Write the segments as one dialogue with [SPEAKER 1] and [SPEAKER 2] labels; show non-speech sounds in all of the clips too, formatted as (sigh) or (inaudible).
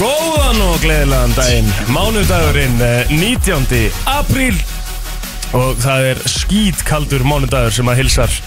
[SPEAKER 1] Góðan og gleðilegan daginn Mánudagurinn eh, 19. apríl Og það er skítkaldur mánudagur sem að hilsar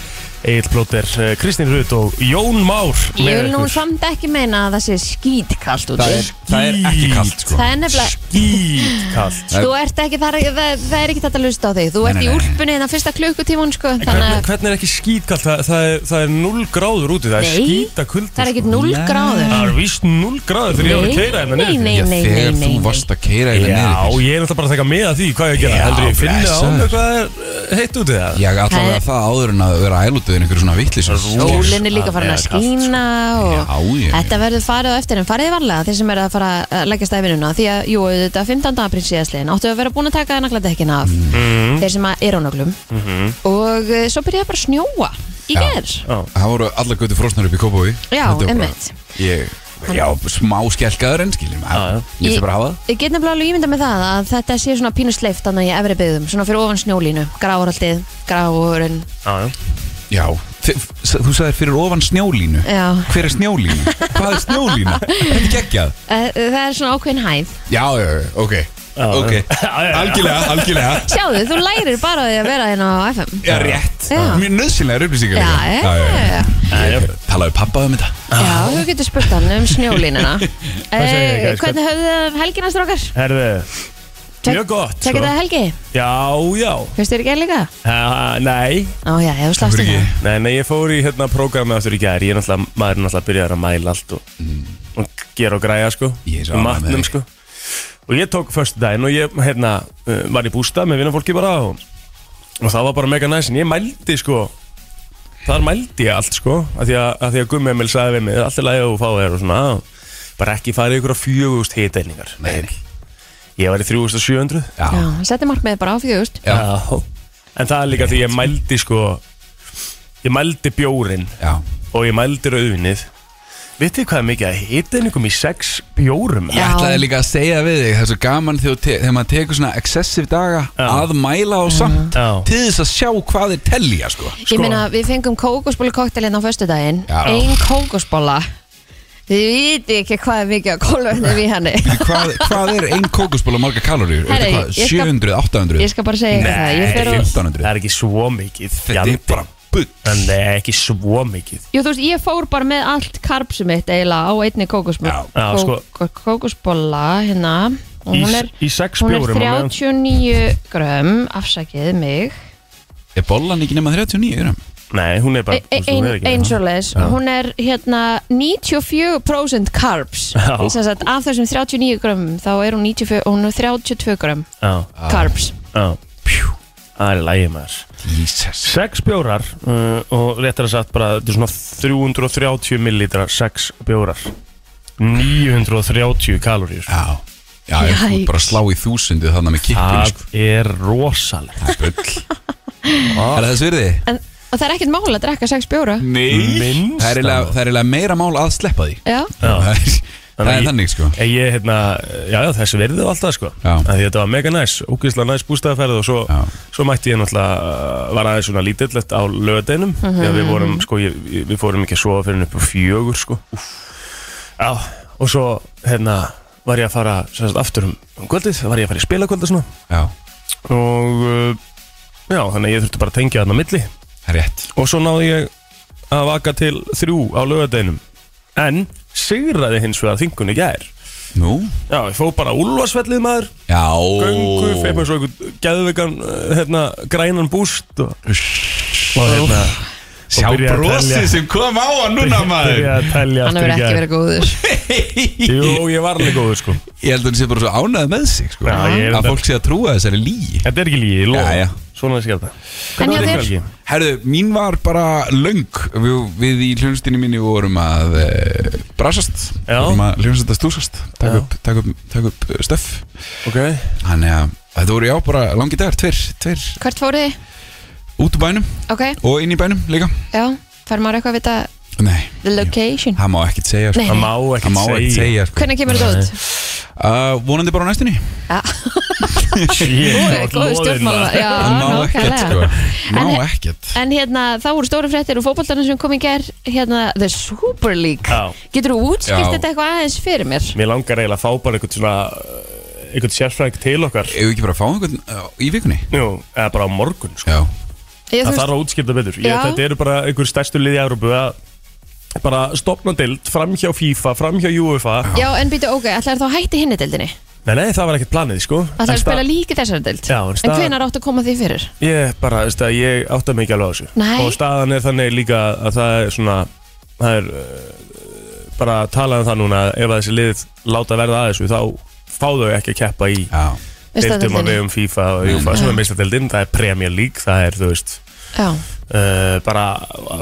[SPEAKER 1] Egil Plóter, eh, Kristín Rut og Jón Már
[SPEAKER 2] Ég
[SPEAKER 1] með
[SPEAKER 2] vil nú
[SPEAKER 1] ykkur.
[SPEAKER 2] samt ekki meina að það sé skítkallt út
[SPEAKER 3] það er, það er ekki kallt sko.
[SPEAKER 2] Það er nefnilega
[SPEAKER 1] Skítkalt
[SPEAKER 3] Það er-
[SPEAKER 2] Þú ert ekki, það er, það, það er ekki þetta að hlusta á þig Þú
[SPEAKER 3] Nei,
[SPEAKER 2] ert
[SPEAKER 3] nei,
[SPEAKER 2] í
[SPEAKER 3] nei.
[SPEAKER 2] úlpunni þannig fyrsta klukkutíman sko, Þannig
[SPEAKER 1] Hvernig,
[SPEAKER 2] að
[SPEAKER 1] hvernig er ekki skítkalt? Það, það, er, það er 0 gráður úti, það er
[SPEAKER 2] Nei,
[SPEAKER 1] skítakuldur
[SPEAKER 2] það er ekkit
[SPEAKER 1] sko.
[SPEAKER 2] 0
[SPEAKER 3] Nei.
[SPEAKER 2] gráður
[SPEAKER 1] Það er víst 0 gráður þegar ég var að keira hérna
[SPEAKER 2] nei,
[SPEAKER 1] niður
[SPEAKER 2] nei,
[SPEAKER 3] Já,
[SPEAKER 2] nei, nei,
[SPEAKER 3] þegar þú
[SPEAKER 2] nei, nei.
[SPEAKER 3] varst að keira
[SPEAKER 1] Já,
[SPEAKER 3] hérna niður
[SPEAKER 1] ég er náttúrulega bara að taka með að því hvað ég að gera
[SPEAKER 3] Já,
[SPEAKER 1] Heldur ég finni á
[SPEAKER 3] blessaður.
[SPEAKER 1] mér hvað er eh, heitt úti það
[SPEAKER 3] Ég ætla að vera það áður en að vera ælútið en einhverju svona vitlis
[SPEAKER 2] Sólinn er líka farin að skína og
[SPEAKER 3] sko. Já, já.
[SPEAKER 2] þetta verður farið á eftir en farið varlega þeir sem eru að fara að leggja stæfinuna því að, jú, þetta 15. apríl síðastliðin áttu að vera búin að taka nagladekkin af
[SPEAKER 3] Mhm.
[SPEAKER 2] þeir sem að eru á naglum og eh, svo byrjaði bara að snjóa í
[SPEAKER 3] Já.
[SPEAKER 2] gerð
[SPEAKER 3] Það voru alla götu frosnar upp í Kópaví
[SPEAKER 2] Já,
[SPEAKER 3] Þetta var bara-
[SPEAKER 2] einmitt.
[SPEAKER 3] Ég, já, smá skellkaður en skiljum
[SPEAKER 1] Já, já.
[SPEAKER 3] Ég ætla bara að hafa það
[SPEAKER 2] Ég get nefnilega alveg ímynda með það að þetta sé svona pínu sleift þannig í efri byggðum, svona fyrir ofan snjólínu gráaraldið, gráurinn
[SPEAKER 1] Já, já
[SPEAKER 3] Já, þi- s- þú sagðir fyrir ofan snjólínu
[SPEAKER 2] Já.
[SPEAKER 3] Hver er snjólínu? Hvað er snjólínu? Þetta er geggjað
[SPEAKER 2] Eh, Það er svona ákveðin hæð
[SPEAKER 3] Já, já, já, ok
[SPEAKER 1] (laughs) Já,
[SPEAKER 3] Ok,
[SPEAKER 1] já. Já, já, já.
[SPEAKER 3] algjörlega, algjörlega
[SPEAKER 2] Sjáðu, þú lærir bara á því að vera hérna á FM
[SPEAKER 3] Já, rétt
[SPEAKER 2] Já.
[SPEAKER 3] Mjög nöðsynlega upplýsingar
[SPEAKER 2] Já,
[SPEAKER 3] líka.
[SPEAKER 2] já, já,
[SPEAKER 1] já.
[SPEAKER 3] Ég Talaðu pappa um þetta
[SPEAKER 2] já þú getur spurt hann um snjólínuna
[SPEAKER 1] segir
[SPEAKER 2] eh,
[SPEAKER 1] þið, guys?
[SPEAKER 2] Hvernig höfðu það helgina strókar?
[SPEAKER 1] Herðu,
[SPEAKER 2] Tek-
[SPEAKER 1] mjög gott
[SPEAKER 2] Tekka
[SPEAKER 1] sko.
[SPEAKER 2] þetta helgi,
[SPEAKER 1] Já, já
[SPEAKER 2] finnst þér ekki að líka?
[SPEAKER 1] ha, Nei,
[SPEAKER 2] Ó já, ég
[SPEAKER 3] Af
[SPEAKER 2] slast
[SPEAKER 3] hverju
[SPEAKER 2] ekki
[SPEAKER 3] ekki?
[SPEAKER 1] nei, nei, ég fór í hérna prógramið aftur í gær Ég er náttúrulega, maður er náttúrulega byrjaður að mæla allt og, og gera og græja sko
[SPEAKER 3] Mm. Ég er svo
[SPEAKER 1] og
[SPEAKER 3] ánægður með
[SPEAKER 1] matnum
[SPEAKER 3] þig.
[SPEAKER 1] sko Og ég tók förstu daginn og ég hérna uh, var í bústað með vinnafólki bara og, og það var bara mega næs en ég mældi sko Þar mældi ég allt sko að því að, að, því að Gummi Emil sagði við mig allt er lægja og fá þér og svona bara ekki farið ykkur á fjögust hiteiningar
[SPEAKER 3] Nei,
[SPEAKER 1] Ég var í 3700
[SPEAKER 2] Já,
[SPEAKER 3] já,
[SPEAKER 2] setti markmið bara á fjögust
[SPEAKER 3] Já.
[SPEAKER 1] En það er líka því ég mældi sko Ég mældi bjórin
[SPEAKER 3] já
[SPEAKER 1] Og ég mældi rauðinnið Vitið þið hvað er mikið að hita einhverjum í sex bjórum
[SPEAKER 3] Ég
[SPEAKER 2] Já.
[SPEAKER 3] ætlaði líka að segja við þig Það er svo gaman þegar, þú te- þegar maður tekur svona excessive daga
[SPEAKER 1] Já.
[SPEAKER 3] að mæla og samt
[SPEAKER 1] Já.
[SPEAKER 3] til þess að sjá hvað þeir telja sko.
[SPEAKER 2] Ég meina, við fengum kókosbólu koktelinn á föstudaginn
[SPEAKER 3] Já.
[SPEAKER 2] Ein kókosbóla Þið viti ekki hvað er mikið að kólöfnum í
[SPEAKER 1] (laughs)
[SPEAKER 2] henni
[SPEAKER 3] hvað, hvað er ein kókusból og marga kaloríur? Er
[SPEAKER 2] Herri,
[SPEAKER 3] þetta hvað,
[SPEAKER 2] ég skal-
[SPEAKER 3] 700, 800?
[SPEAKER 2] Ég skal bara segja ykkur það Ég fer og,
[SPEAKER 3] 1500.
[SPEAKER 1] það er ekki svo mikið
[SPEAKER 3] Þetta er
[SPEAKER 1] fjandi.
[SPEAKER 3] bara bull
[SPEAKER 1] En það er ekki svo mikið
[SPEAKER 2] jú, þú veist, ég fór bara með allt karpsum mitt eiginlega á einni
[SPEAKER 3] Já,
[SPEAKER 2] kókosbóla
[SPEAKER 1] já, sko.
[SPEAKER 2] Kókosbóla hérna og
[SPEAKER 1] Í-
[SPEAKER 2] hún er,
[SPEAKER 1] í sex
[SPEAKER 2] hún er
[SPEAKER 1] bjórum á meðan-
[SPEAKER 2] 39 grömm afsakið mig
[SPEAKER 3] Er bollan ekki nema 39 gram?
[SPEAKER 1] Nei, hún er bara
[SPEAKER 2] e,
[SPEAKER 1] hún
[SPEAKER 2] ein,
[SPEAKER 1] er ekki- hérna.
[SPEAKER 2] ein svoleiðis hún er hérna 94% carbs
[SPEAKER 1] Já.
[SPEAKER 2] Sem sagt, af þessum 39 grömm þá er hún, 94, hún er 32 grömm
[SPEAKER 1] Já,
[SPEAKER 2] carbs
[SPEAKER 1] já Pjú, það er lægið maður
[SPEAKER 3] Jesus
[SPEAKER 1] Sex bjórar uh, og réttar að sagt bara þetta er svona 330 millilitra sex bjórar 930 kaloríur
[SPEAKER 3] Já, já ég fór
[SPEAKER 2] Jæks.
[SPEAKER 3] bara að slá í þúsundu þannig með kippinu
[SPEAKER 1] Það
[SPEAKER 3] sko.
[SPEAKER 1] er rosalegt
[SPEAKER 3] Það er bull
[SPEAKER 2] (laughs)
[SPEAKER 3] Er það svirði?
[SPEAKER 2] en, og það er ekkert mál að drekka 6 bjóra
[SPEAKER 1] Mm. Minnst
[SPEAKER 3] Það er eiginlega- það er eiginlega meira mál að sleppa því
[SPEAKER 2] já
[SPEAKER 3] Það
[SPEAKER 1] Já.
[SPEAKER 3] er- það er þannig sko
[SPEAKER 1] Ég, ég hérna, já, já þessi verði það alltaf sko
[SPEAKER 3] Já.
[SPEAKER 1] Af Því þetta var mega næs, úkislega næs bústæðaferð og svo,
[SPEAKER 3] Já.
[SPEAKER 1] svo mætti ég náttúrulega var aðeins svona lítillett á lögadeinum mm -hmm. við vorum, sko, ég, ég- við fórum ekki að sofa fyrir upp á fjögur sko Já, og svo hérna var ég að fara sem sagt, aftur um, um kvöldið, var ég að fara í spilakvöldið svona
[SPEAKER 3] Já,
[SPEAKER 1] og uh, já, þannig að ég þurfti bara að tengja þarna á milli
[SPEAKER 3] það er rétt
[SPEAKER 1] og svo náði ég að vaka til þrjú á lögadeinum en sigraði hins vegar þingun í gær
[SPEAKER 3] Nú?
[SPEAKER 1] já, ég fó bara úlfarsvellið maður
[SPEAKER 3] Já
[SPEAKER 1] göngu, feim eins og einhvern geðvegan uh, hérna, grænan búst og, og hérna
[SPEAKER 3] Sjá
[SPEAKER 1] og byrjaði að telja.
[SPEAKER 3] brosið sem kom á hann núna Hérna, maður
[SPEAKER 1] byrjaði að telja
[SPEAKER 2] hann
[SPEAKER 1] aftur í
[SPEAKER 2] hefur ekki
[SPEAKER 1] gær.
[SPEAKER 2] verið góður
[SPEAKER 1] Jú, ég var alveg góður sko
[SPEAKER 3] Ég held að hann sé bara svo ánæð með sig sko.
[SPEAKER 1] Já, ég er
[SPEAKER 3] Að
[SPEAKER 1] þetta-
[SPEAKER 3] fólk sé að trúa þessari lígi
[SPEAKER 1] Þetta er ekki lígi, ég
[SPEAKER 3] Já, já.
[SPEAKER 1] lofa Svona þessi gæta
[SPEAKER 2] En
[SPEAKER 1] Hvernig var
[SPEAKER 2] hjá
[SPEAKER 1] þér?
[SPEAKER 2] þér?
[SPEAKER 1] Helgi?
[SPEAKER 3] Herðu, mín var bara löng Við, við í hljónstinu mínu vorum að uh, brasast
[SPEAKER 1] Já.
[SPEAKER 3] Vorum að hljónstinu stúsast
[SPEAKER 1] Já.
[SPEAKER 3] Takk upp, takk upp, takk upp eh, stöff
[SPEAKER 1] Ok
[SPEAKER 3] Þannig að þetta voru já bara langi dagar Tveir, tveir
[SPEAKER 2] hvert fóruð þið?
[SPEAKER 3] út úr bænum
[SPEAKER 2] ok,
[SPEAKER 3] og inn í bænum líka
[SPEAKER 2] já, fær maður eitthvað að vita
[SPEAKER 3] Nei,
[SPEAKER 2] the location
[SPEAKER 3] það má ekkert segja sko.
[SPEAKER 2] Nei.
[SPEAKER 1] Það má
[SPEAKER 3] Það má ekkert
[SPEAKER 1] ekkert segja
[SPEAKER 3] segja sko.
[SPEAKER 2] hvernig kemur þetta út?
[SPEAKER 3] uh, vonandi bara á næstunni
[SPEAKER 2] Ja.
[SPEAKER 1] Shit,
[SPEAKER 2] Góður stjórnmála Já,
[SPEAKER 3] Hann má ekkert
[SPEAKER 2] nákvæmlega.
[SPEAKER 3] sko Má
[SPEAKER 2] En-
[SPEAKER 3] ekkert
[SPEAKER 2] En hérna, þá voru stóru fréttir og fótboltarnir sem kom í ger hérna, The Super League
[SPEAKER 1] Já.
[SPEAKER 2] Getur þú útskilt
[SPEAKER 3] Já.
[SPEAKER 2] þetta eitthvað aðeins fyrir mér?
[SPEAKER 1] Mér langar eiginlega að fá bara einhvern svona uh, einhvern sérfræðing til okkar
[SPEAKER 3] Ef við ekki bara að fá einhvern uh, í vikunni
[SPEAKER 1] Jú, eða bara á morgun sko.
[SPEAKER 3] Já,
[SPEAKER 2] Ég, þú
[SPEAKER 1] Það
[SPEAKER 2] veist-
[SPEAKER 1] þarf að útskipta betur ég,
[SPEAKER 2] Já.
[SPEAKER 1] Þetta eru bara einhver stærstu liði í Európu að bara stopna dild fram hjá FIFA, fram hjá UEFA
[SPEAKER 2] Já, en býtu, ok, ætlaði þá að hætti hinni deildinni
[SPEAKER 1] Nei, nei, það var ekkert planið sko
[SPEAKER 2] Ætlaði
[SPEAKER 1] En
[SPEAKER 2] að
[SPEAKER 1] sta-
[SPEAKER 2] spila líka í þessari deild
[SPEAKER 1] Já, en
[SPEAKER 2] En
[SPEAKER 1] stað-
[SPEAKER 2] hvenær áttu að koma því fyrir?
[SPEAKER 1] Ég bara, veist að ég átta mig ekki alveg á þessu
[SPEAKER 2] Nei.
[SPEAKER 1] Og staðan er þannig líka að það er svona Það er uh, bara að tala um það núna að Ef að þessi lið láta verða að þessu Þá fá þau ekki að keppa í
[SPEAKER 3] já
[SPEAKER 1] Deildum að
[SPEAKER 2] Meistaradeildinni. Mm.
[SPEAKER 1] vegum FIFA og UEFA Sem er meistadeildin, það er Premier League Það er, þú veist,
[SPEAKER 2] Já,
[SPEAKER 1] uh, bara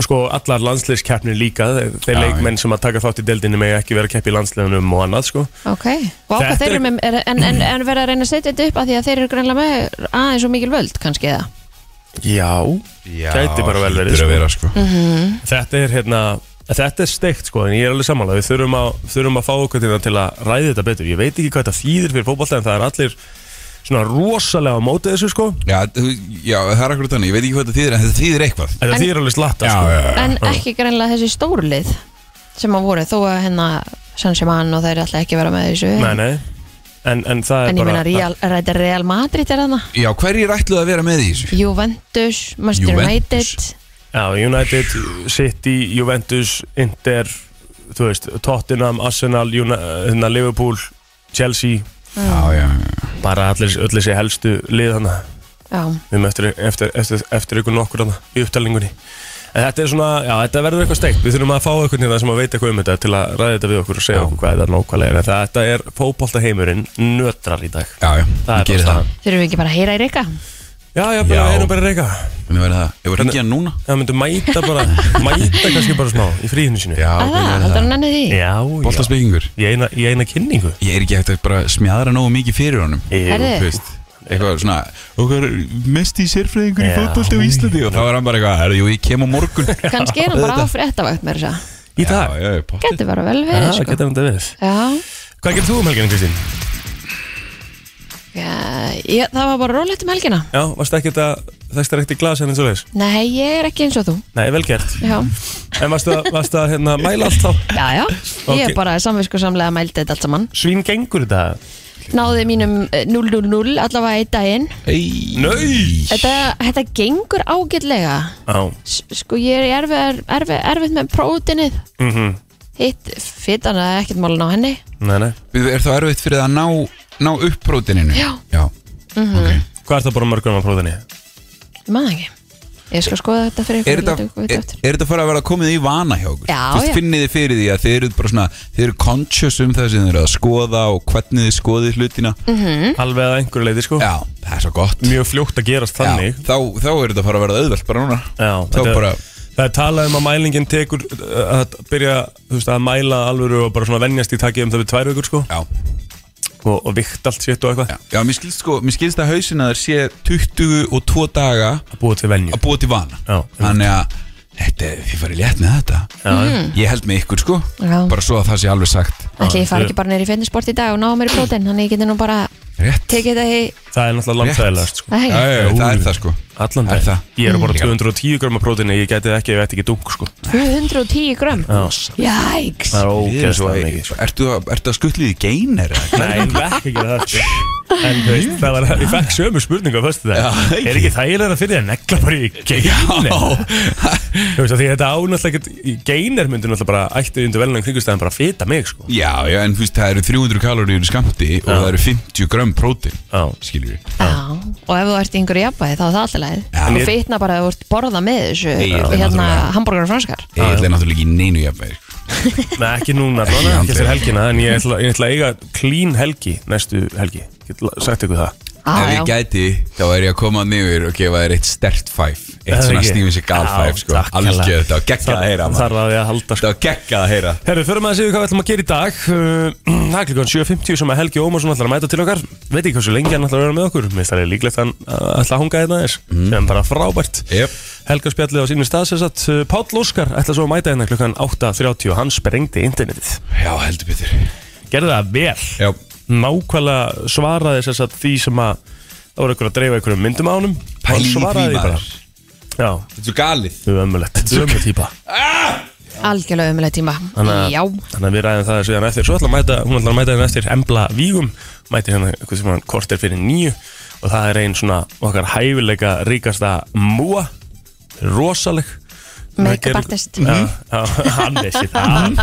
[SPEAKER 1] sko allar landsliðskeppnir líka þeir, þeir
[SPEAKER 3] Já,
[SPEAKER 1] leikmenn sem að taka þátt í deildinni með ekki vera að keppa í landsliðunum og annað sko
[SPEAKER 2] ok Og ákvað
[SPEAKER 1] Þetta
[SPEAKER 2] þeir
[SPEAKER 1] er-
[SPEAKER 2] eru með, er, en, en, en verða að reyna að setja þetta upp að því að þeir eru greinlega með aðeins og mikil völd kannski eða
[SPEAKER 1] já, gæti bara vel verið
[SPEAKER 3] hlýtur
[SPEAKER 1] sko.
[SPEAKER 3] að vera sko
[SPEAKER 2] Mhm.
[SPEAKER 1] þetta er hérna þetta er steikt sko en ég er alveg sammála við þurfum að, þurfum að fá okkur til, að- til að ræði þetta betur ég veit ekki hvað þetta þýðir fyrir fótbolta en það er allir svona rosalega á móti þessu sko en
[SPEAKER 3] já, þú- já, það er akkur þannig, ég veit ekki hvað þetta þýðir en þetta þýðir eitthvað
[SPEAKER 1] þetta
[SPEAKER 2] En-
[SPEAKER 1] þýðir alveg slatta
[SPEAKER 3] Já,
[SPEAKER 1] sko
[SPEAKER 3] já, já.
[SPEAKER 2] En ekki greinlega þessi stórlið sem að voru þó að hérna San Simon og þeir ætla ekki að vera með í þessu
[SPEAKER 1] nei, nei. En, en það er
[SPEAKER 2] En ég
[SPEAKER 1] bara
[SPEAKER 2] meina Real, Real, Real Madrid er þarna
[SPEAKER 3] Já, hverjir ætluðu að vera með í þessu?
[SPEAKER 2] Juventus, Manchester
[SPEAKER 3] Juventus.
[SPEAKER 2] United
[SPEAKER 1] Já, United, City, Juventus, Inter, þú veist, Tottenham, Arsenal, Una, hérna, Liverpool, Chelsea,
[SPEAKER 2] Mm.
[SPEAKER 3] Já, já, já
[SPEAKER 1] bara allir, öll þessi helstu lið hana.
[SPEAKER 2] Já,
[SPEAKER 1] Við erum eftir, eftir, eftir, eftir ykkur nokkur hana í upptalningunni. En þetta er svona, já, þetta verður eitthvað steikt. Við þurfum að fá ykkur hérna sem að veita eitthvað um þetta til að ræða þetta við okkur og segja okkur hvað þetta nákvæmlega er. En Þetta er fótbolta heimurinn nötrar í dag.
[SPEAKER 3] Já, já,
[SPEAKER 1] Það er
[SPEAKER 3] ég geri
[SPEAKER 1] bara
[SPEAKER 3] það
[SPEAKER 1] staðan.
[SPEAKER 2] þurfum við ekki bara að heyra í reyka
[SPEAKER 1] Já, já, bara,
[SPEAKER 3] Já.
[SPEAKER 1] erum bara að reyka.
[SPEAKER 3] Hvernig verður það? Ég var ekki að núna
[SPEAKER 1] Það myndu mæta
[SPEAKER 3] (laughs)
[SPEAKER 1] bara, mæta kannski bara smá í fríðinu sinu.
[SPEAKER 3] Já,
[SPEAKER 2] Að það, heldur hann enni því
[SPEAKER 1] já. já.
[SPEAKER 3] Bóltaspekingur
[SPEAKER 1] Í eina, í eina kynningu
[SPEAKER 3] Ég er ekki eftir að bara smjadra nógu mikið fyrir honum
[SPEAKER 2] Herri.
[SPEAKER 3] Þú veist Eitthvað svona Okkar mest í sérfræðingur í
[SPEAKER 1] Já.
[SPEAKER 3] fótbolta á Íslandi Og þá er hann bara eitthvað Herðu, jú, ég kem á morgun
[SPEAKER 2] (laughs) Kannski er hann bara á fréttavægt með þess að segja.
[SPEAKER 1] Í dag
[SPEAKER 3] Já, já, pottet
[SPEAKER 2] Gæti bara vel
[SPEAKER 1] Já,
[SPEAKER 2] verið
[SPEAKER 1] það
[SPEAKER 2] sko
[SPEAKER 1] getur hann þetta við
[SPEAKER 2] Já,
[SPEAKER 1] Hvað gerir þú um helgina, Kristín?
[SPEAKER 2] já ég, það var bara rólegt um helgina
[SPEAKER 1] Já, varstu ekkert að þægst er ekkert í glasa hérna eins og leis?
[SPEAKER 2] Nei, ég er ekki eins og þú
[SPEAKER 1] Nei, vel gert
[SPEAKER 2] Já,
[SPEAKER 1] En varstu að, varstu að hérna, mæla allt þá?
[SPEAKER 2] já, já. ég
[SPEAKER 1] Ok.
[SPEAKER 2] er bara samviskusamlega mældi þetta allt saman
[SPEAKER 1] Svín gengur þetta
[SPEAKER 2] Náði mínum eh, 000 allavega einn daginn
[SPEAKER 3] Ei
[SPEAKER 1] Nei.
[SPEAKER 2] Þetta, þetta gengur ágætlega
[SPEAKER 1] Já
[SPEAKER 2] S Sko ég er erfið, erfið, erfið með prótinið
[SPEAKER 1] mm -hmm.
[SPEAKER 2] Hitt fitan að ekkert málun á henni
[SPEAKER 1] Nei, nei
[SPEAKER 3] Við er þá erfitt fyrir það að ná Ná upp prótininu
[SPEAKER 2] Já.
[SPEAKER 3] Já Ok
[SPEAKER 1] Hvað er það bara mörgum á próðinni?
[SPEAKER 2] Ég maður ekki Ég skal skoða þetta fyrir
[SPEAKER 3] Er
[SPEAKER 2] ykkur og
[SPEAKER 3] þetta,
[SPEAKER 2] láta ykkur vita
[SPEAKER 3] er,
[SPEAKER 2] aftur.
[SPEAKER 3] er þetta farið að vera komið í vana hjá okkur?
[SPEAKER 2] Já,
[SPEAKER 3] Þú veist,
[SPEAKER 2] já.
[SPEAKER 3] Finnið þið fyrir því að þið eru bara svona Þið eru conscious um það sem þið eru að skoða Og hvernig þið skoðið hlutina
[SPEAKER 2] Mm.
[SPEAKER 1] Alveg að einhverju leiti, sko
[SPEAKER 3] Já, það er svo gott
[SPEAKER 1] Mjög fljótt að gerast þannig
[SPEAKER 3] Já, þá, þá er þetta fara að vera auðvelt bara núna
[SPEAKER 1] Já,
[SPEAKER 3] Þá
[SPEAKER 1] þetta-
[SPEAKER 3] bara,
[SPEAKER 1] Það er talað um að mælingin tekur uh, að byrja þú veist, að mæla alvöru og bara svona venjast í takið um það við tvær vikur sko
[SPEAKER 3] já,
[SPEAKER 1] og, og vikt allt sitt og eitthvað
[SPEAKER 3] já, já mér skilst sko Mér skilst að hausin að þér sé 22 daga
[SPEAKER 1] að búa til venju
[SPEAKER 3] að búa til vana
[SPEAKER 1] Já.
[SPEAKER 3] Þannig að þetta, er- þið farið létt með þetta
[SPEAKER 1] Já,
[SPEAKER 3] Ég held með ykkur sko
[SPEAKER 2] Já.
[SPEAKER 3] Bara svo að það sé alveg sagt
[SPEAKER 2] Ætli ég fari ekki bara neyri í fitnessport í dag og ná mér í prótin Þannig ég geti nú bara
[SPEAKER 3] Rétt
[SPEAKER 2] tekið þetta í
[SPEAKER 1] Það er náttúrulega
[SPEAKER 3] Rétt.
[SPEAKER 1] langfæðilegast sko.
[SPEAKER 2] Það er
[SPEAKER 3] Já,
[SPEAKER 2] ekki.
[SPEAKER 3] já, já, það er það sko
[SPEAKER 1] Allan
[SPEAKER 3] Er
[SPEAKER 1] dag
[SPEAKER 3] það?
[SPEAKER 1] Ég er bara
[SPEAKER 3] Mm.
[SPEAKER 1] 210 gröma próteini Ég geti það ekki ef ég ætti ekki dunk sko
[SPEAKER 2] 210 grömm
[SPEAKER 1] Já.
[SPEAKER 2] Jæks
[SPEAKER 1] Það er ógeðslega
[SPEAKER 3] Ég-
[SPEAKER 1] mikið sko.
[SPEAKER 3] Ertu að, ertu að skutlið í geiner?
[SPEAKER 1] Nei, ég vekk ekki það sko. En þú veist, það var Ég fekk sömu spurningu á föstu
[SPEAKER 3] Já,
[SPEAKER 1] það
[SPEAKER 3] ekki.
[SPEAKER 1] Er ekki þægilega fyrir því að negla bara í geiner Þú veist, af því að þetta ánáttúrulega ekki Í geiner myndi náttúrulega bara Ætti undir velnum kringustæðan bara að fita mig sko
[SPEAKER 3] Já, já, en þú veist, það eru 300 kaloríur í skamti og það eru 50 grömm prótin
[SPEAKER 1] Já.
[SPEAKER 3] skilur við
[SPEAKER 2] Já, og ef þú ert í einhverju jafnvæði þá er það alltaf leið
[SPEAKER 3] Já.
[SPEAKER 2] Þú
[SPEAKER 1] Ég-
[SPEAKER 2] fitna bara að þú ert borða með þessu
[SPEAKER 3] Nei, ég ætla
[SPEAKER 2] hérna
[SPEAKER 3] náttúrulega-
[SPEAKER 2] hambúrgar og franskar
[SPEAKER 3] Ég ætla náttúrulega ekki í neinu sko. jafnveg
[SPEAKER 1] Nei, ekki núna, svona,
[SPEAKER 3] Nei,
[SPEAKER 1] ekki eftir helgina En ég ætla, ég ætla að eiga clean helgi Næstu helgi, ég ætla að sagt ykkur það
[SPEAKER 2] Já,
[SPEAKER 3] Ef
[SPEAKER 2] Ah, já.
[SPEAKER 3] ég gæti, þá væri ég að koma niður og gefa þér eitt stert fæf Eitt
[SPEAKER 1] Er það
[SPEAKER 3] svona
[SPEAKER 1] ekki?
[SPEAKER 3] Steven Seagal
[SPEAKER 1] Já,
[SPEAKER 3] fæf, sko
[SPEAKER 1] takk hérlega.
[SPEAKER 3] Algjör, þetta var geggjað að heyra maður.
[SPEAKER 1] Þarf að ég að halda sko
[SPEAKER 3] Þetta var geggjað að heyra
[SPEAKER 1] Herru, förum að segja hvað við ætlum að gera í dag Uh, (clears throat) Það er klukkan 7.50 sem að Helgi Ómarsson ætlar að mæta til okkar Veit ekki hversu lengi hann ætlar að vera með okkur Mér stærði líklegt hann að ætla að hunga hérna þess
[SPEAKER 3] Mhm.
[SPEAKER 1] Sem er bara frábært
[SPEAKER 3] Jep.
[SPEAKER 1] Helga spjallið á sínum stað sem sagt uh, Páll Óskar ætla svo að mæta hérna klukkan 8.30 og hann sprengdi internetið
[SPEAKER 3] Já, heldur betur
[SPEAKER 1] Gerði það vel
[SPEAKER 3] Já,
[SPEAKER 1] nákvæmlega svaraði þess að því sem að það voru ykkur að dreifa ykkur myndum á honum hann
[SPEAKER 3] Pæli í því
[SPEAKER 1] svaraði því bara
[SPEAKER 3] maður
[SPEAKER 1] Já,
[SPEAKER 3] Þetta er svo galið
[SPEAKER 1] ömulegt, þetta er ömuleg típa
[SPEAKER 2] Algjörlega umulega tíma
[SPEAKER 1] Þannig
[SPEAKER 2] Já,
[SPEAKER 1] að, þannig að við ræðum það síðan eftir Svo ætla að mæta, hún ætla að mæta hérna eftir Embla Vígum Mæti hérna eitthvað sem hann kortir fyrir nýju Og það er einn svona okkar hæfileika ríkasta múa Rosaleg
[SPEAKER 2] Makeup
[SPEAKER 1] Gerir-
[SPEAKER 2] artist.
[SPEAKER 1] Já, já, (laughs) Hann vissi það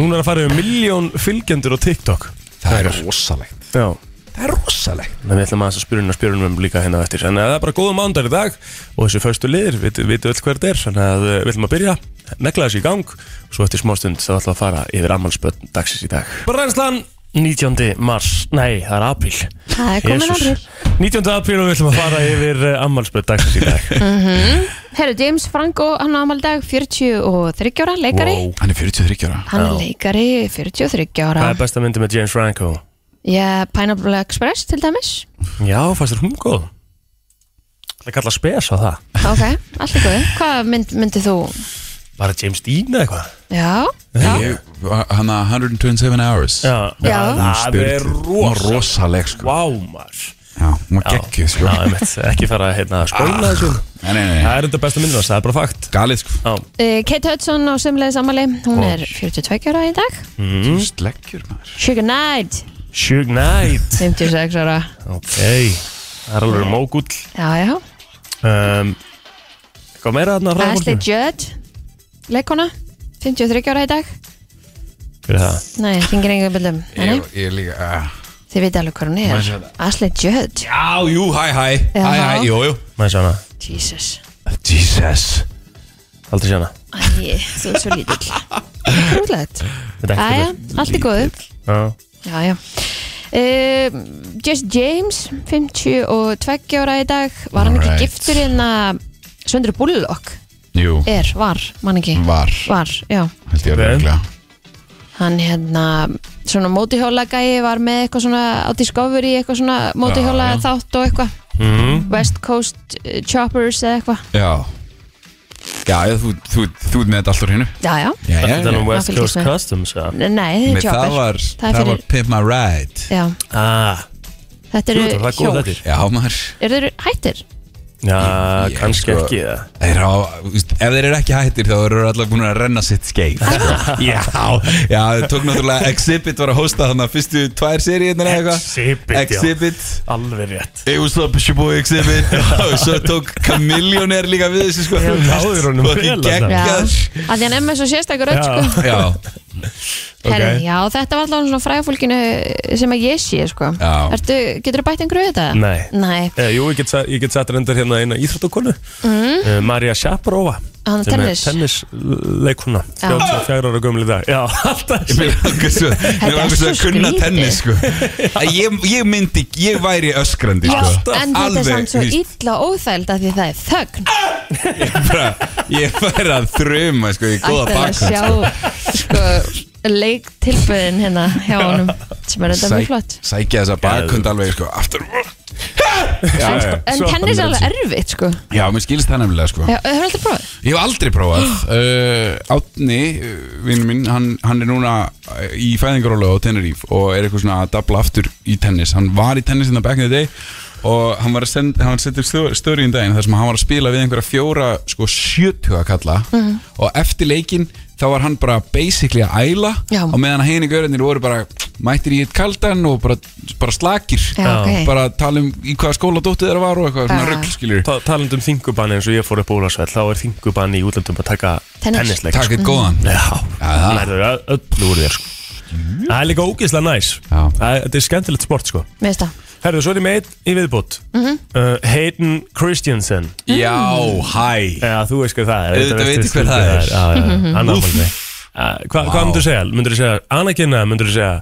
[SPEAKER 1] Hún er að fara yfir miljón fylgjendur á TikTok
[SPEAKER 3] Það er rosalegt
[SPEAKER 1] Já
[SPEAKER 3] Það er rosalegt
[SPEAKER 1] Þannig að við ætlum að spyrja hennar spyrjunum um líka hérna á eftir Þannig að það er bara góða mándar í dag Og þessi föstu liðir, við veitum öll hver þetta er Þannig að eh, við ætlum að byrja, negla þessi í gang Og svo eftir smá stund þá ætlum við að fara yfir ammálspöld dagsins í dag Bara reynslan 19. mars, nei það er apríl
[SPEAKER 2] það er komin
[SPEAKER 1] Jesus.
[SPEAKER 2] apríl
[SPEAKER 1] 19. apríl og við ætlum að fara yfir ammálspöld dagsins í dag
[SPEAKER 2] Herru, James Franco, hann á amal dag 43 ára, leikari
[SPEAKER 1] Wow.
[SPEAKER 3] Hann er 43 ára
[SPEAKER 2] Hann er leikari 43
[SPEAKER 1] Hvað
[SPEAKER 2] ára
[SPEAKER 1] er besta myndi með James Franco?
[SPEAKER 2] Já, Pineapple Express til dæmis
[SPEAKER 1] Já, fannst þér hún góð? Það kalla spes á það
[SPEAKER 2] Ok, allt í góðu Hvað mynd, myndið þú?
[SPEAKER 1] Bara James Dean eða eitthvað?
[SPEAKER 2] Já, já,
[SPEAKER 3] Ég- Hann er 127 hours
[SPEAKER 2] Já.
[SPEAKER 1] það er rosa
[SPEAKER 3] rosaleg sko
[SPEAKER 1] Vá maður
[SPEAKER 3] Já, hún var geggið sko
[SPEAKER 1] Já, einmitt, ekki fara hérna, að
[SPEAKER 3] Ah.
[SPEAKER 1] spóla þessu
[SPEAKER 3] Nei, nei, nei
[SPEAKER 1] Það er enda besta myndin hans, það er bara fakt
[SPEAKER 3] Galið sko
[SPEAKER 1] Já,
[SPEAKER 2] Eh, Kate Hudson á semlega samali Hún
[SPEAKER 1] Ó.
[SPEAKER 2] er 42 ára í dag
[SPEAKER 3] mm. Sleggjur maður
[SPEAKER 2] Sugar Knight,
[SPEAKER 1] Suge Knight
[SPEAKER 2] 56 ára
[SPEAKER 1] Ok, það er alveg mógull
[SPEAKER 2] Já, já,
[SPEAKER 1] um, Hvað meira þarna frá
[SPEAKER 2] Ashley Judd Leikona, 53 ára í dag
[SPEAKER 1] Hver er það?
[SPEAKER 2] Nei, þingir engum byllum
[SPEAKER 3] Ég, ég líka uh.
[SPEAKER 2] Þið veit alveg hvað hún
[SPEAKER 3] Maður
[SPEAKER 2] er
[SPEAKER 3] sér það.
[SPEAKER 2] Ashley Judd
[SPEAKER 3] Já, jú, hæ, hæ
[SPEAKER 2] Já.
[SPEAKER 3] Hæ, hæ, jú, jú
[SPEAKER 1] Maður sé hana,
[SPEAKER 2] Jesus,
[SPEAKER 3] Jesus
[SPEAKER 1] aldrei sé hana
[SPEAKER 2] Æ, þú er svo lítill (laughs) Útlegt
[SPEAKER 1] Þetta er
[SPEAKER 2] Æja,
[SPEAKER 1] ekki
[SPEAKER 2] allt í góðu
[SPEAKER 1] fyrir
[SPEAKER 2] Já, já Uh, Jess James 52 ára í dag var hann
[SPEAKER 3] Alright.
[SPEAKER 2] ekki giftur en að Svöndur Bullock
[SPEAKER 3] Jú,
[SPEAKER 2] er, var, man ekki
[SPEAKER 3] var
[SPEAKER 2] var, já,
[SPEAKER 3] Held ég að
[SPEAKER 1] Vel.
[SPEAKER 3] regla
[SPEAKER 2] hann hérna svona mótihjóla gæi var með eitthvað svona á Discovery, eitthvað svona
[SPEAKER 3] Já,
[SPEAKER 2] mótihjóla
[SPEAKER 3] já.
[SPEAKER 2] þátt og eitthvað
[SPEAKER 1] mm.
[SPEAKER 2] West Coast eh, Choppers eða eitthvað
[SPEAKER 3] Já Já, ég, þú, þú, þú ert með þetta allt úr hinnu
[SPEAKER 2] já, já,
[SPEAKER 3] Já, já,
[SPEAKER 1] Þetta er nú West
[SPEAKER 2] Það fylgist
[SPEAKER 1] Coast
[SPEAKER 2] með.
[SPEAKER 1] Customs ja.
[SPEAKER 2] nei,
[SPEAKER 3] Nei,
[SPEAKER 2] Chopper
[SPEAKER 3] það var,
[SPEAKER 2] það
[SPEAKER 3] það
[SPEAKER 2] er
[SPEAKER 3] var
[SPEAKER 2] fyrir,
[SPEAKER 3] Pimp My Ride
[SPEAKER 2] já,
[SPEAKER 1] ah,
[SPEAKER 2] þetta
[SPEAKER 1] Þú
[SPEAKER 2] eru
[SPEAKER 1] veit það, það er góð
[SPEAKER 2] hjól
[SPEAKER 1] þetta
[SPEAKER 3] Já, maður
[SPEAKER 2] eru þeir hættir?
[SPEAKER 1] Já,
[SPEAKER 3] Ég-
[SPEAKER 1] kannski
[SPEAKER 3] sko-
[SPEAKER 1] ekki það
[SPEAKER 3] Þeir á, víst, ef þeir eru ekki hættir þá eru allar búin að renna sitt skeið
[SPEAKER 2] Ah.
[SPEAKER 3] Já,
[SPEAKER 1] (laughs)
[SPEAKER 3] já, það tók náttúrulega Exhibit var að hósta þannig að fyrstu tvær seríunar eða
[SPEAKER 1] Exhibit,
[SPEAKER 3] eitthvað
[SPEAKER 1] já.
[SPEAKER 3] Exhibit
[SPEAKER 1] Alveg rétt
[SPEAKER 3] Hey, what's up, it's your boy
[SPEAKER 1] (laughs)
[SPEAKER 3] Exhibit og svo tók Kamiljónir líka við þessu sko
[SPEAKER 1] Já, náður honum
[SPEAKER 3] Fucking
[SPEAKER 1] vel þarna.
[SPEAKER 2] já,
[SPEAKER 3] geggjaður.
[SPEAKER 2] að því hann er með svo sérstakur öll sko
[SPEAKER 1] Já,
[SPEAKER 3] Já,
[SPEAKER 1] ok
[SPEAKER 2] Herri, já, þetta var allavega svona frægafólkinu sem að ég sé, sko.
[SPEAKER 3] Já.
[SPEAKER 2] Ertu, getur þú bætt einhverju við þetta?
[SPEAKER 1] Nei.
[SPEAKER 2] Nei,
[SPEAKER 1] Eh, jú, ég get, sa- ég get satt reyndar hérna eina íþróttakonu mm. uh, Marja Sjaparova
[SPEAKER 2] Hann
[SPEAKER 1] sem er
[SPEAKER 2] tennis.
[SPEAKER 1] tennisleikuna 34 ára gömul í dag Já, (laughs) alltaf
[SPEAKER 3] ég vil langar svo
[SPEAKER 2] Þetta
[SPEAKER 3] Ég
[SPEAKER 2] er
[SPEAKER 3] langar svo
[SPEAKER 2] svo
[SPEAKER 3] að kunna
[SPEAKER 2] skrítið.
[SPEAKER 3] tennis
[SPEAKER 2] (laughs)
[SPEAKER 3] sko Að ég, ég myndi, ég væri öskrandi
[SPEAKER 2] já,
[SPEAKER 3] sko
[SPEAKER 2] en þetta er samt svo
[SPEAKER 3] víst,
[SPEAKER 2] illa og óþæld að því það er þögn.
[SPEAKER 3] bara, Ég væri að þruma sko í góða
[SPEAKER 2] Ætlar að
[SPEAKER 3] bakgrunn
[SPEAKER 2] sjá, sko, leiktilböðin hérna hjá honum, sem er þetta
[SPEAKER 3] Sæ-
[SPEAKER 2] mjög flott.
[SPEAKER 3] Sækja þessa bakkund alveg sko aftur Já, já,
[SPEAKER 2] En
[SPEAKER 1] svo-
[SPEAKER 2] tennis er alveg erfitt, sko.
[SPEAKER 3] já mér skilist það nefnilega sko
[SPEAKER 2] Já, Hefur aldrei prófið?
[SPEAKER 3] Ég hef aldrei prófað uh, Átni, vinnur minn, hann, hann er núna uh, í fæðingaróla á Tenerife og er eitthvað svona að dabla aftur í tennis Hann var í tennis in the back in the day og hann var að senda, hann setti störi í daginn þar sem hann var að spila við einhverja fjóra sko 70 kalla
[SPEAKER 2] Mhm.
[SPEAKER 3] og eftir leikinn þá var hann bara basically að æla
[SPEAKER 2] Já.
[SPEAKER 3] og meðan að henni gaurinnir voru bara mættir í eitt kaldan og bara, bara slakir
[SPEAKER 2] Já, ok.
[SPEAKER 3] bara að tala um í hvaða skóla dóttu þeirra var og eitthvað svona
[SPEAKER 2] Já.
[SPEAKER 3] rugl skilur
[SPEAKER 1] Ta taland um þingubanni eins og ég fór upp Ólasvell þá er þingubanni í útlöndum að taka
[SPEAKER 2] Tennis.
[SPEAKER 1] tennisleik sko.
[SPEAKER 3] Takk eitt góðan
[SPEAKER 1] Já,
[SPEAKER 3] það.
[SPEAKER 1] lærður öllu úr þér sko. Það er líka ógeðslega næs
[SPEAKER 3] Mm. Já.
[SPEAKER 1] Það er- Þetta er skemmtilegt sport sko
[SPEAKER 2] Mér veist það.
[SPEAKER 1] Herðu, svo er ég meitt í viðbútt uh, Hayden Christensen
[SPEAKER 2] Mm.
[SPEAKER 3] Já, hæ
[SPEAKER 1] Já, þú veist hvað það er
[SPEAKER 3] Auðvitað veit ég hver það er.
[SPEAKER 1] Já, já, já, hann
[SPEAKER 3] Úff.
[SPEAKER 1] ámælni Hvað
[SPEAKER 3] Vá.
[SPEAKER 1] hva myndur þú segja? Myndur þú segja Anakin eða myndur þú segja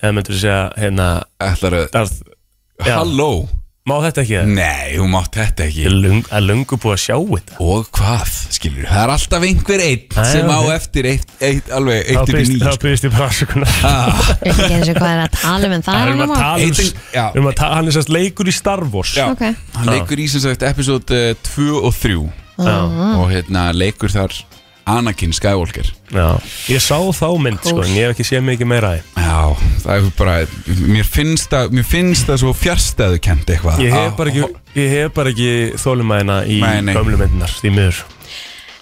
[SPEAKER 1] eða myndur þú segja hérna
[SPEAKER 3] Ætlar að
[SPEAKER 1] Darth, Já.
[SPEAKER 3] Halló
[SPEAKER 1] Má þetta ekki það?
[SPEAKER 3] Nei, þú mátt þetta
[SPEAKER 1] Ég
[SPEAKER 3] ekki
[SPEAKER 1] er lung- er löngu búið að sjá þetta
[SPEAKER 3] Og hvað, skilur Það er alltaf einhver einn
[SPEAKER 1] Æ,
[SPEAKER 3] sem á
[SPEAKER 1] ok.
[SPEAKER 3] eftir eitt, eitt alveg
[SPEAKER 1] Þá
[SPEAKER 3] eitt upp í sko.
[SPEAKER 1] byrðist-
[SPEAKER 3] nýju
[SPEAKER 1] Þá byrðist ég bara afsökunar
[SPEAKER 3] sko.
[SPEAKER 2] Ég veit ekki eins og hvað er að tala um en það
[SPEAKER 1] Það er um
[SPEAKER 2] annað
[SPEAKER 1] að
[SPEAKER 2] mál.
[SPEAKER 1] tala um,
[SPEAKER 3] Heitin- já.
[SPEAKER 1] um að ta hann er sérst leikur í Star Wars
[SPEAKER 3] Já,
[SPEAKER 2] Ok.
[SPEAKER 3] hann leikur í sem sagt episode 2 og 3
[SPEAKER 1] Já.
[SPEAKER 3] og hérna leikur þar Anakin Skywalker
[SPEAKER 1] Já. Ég sá þá mynd sko,
[SPEAKER 2] Cool.
[SPEAKER 1] en ég hef ekki séð mikið meira af því
[SPEAKER 3] Já, Já, það er bara Mér finnst það, mér finnst það svo fjárstæðu kent eitthvað
[SPEAKER 1] Ég
[SPEAKER 3] Á-
[SPEAKER 1] hef bara ekki, ég hef bara ekki þólumæðina í
[SPEAKER 3] Nei, nei.
[SPEAKER 1] gömlu myndinar, því miður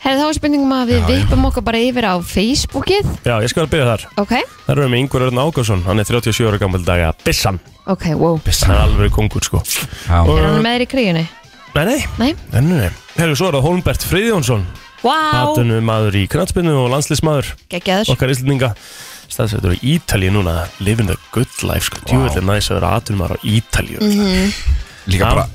[SPEAKER 2] Herri, þá er spurningum að við
[SPEAKER 3] Já, já.
[SPEAKER 2] vippum okkar bara yfir á Facebookið
[SPEAKER 1] Já, ég skal byrja þar
[SPEAKER 2] Ok,
[SPEAKER 1] Þar erum við með Ingvar Örn Ágásson, hann er 37 ára gammal daga Bissan,
[SPEAKER 2] ok, wow
[SPEAKER 1] hann er alveg kongur sko
[SPEAKER 3] Já.
[SPEAKER 1] Og-
[SPEAKER 2] Er hann með þér í kríunni?
[SPEAKER 1] Nei, nei,
[SPEAKER 2] Nei?
[SPEAKER 1] nei, nei, nei. Herru, svo er það Holmbert Friðjónsson
[SPEAKER 2] Vá,
[SPEAKER 1] Atunu maður í knatsbyrnu og landslismadur
[SPEAKER 2] geggjaður
[SPEAKER 1] Okkar Íslandinga Staðsettur á Ítalíu núna, living the good life sko Djúvill er næs að vera atunu maður á Ítalíu
[SPEAKER 2] Mm. Mhm.
[SPEAKER 3] Líka
[SPEAKER 1] Já.
[SPEAKER 3] bara,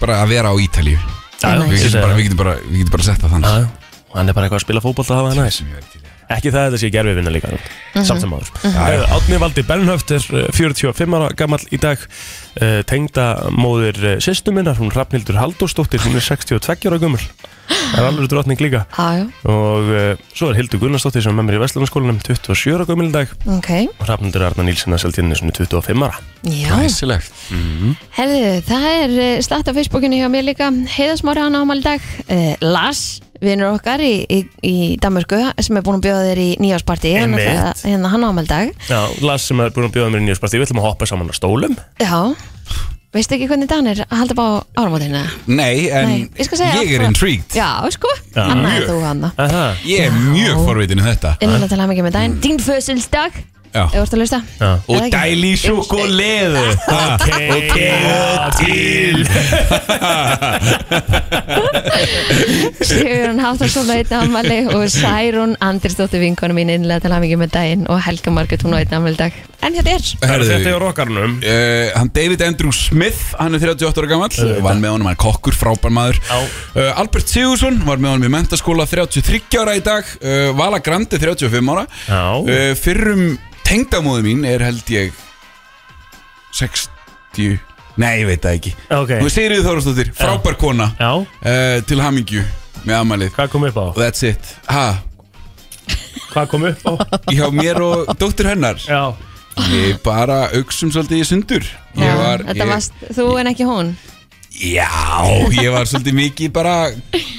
[SPEAKER 3] bara að vera á Ítalíu
[SPEAKER 1] Já,
[SPEAKER 2] Nice.
[SPEAKER 3] Við
[SPEAKER 1] ég
[SPEAKER 3] getum
[SPEAKER 1] segi
[SPEAKER 3] bara,
[SPEAKER 1] það.
[SPEAKER 3] við getum bara, við getum bara sett það
[SPEAKER 1] Já,
[SPEAKER 3] þannig
[SPEAKER 1] já. Og hann er bara eitthvað að spila fótbolta að hafa það næs
[SPEAKER 3] sem ég er til í.
[SPEAKER 1] Ekki það að þetta sé gerfiðvinna líka Samt sem áður
[SPEAKER 3] já.
[SPEAKER 1] Eh, Árni Valdi Bernhöft er eh, 45 ára gammal í dag uh, Tengda móðir sýstu minnar Hún Rafnildur Halldórsdóttir Hún er 62 ára gummul Það er alveg drotning líka
[SPEAKER 2] Já, já,
[SPEAKER 1] Og uh, svo er Hildur Gunnarsdóttir sem er með mér í Vestlunarskólanum 27 ára gummul í dag
[SPEAKER 2] ok
[SPEAKER 1] Og Rafnildur Arna Nílsson að seldi henni 25 ára
[SPEAKER 2] Já,
[SPEAKER 3] Glæsilegt
[SPEAKER 2] Herðu, það er eh, slatt á Facebookinu hjá mér líka Heiðasmári hann ámæli dag eh, Lars, vinnur okkar í, í, í Danmörku sem er búin að bjóða þér í nýjásparti
[SPEAKER 1] Einmitt.
[SPEAKER 2] hérna hann ámæli dag
[SPEAKER 1] Já, Lars sem er búin að bjóða mér í nýjusparti Við ætlum að hoppa saman á stólum
[SPEAKER 2] Já, veistu ekki hvernig Danir halda upp á áramótinu?
[SPEAKER 3] Nei, en
[SPEAKER 2] Nei, ég skal segja
[SPEAKER 3] ég er
[SPEAKER 2] það.
[SPEAKER 3] intrigued
[SPEAKER 2] Já, sko,
[SPEAKER 1] Já.
[SPEAKER 2] hann
[SPEAKER 3] Mjög.
[SPEAKER 2] er þú hann
[SPEAKER 1] Aha,
[SPEAKER 3] Ég er mjög forvitin í þetta
[SPEAKER 2] Innlega til hann ekki með daginn, dín föðsilsdag
[SPEAKER 3] Mm. Já.
[SPEAKER 2] Þú ert að lusta
[SPEAKER 1] Já.
[SPEAKER 3] Og
[SPEAKER 2] (laughs)
[SPEAKER 3] dæli í sjúkuleðu
[SPEAKER 1] Ok,
[SPEAKER 3] Til
[SPEAKER 2] Sigurinn Háttarsson á einn afmæli og Særún Andrisdóttir vinkonu mín innlega til hann ekki með daginn og Helga Margrét hún á einn afmæli dag En þetta er
[SPEAKER 1] Herðu, þetta
[SPEAKER 3] Herðu
[SPEAKER 1] er rockarnum
[SPEAKER 3] Uh, hann David Andrew Smith, hann er 38 ára gammal Var með honum, hann er kokkur, frábær maður
[SPEAKER 1] Já.
[SPEAKER 3] uh, Albert Sigursson var með honum í mentaskóla 33 ára í dag uh, Vala Grandi 35 ára
[SPEAKER 1] Já.
[SPEAKER 3] uh, Fyrrum tengdamóðu mín er held ég 60 Nei, ég veit það ekki
[SPEAKER 1] Ok.
[SPEAKER 3] Hún er Sigriði Þórastóttir, frábær kona
[SPEAKER 1] Já,
[SPEAKER 3] uh, Til hamingju með amalið
[SPEAKER 1] hvað kom upp á?
[SPEAKER 3] Og that's it ha,
[SPEAKER 1] Hvað kom upp á?
[SPEAKER 3] Hjá mér og dóttur hennar
[SPEAKER 1] Já
[SPEAKER 3] Ég bara auksum svolítið í sundur Ég var-
[SPEAKER 2] Þetta
[SPEAKER 3] ég-
[SPEAKER 2] varst þú en ekki hún
[SPEAKER 3] Já, ég var svolítið mikið bara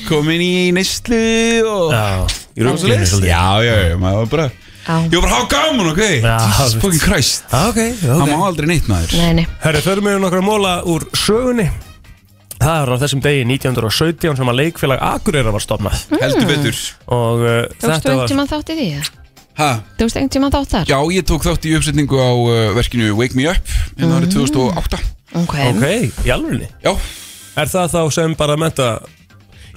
[SPEAKER 3] komin í neyslu og
[SPEAKER 1] Já,
[SPEAKER 3] Ég var svolítið
[SPEAKER 1] svolítið.
[SPEAKER 3] Já, já, já, maður var bara
[SPEAKER 2] Já.
[SPEAKER 3] Ég var bara há gaman, ok Jesus
[SPEAKER 1] veit.
[SPEAKER 3] fucking Christ
[SPEAKER 1] Ok,
[SPEAKER 3] Það má aldrei neitt maður
[SPEAKER 2] Nei, nei,
[SPEAKER 1] Herri, förum við um nokkra móla úr sögunni Það er á þessum degi 1917 sem að leikfélag Akureyra var stopnað
[SPEAKER 2] Mm.
[SPEAKER 3] Heldur betur
[SPEAKER 1] og uh,
[SPEAKER 2] tókstu
[SPEAKER 1] þetta
[SPEAKER 2] einhvern
[SPEAKER 1] var
[SPEAKER 2] tímann þátt í því? eða?
[SPEAKER 3] ha,
[SPEAKER 2] Tókstu einhvern tímann þátt þar?
[SPEAKER 3] Já, ég tók þátt í uppsetningu á uh, verkinu Wake Me Up En
[SPEAKER 2] Mm.
[SPEAKER 3] það 2008
[SPEAKER 2] Ok,
[SPEAKER 1] Ok, í alvegni
[SPEAKER 3] Já,
[SPEAKER 1] Er það þá sem bara menta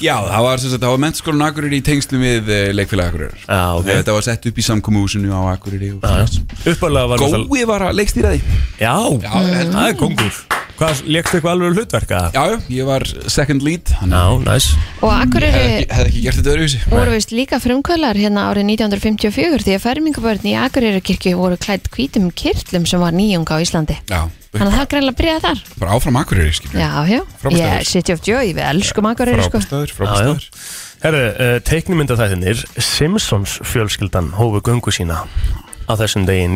[SPEAKER 3] já það var sem sagt Það var mentaskólan Akureyri í tengslu við uh, leikfélag Akureyri
[SPEAKER 1] Já, ok.
[SPEAKER 3] Þetta var sett upp í samkomuhúsinu á Akureyri og-
[SPEAKER 1] uppalega var náttúrulega-
[SPEAKER 3] Gói var að leikstýra því
[SPEAKER 1] Já,
[SPEAKER 3] Já, heldur.
[SPEAKER 1] það er kongur Hvað, lékstu eitthvað alveg hlutverka?
[SPEAKER 3] Já, já, ég var second lead Þannig
[SPEAKER 1] Já,
[SPEAKER 3] að
[SPEAKER 1] næs
[SPEAKER 2] og akkur
[SPEAKER 3] ég hefði
[SPEAKER 2] eru
[SPEAKER 3] ekki, hef ekki gert þetta öðruvísi
[SPEAKER 2] voru vist líka frumkvölar hérna árið 1954 því að fermingabörn í Akureyrakirkju voru klætt hvítum kirtlum sem var nýjung á Íslandi
[SPEAKER 3] Já,
[SPEAKER 2] Þannig að það greinlega byrjaði þar
[SPEAKER 3] bara áfram Akureyri skilur
[SPEAKER 2] Já, já,
[SPEAKER 3] Frábær
[SPEAKER 2] ég
[SPEAKER 3] staður.
[SPEAKER 2] er City of Joy, við elskum Akureyri sko
[SPEAKER 3] Frábæstaður,
[SPEAKER 1] Já, já.
[SPEAKER 3] frábæstaður
[SPEAKER 1] Herri, uh, teiknumyndaþættinir Simpsons fjölskyldan hófu göngu sína á þessum degi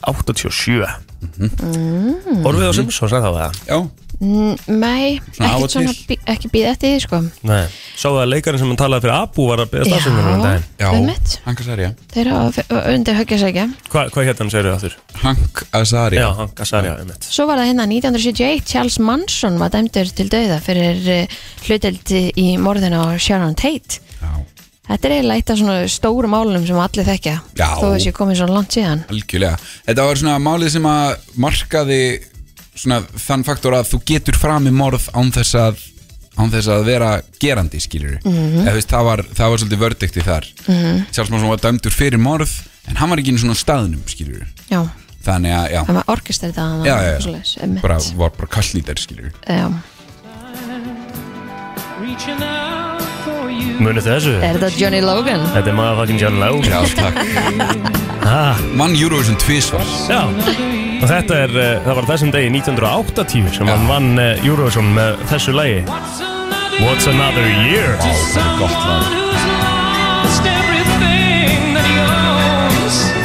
[SPEAKER 1] 1987 Orfið á Simpsons, er það það?
[SPEAKER 3] Já,
[SPEAKER 2] Nei,
[SPEAKER 3] Svona af og
[SPEAKER 2] ekkert svona,
[SPEAKER 3] til.
[SPEAKER 2] bí- ekki býð eftir því sko
[SPEAKER 1] Nei, sá það að leikarinn sem hann talaði fyrir Abu var að beða stafsögnum um daginn
[SPEAKER 3] já
[SPEAKER 2] Einmitt.
[SPEAKER 3] Hank Azaria
[SPEAKER 2] þeir hafa undir höggjasækja
[SPEAKER 1] Hva, Hvað hérna hann segir það þurr?
[SPEAKER 3] Hank Azaria
[SPEAKER 1] Já, hann gassar, já, einmitt
[SPEAKER 2] Svo var það hérna 1971, Charles Manson var dæmdur til dauða fyrir uh, hluteld í morðinu á Sharon Tate.
[SPEAKER 3] Já.
[SPEAKER 2] Þetta er eiginlega eitt af svona stóru málum sem allir þekkja,
[SPEAKER 3] Já.
[SPEAKER 2] þó þess ég komið svona langt síðan.
[SPEAKER 3] Algjörlega Þetta var svona málið sem að markaði svona þann faktor að þú getur fram í morð án þess að án þess að vera gerandi skilur -hmm. veist, það, var, það var svolítið vördikti þar mm -hmm. Sjálfsmann var dæmdur fyrir morð en hann var ekki einu svona á staðnum skilur
[SPEAKER 2] Já,
[SPEAKER 3] þannig að, já,
[SPEAKER 2] það var orkestrið að hann
[SPEAKER 3] já, já,
[SPEAKER 2] svoleiðis,
[SPEAKER 3] já.
[SPEAKER 2] emmitt.
[SPEAKER 3] Bara, var bara kallnýtar skilur
[SPEAKER 2] Já.
[SPEAKER 1] Munið þessu?
[SPEAKER 2] Er þetta Johnny Logan?
[SPEAKER 1] Þetta er motherfucking John Lowe
[SPEAKER 3] Já, takk
[SPEAKER 1] ah,
[SPEAKER 3] Mann Eurovision tvisvar
[SPEAKER 1] Já, og þetta er, uh, það var á þessum degi 1980 sem hann vann uh, Eurovision með þessu lagi What's Another Year?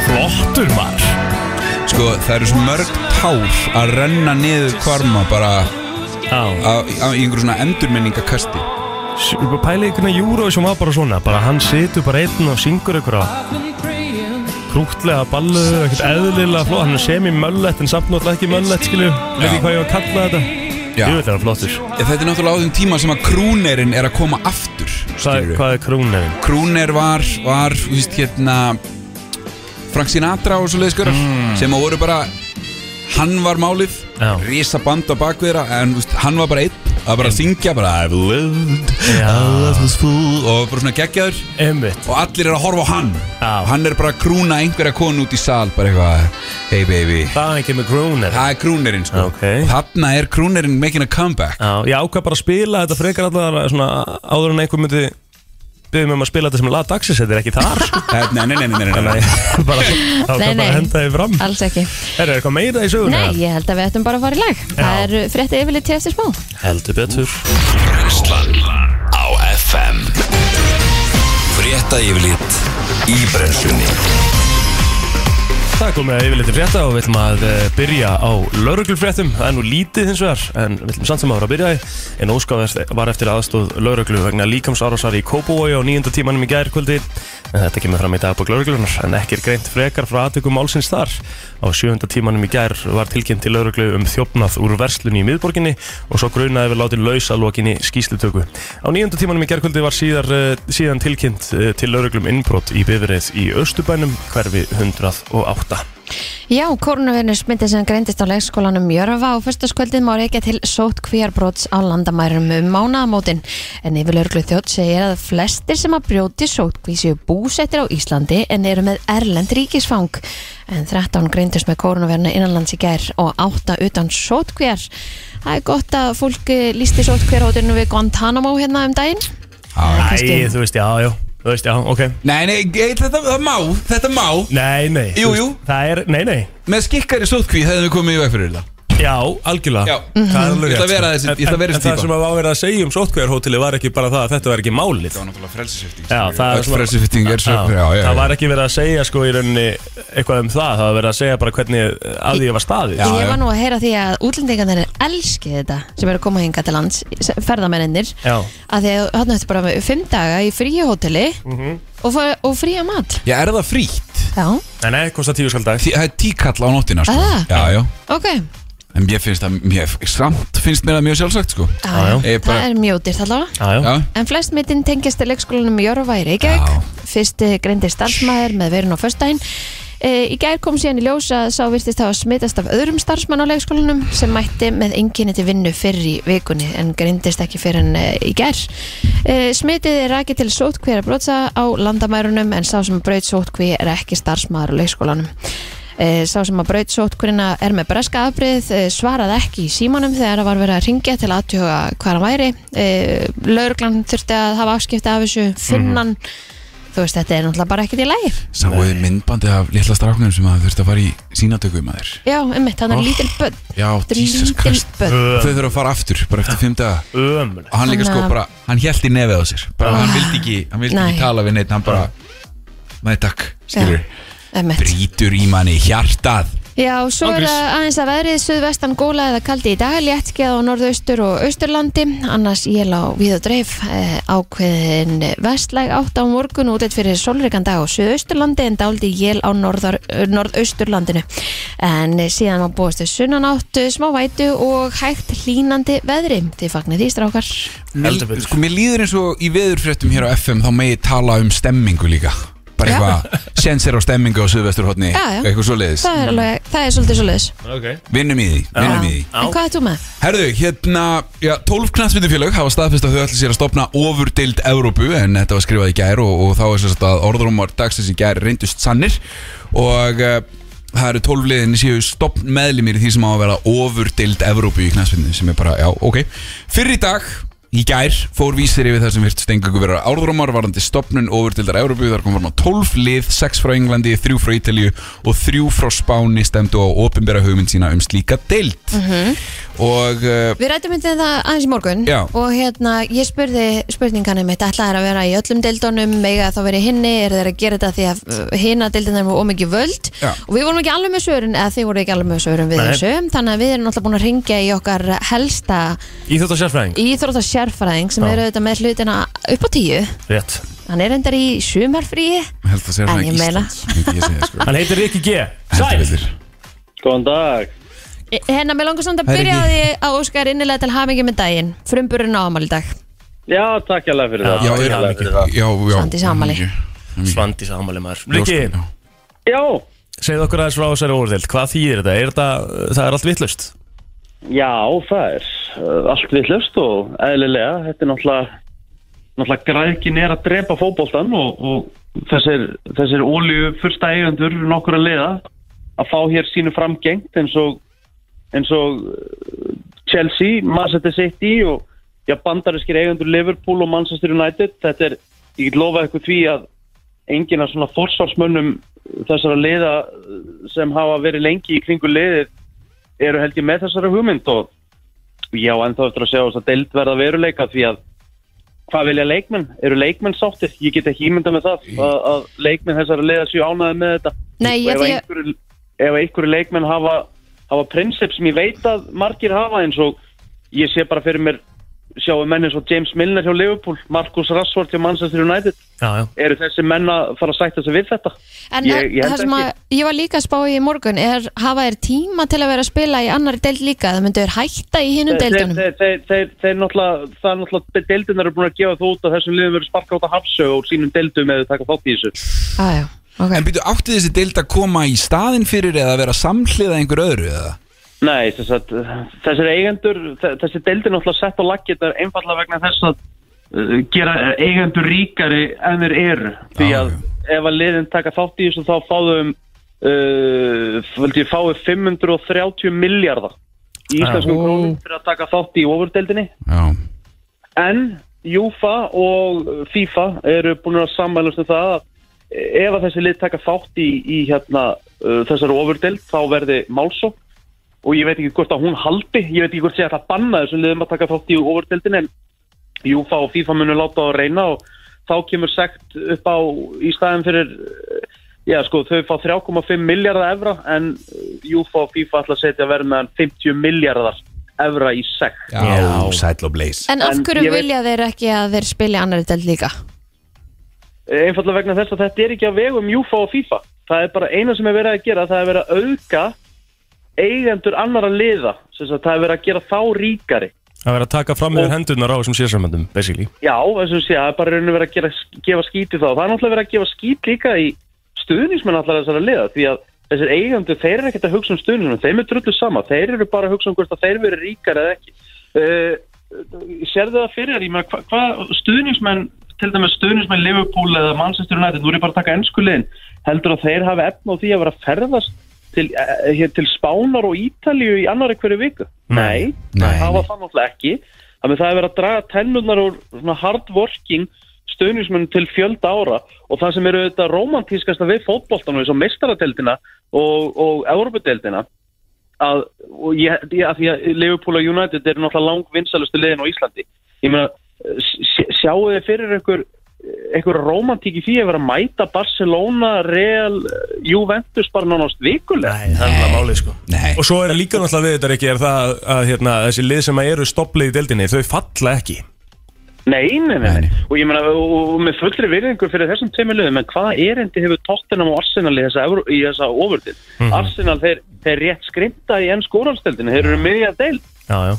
[SPEAKER 1] Flottur maður
[SPEAKER 3] Sko, það eru svo mörg tár að renna niður kvarma bara
[SPEAKER 1] Já,
[SPEAKER 3] á, á, í einhverjum svona endurminningakasti
[SPEAKER 1] Pæli einhvern veginn Eurovision var bara svona bara hann situr bara einn og syngur einhverja krútlega ballu, ekkert eðlilega flott hann er semi-möllett en samt náttúrulega ekki möllett skilju, veit ekki hvað ég var að kalla þetta
[SPEAKER 3] Já.
[SPEAKER 1] ég veit það er flottur
[SPEAKER 3] Ég, Þetta er náttúrulega á þeim tíma sem að krúnerinn er að koma aftur
[SPEAKER 1] Hvað er,
[SPEAKER 3] skilurðu.
[SPEAKER 1] hvað er krúnefin?
[SPEAKER 3] Krúner var, var þú veist, hérna, Frank Sinatra og svo leiðskörar sem að voru bara hann var málið,
[SPEAKER 1] Mm. Já.
[SPEAKER 3] risa band á bakviðra en þú veist, hann var bara einn að bara syngja bara I've lived,
[SPEAKER 1] Já.
[SPEAKER 3] I was full og bara svona geggjaður
[SPEAKER 1] Einmitt
[SPEAKER 3] og allir er að horfa á hann
[SPEAKER 1] Já.
[SPEAKER 3] og hann er bara að krúna einhverja konu út í sal bara eitthvað, hey baby
[SPEAKER 1] Þaðan kemur krúnefin
[SPEAKER 3] það er krúnerinn sko
[SPEAKER 1] Ok.
[SPEAKER 3] og þarna er krúnerinn making a
[SPEAKER 1] (laughs)
[SPEAKER 3] comeback
[SPEAKER 1] Já, ég ákvað bara að spila þetta frekar allar svona áður en einhver myndi byrði mig um að spila þetta sem lag dagsins þetta er ekki þar sko (laughs)
[SPEAKER 3] Eh, nei, nei, nei, nei, nei, nei, nei.
[SPEAKER 1] Nei, bara, þá
[SPEAKER 2] Nei,
[SPEAKER 1] kann bara
[SPEAKER 2] nei.
[SPEAKER 1] að henda þið fram
[SPEAKER 2] Alls ekki
[SPEAKER 1] Er það eitthvað meira í söguna?
[SPEAKER 2] Nei, ég held að við ættum bara að fara í lag Það er frétti yfirleitt til eftir smá
[SPEAKER 1] Heldur betur
[SPEAKER 4] Brennslan á FM Frétta yfirlit í brennslunni
[SPEAKER 1] Það komið að yfirleitt frétta og við ætlum að eh, byrja á lauruglufréttum Það er nú lítið hins vegar en við ætlum samt sem að vera að byrja í En óskað var- var eftir aðstóð lauruglu vegna líkamsárásar í Kópavói á nýjunda tímanum í gærkvöldi En þetta kemur fram í dagbók lauruglunar en ekki er greint frekar frá aðtökum málsins þar Á sjöunda tímanum í gær var tilkynnt til lauruglu um þjófnað úr verslun í miðborginni og svo grunaði við látið laus að lokinni skýslutöku. Á nýjöndu tímanum í gerkvöldi var síðar, eh, síðan tilkynnt eh, til lauruglum innbrot í bifrið í Östubænum hverfi 108.
[SPEAKER 2] Já, koronavirnusmyndi sem greindist á leikskólanum Jörfa á fyrstaskvöldin má reykja til sótt kvíarbrots á landamærum um mánaðamótin. En yfirlörglu þjótt segir að flestir sem að brjóti sótt séu búsettir á Íslandi en eru með erlend ríkisfang. En 13 greindist með koronavirna innanlands í gær og 8 utan sótt Það er gott að fólk eh, lýsti sótt við Guantanamo hérna um daginn.
[SPEAKER 3] Ah.
[SPEAKER 2] Kristín.
[SPEAKER 1] Æ, þú veist, eh, já, já, þú veist, já, ok.
[SPEAKER 3] nei, nei, eh, þetta það má þetta má,
[SPEAKER 1] Nei, nei.
[SPEAKER 3] Jú,
[SPEAKER 1] þú veist,
[SPEAKER 3] jú.
[SPEAKER 1] Það er, nei, nei.
[SPEAKER 3] með skikkari sótkví hefðum við komið í veg fyrir þetta
[SPEAKER 1] Já, algjörlega.
[SPEAKER 3] Já.
[SPEAKER 1] Það er alveg
[SPEAKER 3] Ég ætla að
[SPEAKER 1] rétt,
[SPEAKER 3] vera
[SPEAKER 1] sko.
[SPEAKER 3] þessi- ég ætla að vera
[SPEAKER 1] En-
[SPEAKER 3] þessi
[SPEAKER 1] En það
[SPEAKER 3] típa.
[SPEAKER 1] sem að var verið að segja um sótkvæðarhóteli var ekki bara það að þetta var ekki málið.
[SPEAKER 3] var náttúrulega frelsisvifting
[SPEAKER 1] Já, það er
[SPEAKER 3] öll frelsisvifting er svo
[SPEAKER 1] Já,
[SPEAKER 3] já, já,
[SPEAKER 1] það
[SPEAKER 3] já.
[SPEAKER 1] var ekki verið að segja sko í rauninni eitthvað um það, það var verið að segja bara hvernig að því var staðið
[SPEAKER 3] Já,
[SPEAKER 2] ég
[SPEAKER 3] já.
[SPEAKER 2] var nú að heyra því að útlendingarnir elski þetta sem eru að koma hinga til lands ferðamennir
[SPEAKER 1] Já.
[SPEAKER 2] að því að hann ætti bara með fimm daga í fríi hóteli
[SPEAKER 3] Mhm.
[SPEAKER 2] og, fá- og fría mat
[SPEAKER 3] já, er það frítt?
[SPEAKER 2] já,
[SPEAKER 1] Nei, nei, kostar tíu skall dag
[SPEAKER 3] Tí- Það er tíkall á nóttina sko
[SPEAKER 2] Ah.
[SPEAKER 3] Já, já
[SPEAKER 2] ok
[SPEAKER 3] En ég finnst það, mér, samt finnst mér það mjög sjálfsagt sko
[SPEAKER 2] já,
[SPEAKER 1] já.
[SPEAKER 2] það
[SPEAKER 3] Ég bara-
[SPEAKER 2] er mjög dyrt allavega
[SPEAKER 1] Já, já,
[SPEAKER 3] Já,
[SPEAKER 2] En flest mittin tengist leikskólanum í Jörfa í
[SPEAKER 3] Já.
[SPEAKER 2] Reykjavík. Fyrst eh, greindi starfsmæður með verun á föstudaginn. E, í gær kom síðan í ljós að sá virtist hafa smitast af öðrum starfsmann á leikskólanum sem mætti með enginni til vinnu fyrr í vikunni en greindist ekki fyrr en e, í gær. E, smitið er rakið til sótkvíra brotsa á landamærunum en sá sem braut sótkví er ekki starfsmæður á leikskólanum. Eh, Sá sem að braut sótkurina er með breska afbrið svaraði ekki í símanum þegar það var verið að ringja til aðtjóða hvað hann væri. Lauruglan þurfti að hafa afskipti af þessu, finnan, þú veist þetta er náttúrulega bara ekkert í lægi.
[SPEAKER 3] sáuðu myndbandi af litla stráknum sem að þurfti að fara í sínatöku maður
[SPEAKER 2] Já, einmitt, hann er
[SPEAKER 3] Oh.
[SPEAKER 2] lítil börn,
[SPEAKER 3] Já,
[SPEAKER 2] þetta er
[SPEAKER 3] Jesus
[SPEAKER 2] lítil
[SPEAKER 3] Christ
[SPEAKER 2] börn.
[SPEAKER 3] Þau þurfa að fara aftur, bara eftir fimm daga
[SPEAKER 1] ömuleg
[SPEAKER 3] og hann líka sko
[SPEAKER 2] Þannig að-
[SPEAKER 3] bara, hann held í nefið á sér bara hann vildi ekki, hann vildi
[SPEAKER 2] Nei.
[SPEAKER 3] ekki tala við neitt hann bara, nei takk skilur,
[SPEAKER 2] Einmitt.
[SPEAKER 3] brítur í manni hjartað
[SPEAKER 2] Já, svo er það aðeins að veðrið suðvestan góla eða kaldi í dag, léttskjað á norðaustur og austurlandi, annars él á við og dreif, eh, ákveðin vestlæg átt á morgun útleitt fyrir solrikan dag á suðausturlandi en dáldi él á norðar, eh, norðausturlandinu. En síðan má búast við sunnan áttu, smá vætu og hægt hlínandi veðri, þið fagnir því strákar.
[SPEAKER 3] Mér-
[SPEAKER 1] Heldur betur.
[SPEAKER 3] sko, mér líður eins og í veðurfréttum hér á FM þá megi tala um stemmingu líka bara
[SPEAKER 2] Já.
[SPEAKER 3] eitthvað, sensir á stemmingu á Suðvesturhóttni,
[SPEAKER 2] Já, já.
[SPEAKER 3] eitthvað svoleiðis
[SPEAKER 2] Það er, alveg, það er svolítið svolítið.
[SPEAKER 1] okay.
[SPEAKER 3] vinnum í því, vinnum í því
[SPEAKER 2] En hvað er þú með?
[SPEAKER 3] Herðu, hérna, já, 12 knastmyndufélög hafa staðfest að þau ætla sér að stopna ofurdeild Evrópu en þetta var skrifað í gær og, og þá er sérst að orðrúmar dagsins í gær reyndust sannir og uh, það eru 12 liðin séu stopn meðlimir í því sem á að vera ofurdeild Evrópu í knastmyndinu sem er bara, já, ok. Fyrir í dag, í gær, fór vísir yfir það sem virt stengungu vera orðrúmar varandi stopnun ofurdeildar Evrópu, þar kom fram á 12 lið, 6 frá Englandi, 3 frá Ítalíu og 3 frá Spáni stemdu á ofinbera hugmynd sína um slíka deild og uh,
[SPEAKER 2] Við rættum myndið það aðeins í morgun
[SPEAKER 3] Já.
[SPEAKER 2] og hérna ég spurði spurninganum mitt ætlaði að vera í öllum deildunum mega þá verið hinni, er þeir að gera þetta því að uh, hinna deildunum voru ómikið völd
[SPEAKER 3] Já.
[SPEAKER 2] og við vorum ekki alveg með svörun eða þið voru ekki alveg með svörun við
[SPEAKER 1] Nei.
[SPEAKER 2] þessu þannig að við erum alltaf búin að ringja í okkar helsta
[SPEAKER 1] Íþjótt og sérfræðing
[SPEAKER 2] íþrótta sérfræðing sem eru auðvitað með hlutina upp á tíu
[SPEAKER 1] Rétt
[SPEAKER 2] hann er endar í sumarfríi
[SPEAKER 3] Ég held að það sé
[SPEAKER 2] En
[SPEAKER 3] svona
[SPEAKER 2] ég meina.
[SPEAKER 3] Íslands myndi ég segja, sko.
[SPEAKER 1] Hann heitir Rikki G
[SPEAKER 3] Heldur
[SPEAKER 1] Sæl
[SPEAKER 3] betur.
[SPEAKER 5] Góðan dag.
[SPEAKER 2] E- Hérna, mér langar samt að
[SPEAKER 3] Það er
[SPEAKER 2] byrja á
[SPEAKER 3] ekki-
[SPEAKER 2] því að Óskar innilega til hamingi með daginn frumburinn á ámali dag
[SPEAKER 5] Já, takk hérlega fyrir
[SPEAKER 3] Já,
[SPEAKER 5] það. takk
[SPEAKER 3] er-
[SPEAKER 5] hérlega fyrir það.
[SPEAKER 3] Já, já
[SPEAKER 2] Svandís afmæli.
[SPEAKER 1] Svandi samáli maður Rikki,
[SPEAKER 3] Já.
[SPEAKER 5] Já,
[SPEAKER 1] segð okkur aðeins frá þessari orðild Hvað þýðir þetta? Er þetta, það er allt vittlust?
[SPEAKER 5] já, það er uh, allt vittlust og eðlilega. Þetta er náttúrulega, náttúrulega græðkin er að drepa fótboltan og, og þessir, þessir ólíu fyrsta eigendur nokkur að liða að fá hér sínu framgengt eins og, eins og uh, Chelsea, Manchester City og já, bandarískir eigendur Liverpool og Manchester United. Þetta er, ég get lofa eitthvað því að enginn af svona forsvarsmönnum þessara liða eh, sem hafa verið lengi í kringu liðið eru held ég með þessara hugmynd og já, ennþá eftir að sjá þess að deild verða að veruleika því að hvað vilja leikmenn? Eru leikmenn sáttir? Ég get ekki ímynda með það að, að leikmenn þessara liða séu ánæði með þetta
[SPEAKER 2] Nei,
[SPEAKER 5] Og
[SPEAKER 2] ég-
[SPEAKER 5] ef,
[SPEAKER 2] ég-
[SPEAKER 5] einhverju, ef einhverju leikmenn hafa, hafa prinsip sem ég veit að margir hafa eins og ég sé bara fyrir mér sjáum menn eins og James Milner hjá Liverpool Marcus Rashford hjá Manchester United
[SPEAKER 1] Já, já
[SPEAKER 5] eru þessi menn að fara að sætta sig við þetta?
[SPEAKER 2] En
[SPEAKER 5] Ég-
[SPEAKER 2] ég,
[SPEAKER 5] ég held
[SPEAKER 2] það sem að ég var líka að spá í morgun er hafa þér tíma til að vera að spila í annari deild líka það myndu þér hætta í hinnum deildunum
[SPEAKER 5] Þeir, þeir, þeir, þeir, þeir náttúrulega, það er náttúrulega, deildunar eru búin að gefa þú út að þessum liðum verður sparka út að hafsög og sínum deildum eða taka þátt í þessu.
[SPEAKER 2] ah, já, ok.
[SPEAKER 3] En býtu, átti þessi deild að koma í staðin fyrir eða vera samhliða einhver öðru eða?
[SPEAKER 5] Nei, þess að, þessir eigendur, þe- þessi deildur náttúrulega sett á laggirnar einfallega vegna þess að uh, gera eigendur ríkari en þeir eru. Því
[SPEAKER 3] Já,
[SPEAKER 5] að ef að liðin taka þátt í þessu þá fáðum, uh, völdi ég fáið 530 miljardar í íslenskum
[SPEAKER 1] Já.
[SPEAKER 5] krónum fyrir að taka þátt í ofurdeildinni.
[SPEAKER 3] Já,
[SPEAKER 5] En Júfa og FIFA eru búin að sammælast um það að ef að þessi lið taka þátt í, í hérna, uh, þessari ofurdeild þá verði málsók og ég veit ekki hvort að hún haldi, ég veit ekki hvort sé að það banna þessum liðum að taka þátt í ofurdeildin en Júfa og FIFA munu láta á að reyna og þá kemur sekt upp á í staðin fyrir uh, já sko þau fá 3,5 miljardar evra en uh, Júfa og FIFA ætla að setja verð meðan 50 miljardar evra í sekt
[SPEAKER 1] Já.
[SPEAKER 3] sæll og bleis
[SPEAKER 2] En af
[SPEAKER 5] En
[SPEAKER 2] hverju
[SPEAKER 5] ég veit-
[SPEAKER 2] vilja þeir ekki að þeir spila í annari deild líka?
[SPEAKER 5] einfallega Eh, vegna þess að þetta er ekki að vegum UFA og FIFA. Það er bara eina sem er verið að gera, það er verið að auka eigendur annara liða. Sem sagt, það er verið að gera þá ríkari.
[SPEAKER 1] Það verður að taka fram yfir hendurnar á þessum sérsambandum, basically
[SPEAKER 5] Já, þess að sé, það er bara rauninu verið að gera, gefa skíti þá. Það er náttúrulega verið að gefa skít líka í stuðnismenn allar þessara liða því að þessir eigendur, þeir eru ekkert að hugsa um stuðnismenn, þeim er drullu sama, þeir eru bara að hugsa um hvort að þeir verið ríkari eða ekki. Uh, sérðu það fyrir þér, ég meina, hva- hvað stuðnismenn, til dæmis stuðnismenn Liverpool eða Manchester United, nú er ég bara að taka ennskulegin, heldur að þeir hafi efn á því að vera að ferðast til, eh, hér til Spánar og Ítalíu í annari hverju viku?
[SPEAKER 1] Nei.
[SPEAKER 5] Nei,
[SPEAKER 3] Nei.
[SPEAKER 5] það var það náttúrulega ekki. Þannig að það er verið að draga tennurnar úr svona hardworking stuðnismenn til fjölda ára og það sem eru þetta romantískasta við fótboltanum eins og meistarateldina og, og Európa-deildina að, og ég, ég, að því að Liverpool og United eru náttúrulega lang vinsalustu liðin á Íslandi ég meina, s- s- sjáu þið fyrir ykkur ykkur romantík í því að vera að mæta Barcelona, Real, Juventus bara nánast vikulega
[SPEAKER 1] Nei, það er alveg málið, sko
[SPEAKER 3] Nei.
[SPEAKER 1] Og svo er það líka náttúrulega við þetta, Rikki, er það að- að hérna, þessi lið sem eru stopplið í deildinni, þau falla ekki
[SPEAKER 5] Nei, nei, nei,
[SPEAKER 3] Nei.
[SPEAKER 5] nei. og ég meina og, og og með fullri virðingur fyrir þessum tveimur liðum en hvaða erindi hefur Tottenham og Arsenal í þessa, Evró- í þessa ofurtil Arsenal, þeir, þeir rétt skrimta í enn skóralstöldinu, þeir eru miðja deil
[SPEAKER 1] Já, já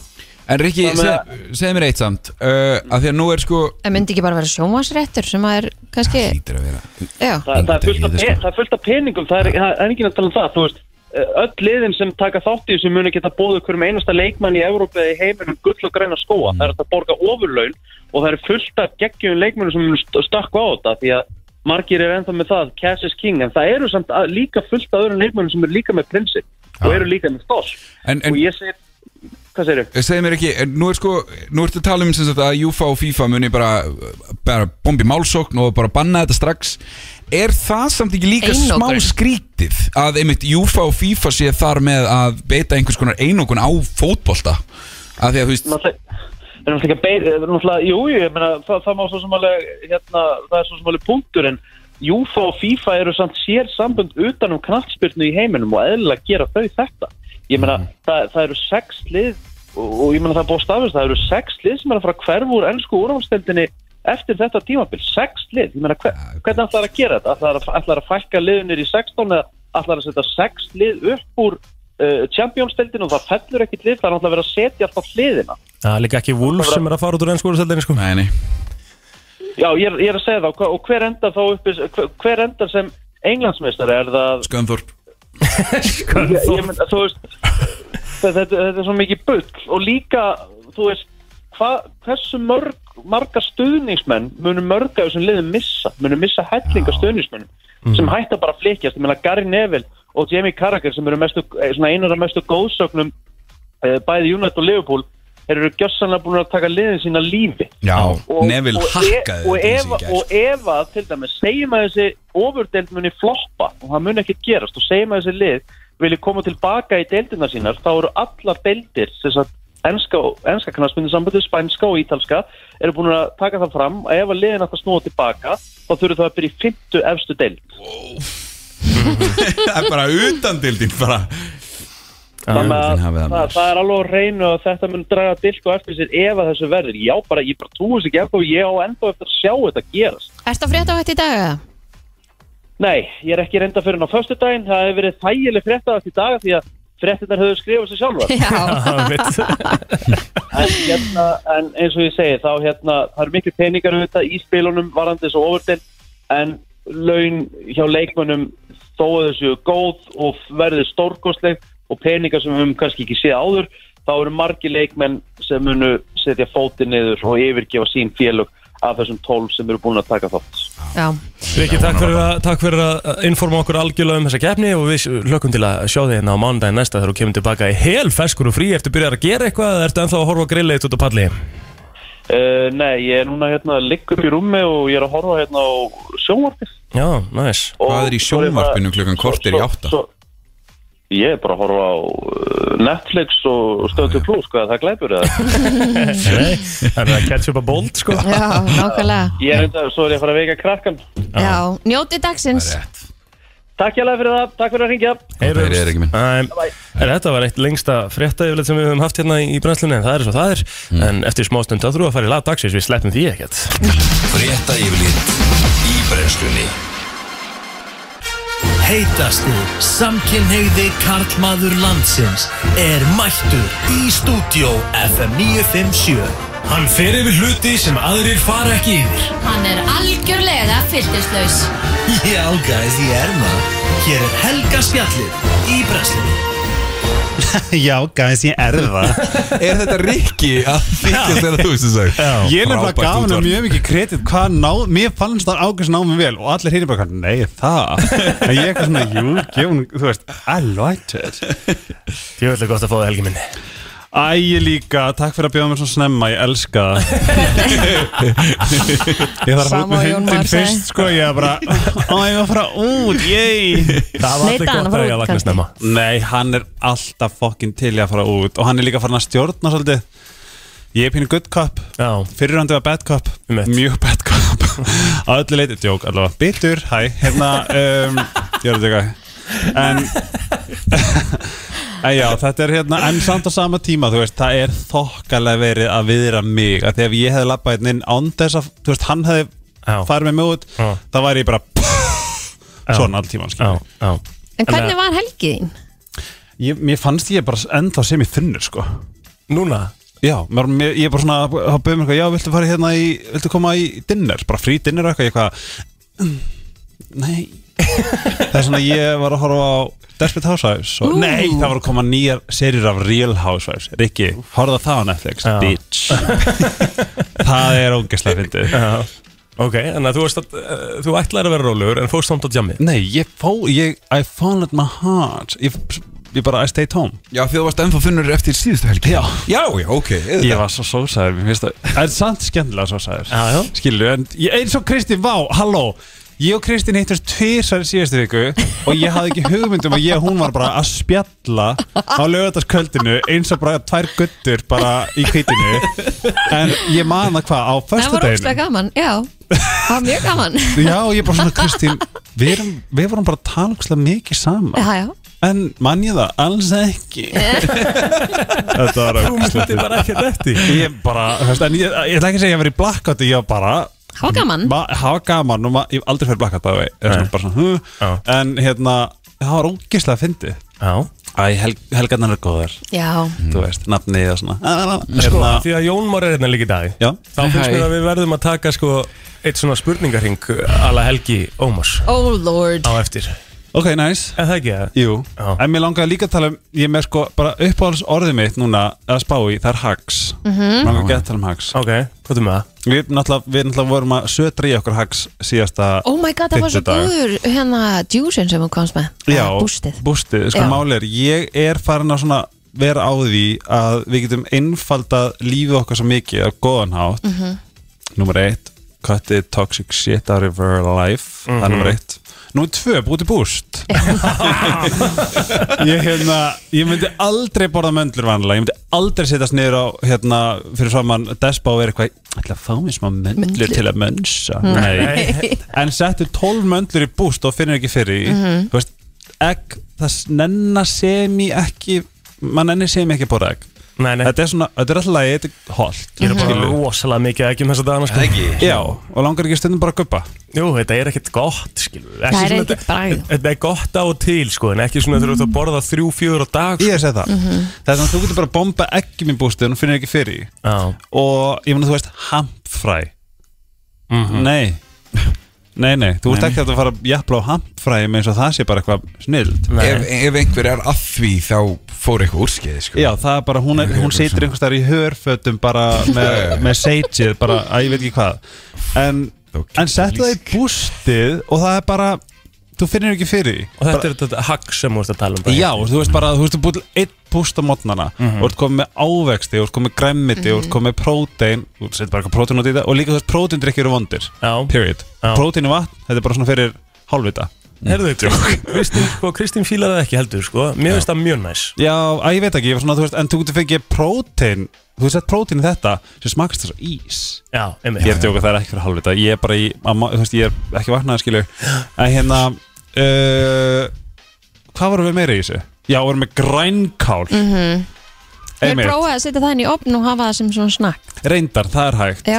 [SPEAKER 3] En Rikki,
[SPEAKER 5] Það með-
[SPEAKER 3] seg, segð mér eitt samt uh, að því að nú er sko
[SPEAKER 2] En myndi ekki bara vera sjónvarsréttur sem að er kannski,
[SPEAKER 3] Lítur að vera
[SPEAKER 2] já,
[SPEAKER 5] Þa, það, er
[SPEAKER 3] Engin
[SPEAKER 5] fullt af, pe-
[SPEAKER 3] tekið,
[SPEAKER 5] það er fullt af peningum, það er, það er enginn að tala um það þú veist, eh, öll liðin sem taka þátt í þessu muni geta bóðið hverjum einasta leikmann í Európa eða í heiminum gull og græna skóa
[SPEAKER 3] Mm.
[SPEAKER 5] það er hægt að borga ofurlaun og það eru fullt af geggjum leikmannum sem munu st- stökkva á þetta því að margir eru ennþá með það cash is king, en það eru samt að, líka fullt af öðrum leikmannum sem eru líka með prinsip og eru líka með stóls
[SPEAKER 3] En, en
[SPEAKER 5] og Sko, ég segir, hvað segir
[SPEAKER 3] segð Eh, mér ekki, en nú er sko nú ertu að tala um sem sagt að UFA og FIFA muni bara, eh, bara bombi málsókn og bara banna þetta strax Er það samt ekki líka
[SPEAKER 2] Einokun.
[SPEAKER 3] smá skrítið að einmitt UFA og FIFA sé þar með að beita einhvers konar einokun á fótbolta að því að þú veist
[SPEAKER 5] náttúrulega það er náttúrulega beir, það er náttúrulega, jú, jú, ég meina, það, það má svo sem alveg, hérna, það er svo sem alveg punktur en Júfa og FIFA eru samt sér sambund utan um knattspyrnu í heiminum og eðlilega gera þau þetta. Ég meina, það, það eru sex lið og, og ég menna það er búið að stafist það eru sex lið sem er að fara að hverfa úr ennsku úrhámsdeildinni eftir þetta tímabil sex lið, ég menna hver, hvernig ætlar að gera þetta ætlar að, ætlar að fækka liðunir í 16 eða ætlar að setja sex lið upp úr uh, Champions-deildin og það fellur ekkit lið, það er náttúrulega verið að setja alltaf hliðina
[SPEAKER 1] Það er líka ekki Wolf sem er að fara út úr ennskóðarsældinni sko
[SPEAKER 3] Nei, nei
[SPEAKER 5] Já, ég er, ég er að segja það, og hva- og hver endar þá uppi hver, hver endar sem englandsmeistari er það
[SPEAKER 3] Skönþorp
[SPEAKER 5] ég, ég mynd, þú veist þetta, þetta, þetta er svo mikið bull og líka, þú veist hva, hversu mörg, marga stuðningsmenn munum mörg af þessum liðum missa munum missa hellinga stuðningsmenn sem hætta bara að flikjast, ég meina Gary Neville og Jamie Carragher sem eru mestu, eh, svona einar af mestu góðsögnum eh, bæði United og Liverpool þeir eru gjössanlega búin að taka liðin sína lífi
[SPEAKER 3] Já,
[SPEAKER 5] og,
[SPEAKER 3] Neville
[SPEAKER 5] og, e-
[SPEAKER 3] hakkaði
[SPEAKER 5] og,
[SPEAKER 3] þetta eins
[SPEAKER 5] ef,
[SPEAKER 3] og ég
[SPEAKER 5] og ef að til dæmis segjum að þessi ofurdeild muni floppa og það muni ekkert gerast og segjum að þessi lið vilji koma tilbaka í deildina sínar þá eru allar deildir sem sagt enska, enska knarsmyndi sambandi spænska og ítalska eru búin að taka það fram að ef að liðin að það snúa tilbaka þá þurfum það að byrja í 50 efstu deild
[SPEAKER 3] (laughs) Það er bara utan dildin bara
[SPEAKER 5] þannig að
[SPEAKER 3] Djöfullinn hafi það,
[SPEAKER 5] það,
[SPEAKER 3] maður.
[SPEAKER 5] það er alveg á reynu að þetta mun draga dilk og eftir sér ef að þessu verður já bara ég bara trúi þessu ekki ennþá ég á ennþá eftir að sjá þetta gerast
[SPEAKER 2] Ertu að frétta á hætti í dag? eða?
[SPEAKER 5] Nei, ég er ekki reynda fyrir hann á föstudaginn. Það hefur verið þægileg fréttaðast í dag því að fréttinnar höfðu skrifað sér
[SPEAKER 2] (laughs)
[SPEAKER 5] sjálfar.
[SPEAKER 2] Já,
[SPEAKER 5] En, hérna, en eins og ég segi, þá hérna, það eru miklu peningar auðvitað í spilunum varandi þessu ofurdel en laun hjá leikmönnum þó að þessu góð og verður stórkostleg og peningar sem við höfum kannski ekki séð áður þá eru margi leikmenn sem munu setja fótinn niður og yfirgefa sín félög af þessum tólf sem eru búin að taka þátt.
[SPEAKER 2] já.
[SPEAKER 1] Viki, takk fyrir, að, takk fyrir að informa okkur algjörlega um þessa keppni og við lökum til að sjá þig hérna á mánudaginn næsta þegar þú kemur tilbaka í hel feskur og frí eftir byrjar að gera eitthvað eða ertu ennþá að horfa grillið út á palli
[SPEAKER 5] Uh, nei, ég er núna hérna ligg upp í rúmi og ég er að horfa hérna á sjónvarpið.
[SPEAKER 1] Já, næs
[SPEAKER 5] Og
[SPEAKER 3] Hvað er í
[SPEAKER 5] svo ég bara-
[SPEAKER 3] sjónvarpinu klukkan kortir í
[SPEAKER 5] svo-
[SPEAKER 3] átta?
[SPEAKER 5] svo- Ég er bara að horfa á uh, Netflix og Stötu Plus, hvað það glæpur eða?
[SPEAKER 1] Nei, það er að catch up a bolt sko
[SPEAKER 2] já nákvæmlega
[SPEAKER 5] Ég er enda, svo er ég að fara að veika krakkan.
[SPEAKER 2] já. Njóti dagsins
[SPEAKER 3] Rétt
[SPEAKER 5] Takk hérlega fyrir það, takk fyrir að ringja.
[SPEAKER 1] Heyrumst.
[SPEAKER 3] Þeir eru ekki minn.
[SPEAKER 1] Æ, En þetta var eitt lengsta frétta yfirleitt sem við höfum haft hérna í brennslunni en það er svo það er
[SPEAKER 3] Mm.
[SPEAKER 1] en eftir smástund að þrú að fara í lag dagsins við sleppum því ekkert
[SPEAKER 4] Frétta yfirlit í brennslunni
[SPEAKER 6] heitasti samkynhegði karlmaður landsins er mættur í stúdió FM 957 Hann fer yfir hluti sem aðrir fara ekki yfir (laughs)
[SPEAKER 7] Hann er algjörlega fylgdislaus.
[SPEAKER 6] Já, guys, ég er maður Hér er Helga Spjallið í Breslunni Já, guys, ég er það
[SPEAKER 3] Er þetta Rikki að þykja þegar þú veist þess að
[SPEAKER 8] Ég er nefnilega gaf hann mjög mikið kredit hvað náð, mér fannst það ágæst náðum vel og allir heyri bara, nei það en ég eitthvað svona, jú, gefun, þú veist I liked it
[SPEAKER 1] Ég vil gott að fá það helgi minni
[SPEAKER 8] Æ, ég líka, takk fyrir að bjóða mér svo snemma, ég elska það
[SPEAKER 6] (laughs)
[SPEAKER 8] Ég þarf að fara út
[SPEAKER 2] Sama og
[SPEAKER 8] með
[SPEAKER 2] Jón Már
[SPEAKER 8] hundin
[SPEAKER 2] sagði.
[SPEAKER 8] fyrst, sko, ég er bara Ó, ég var að fara út, yey
[SPEAKER 1] Það var
[SPEAKER 2] Leita
[SPEAKER 1] allir
[SPEAKER 2] hann að
[SPEAKER 1] gott
[SPEAKER 2] fara
[SPEAKER 1] að ég
[SPEAKER 2] út,
[SPEAKER 1] að vakna
[SPEAKER 2] kannski.
[SPEAKER 1] snemma
[SPEAKER 8] Nei, hann er alltaf fokkin til í að fara út og hann er líka farin að stjórna svolítið Ég er pínu good cop
[SPEAKER 1] Já,
[SPEAKER 8] Fyrirhandi var bad cop,
[SPEAKER 1] Einmitt.
[SPEAKER 8] mjög bad
[SPEAKER 1] (laughs)
[SPEAKER 8] cop Á öllu leiti, djók allavega Bitur, hæ, hérna um, Ég er að tjóka En (laughs) En já, þetta er hérna, en samt á sama tíma þú veist, það er þokkalega verið að viðra mig, að því ef ég hefði labbað hérna inn án þess að, þú veist, hann hefði
[SPEAKER 1] Já.
[SPEAKER 8] farið með mig út,
[SPEAKER 1] Já.
[SPEAKER 8] þá væri ég bara (laughs) svona all
[SPEAKER 1] já,
[SPEAKER 8] tíman, skiljum
[SPEAKER 1] já
[SPEAKER 2] En hvernig var helgið þín?
[SPEAKER 8] Ég, mér fannst ég bara ennþá sem í þunnur sko
[SPEAKER 1] Núna?
[SPEAKER 8] Já, mér, mér, ég er bara svona þá bauð mér eitthvað, já, viltu fara hérna í viltu koma í dinner, bara frí dinner og eitthvað ég eitthvað, "Mm, nei (laughs) það er svona ég var að horfa á Desperate Housewives og, nei, það var að koma nýjar serir af Real Housewives Rikki, horfða það á Netflix
[SPEAKER 1] Já.
[SPEAKER 8] bitch
[SPEAKER 1] (laughs)
[SPEAKER 8] það er ógeðslega fyndið
[SPEAKER 1] Já Ok, en þú, varst að, uh, þú ætlar að vera rólegur en fórst samt á jammi
[SPEAKER 8] nei, ég fó, ég, I followed my heart ég, ég bara, I stayed home
[SPEAKER 3] Já, því þú varst ennþá þunnur eftir síðustu helgi
[SPEAKER 8] Já.
[SPEAKER 3] já, já, ok
[SPEAKER 8] Ég var svo sósæður, mér finnst það Það er samt skemmtilega sósæður
[SPEAKER 1] Já, já.
[SPEAKER 8] Skilur, en ég, eins og Kristín, vá, halló Ég og Kristín heittist tvisar í síðustu viku Og ég hafði ekki hugmyndum að ég og hún var bara að spjalla Á lögataskvöldinu Eins og bara tvær guttur bara í kvítinu En ég man það hvað á
[SPEAKER 2] Það var
[SPEAKER 8] föstudaginu
[SPEAKER 2] ógstlega gaman, já (laughs) Það var mjög gaman
[SPEAKER 8] Já, og ég bara svona, Kristín Við, erum, við vorum bara talkslega mikið saman
[SPEAKER 2] Já, já
[SPEAKER 8] en mann ég það alls ekki Þetta var
[SPEAKER 1] Þú myndi bara ekkert eftir
[SPEAKER 8] Ég bara, þú veist, en ég, ég ætla ekki að segja að ég var í blackout Ég var bara
[SPEAKER 2] Hafa gaman.
[SPEAKER 8] Ma- Hafa gaman og ma, ég hef aldrei fyrir blackout bæði
[SPEAKER 1] Nei.
[SPEAKER 8] Bara svona, huh,
[SPEAKER 1] Já.
[SPEAKER 8] en hérna Það var ógislega fyndið
[SPEAKER 1] Já
[SPEAKER 8] Æ, hel, helgarnar er góðar,
[SPEAKER 2] Já,
[SPEAKER 8] þú veist, nafnið og svona
[SPEAKER 1] Sko,
[SPEAKER 8] Hérna,
[SPEAKER 1] því að Jón Már er hérna líka í dag
[SPEAKER 8] já,
[SPEAKER 1] Þá finnst
[SPEAKER 3] Hæ.
[SPEAKER 1] mér að við verðum að taka sko Eitt svona spurningarhing Alla Helgi Ómars
[SPEAKER 2] oh lord
[SPEAKER 1] Á eftir
[SPEAKER 8] ok, nice
[SPEAKER 1] Er það ekki það?
[SPEAKER 8] Jú,
[SPEAKER 1] Já.
[SPEAKER 8] en mér langaði líka að tala um Ég er með sko, bara uppáhalds orðið mitt núna að spá í, það er hags mm
[SPEAKER 2] Mhm.
[SPEAKER 8] -hmm. Langaði að geta að tala um hags
[SPEAKER 1] Ok, hvað er með það?
[SPEAKER 8] Við náttúrulega, við náttúrulega vorum að sötra í okkur hags síðasta
[SPEAKER 2] Oh my god, það var svo
[SPEAKER 8] fimmtudag.
[SPEAKER 2] góður hérna djúsin sem hún komst með
[SPEAKER 8] Já,
[SPEAKER 2] Eða Bústið
[SPEAKER 8] Bústið, sko
[SPEAKER 2] Já.
[SPEAKER 8] máli er Ég er farin að svona vera á því að við getum einfaldað lífið okkar svo mikið á góðan hátt mm
[SPEAKER 2] Mhm.
[SPEAKER 8] -hmm. Númer eitt Cut the toxic shit out of our life Það er númer eitt Númer tvö, búið til búst (laughs) ég, hérna, ég myndi aldrei borða möndlur vanlega Ég myndi aldrei setjast niður á hérna, fyrir framann despa og vera eitthvað ætla að fá mér smá möndlur til að mönsa
[SPEAKER 2] Mm.
[SPEAKER 8] Nei. En settu 12 möndlur í búst og finnur ekki fyrir mm -hmm. veist, egg, það nennar semi ekki mann ennir semi ekki að borða egg
[SPEAKER 1] Nei, nei,
[SPEAKER 8] Þetta er svona, þetta er alltaf lagi, þetta er holt
[SPEAKER 1] ég er bara rosalega mikið ekki um þessa dagana sko.
[SPEAKER 4] Ekki
[SPEAKER 8] Já, og langar ekki stundum bara að guppa
[SPEAKER 1] Jú, þetta er ekkert gott skilur. Ekki
[SPEAKER 2] Það er
[SPEAKER 1] svona-
[SPEAKER 2] ekkert bragð.
[SPEAKER 1] Þetta er gott á og til sko, en ekki svona þegar þú ert að borða þrjú, fjögur á dag
[SPEAKER 8] Ég er að segja það Það er þannig að þú getur bara að bomba eggjum í bústið og finnir ekki fyrir því
[SPEAKER 1] Já,
[SPEAKER 8] og ég meina þú veist hampfræ nei nei Mhm. nei, þú veist ekki að fara að jafnla á hampfræ eins og það sé bara eitthvað snild
[SPEAKER 1] nei,
[SPEAKER 3] ef, ef einhver er að því þá fór eitthvað úrskeið sko.
[SPEAKER 8] já það er bara, hún, er, hún situr einhvers þar í hörfötum bara með, með seitið bara, að ég veit ekki hvað en, en settu það í bústið og það er bara, þú finnir ekki fyrir því.
[SPEAKER 1] og þetta er þetta hagg sem þú ert að tala um bara.
[SPEAKER 8] Já, þú veist bara, þú veist, þú búið til eitt púst á mótnana og þú ert komið með ávexti, og þú ert komið með græmmiti, og þú ert komið með prótein þú setur bara eitthvað prótein út í það og líka þú veist, próteindrykki eru vondir
[SPEAKER 1] Já.
[SPEAKER 8] period,
[SPEAKER 1] Já.
[SPEAKER 8] prótein og vatn, þetta er bara svona fyrir hálfvita
[SPEAKER 1] Herðu, Kristín, Kristín, sko, Kristín fílar það ekki heldur sko. Mér finnst það mjög næs
[SPEAKER 8] Já, að ég veit ekki, ég var svona, þú veist, en þú getur fengið prótein, þú veist, sett prótein í þetta sem smakast þess að ís
[SPEAKER 1] Já, einmitt
[SPEAKER 8] Ég er að djóka, það er ekki fyrir hálfvita, ég er bara í, að, ma- þú veist, ég er ekki vaknaði, skilju En hérna, uh, hvað vorum við meira í þessu? Já, vorum við grænkál mm
[SPEAKER 2] Ég prófaði að setja það inn í opn og hafa það sem svona snakk
[SPEAKER 8] Reyndar, það er hægt
[SPEAKER 2] Já,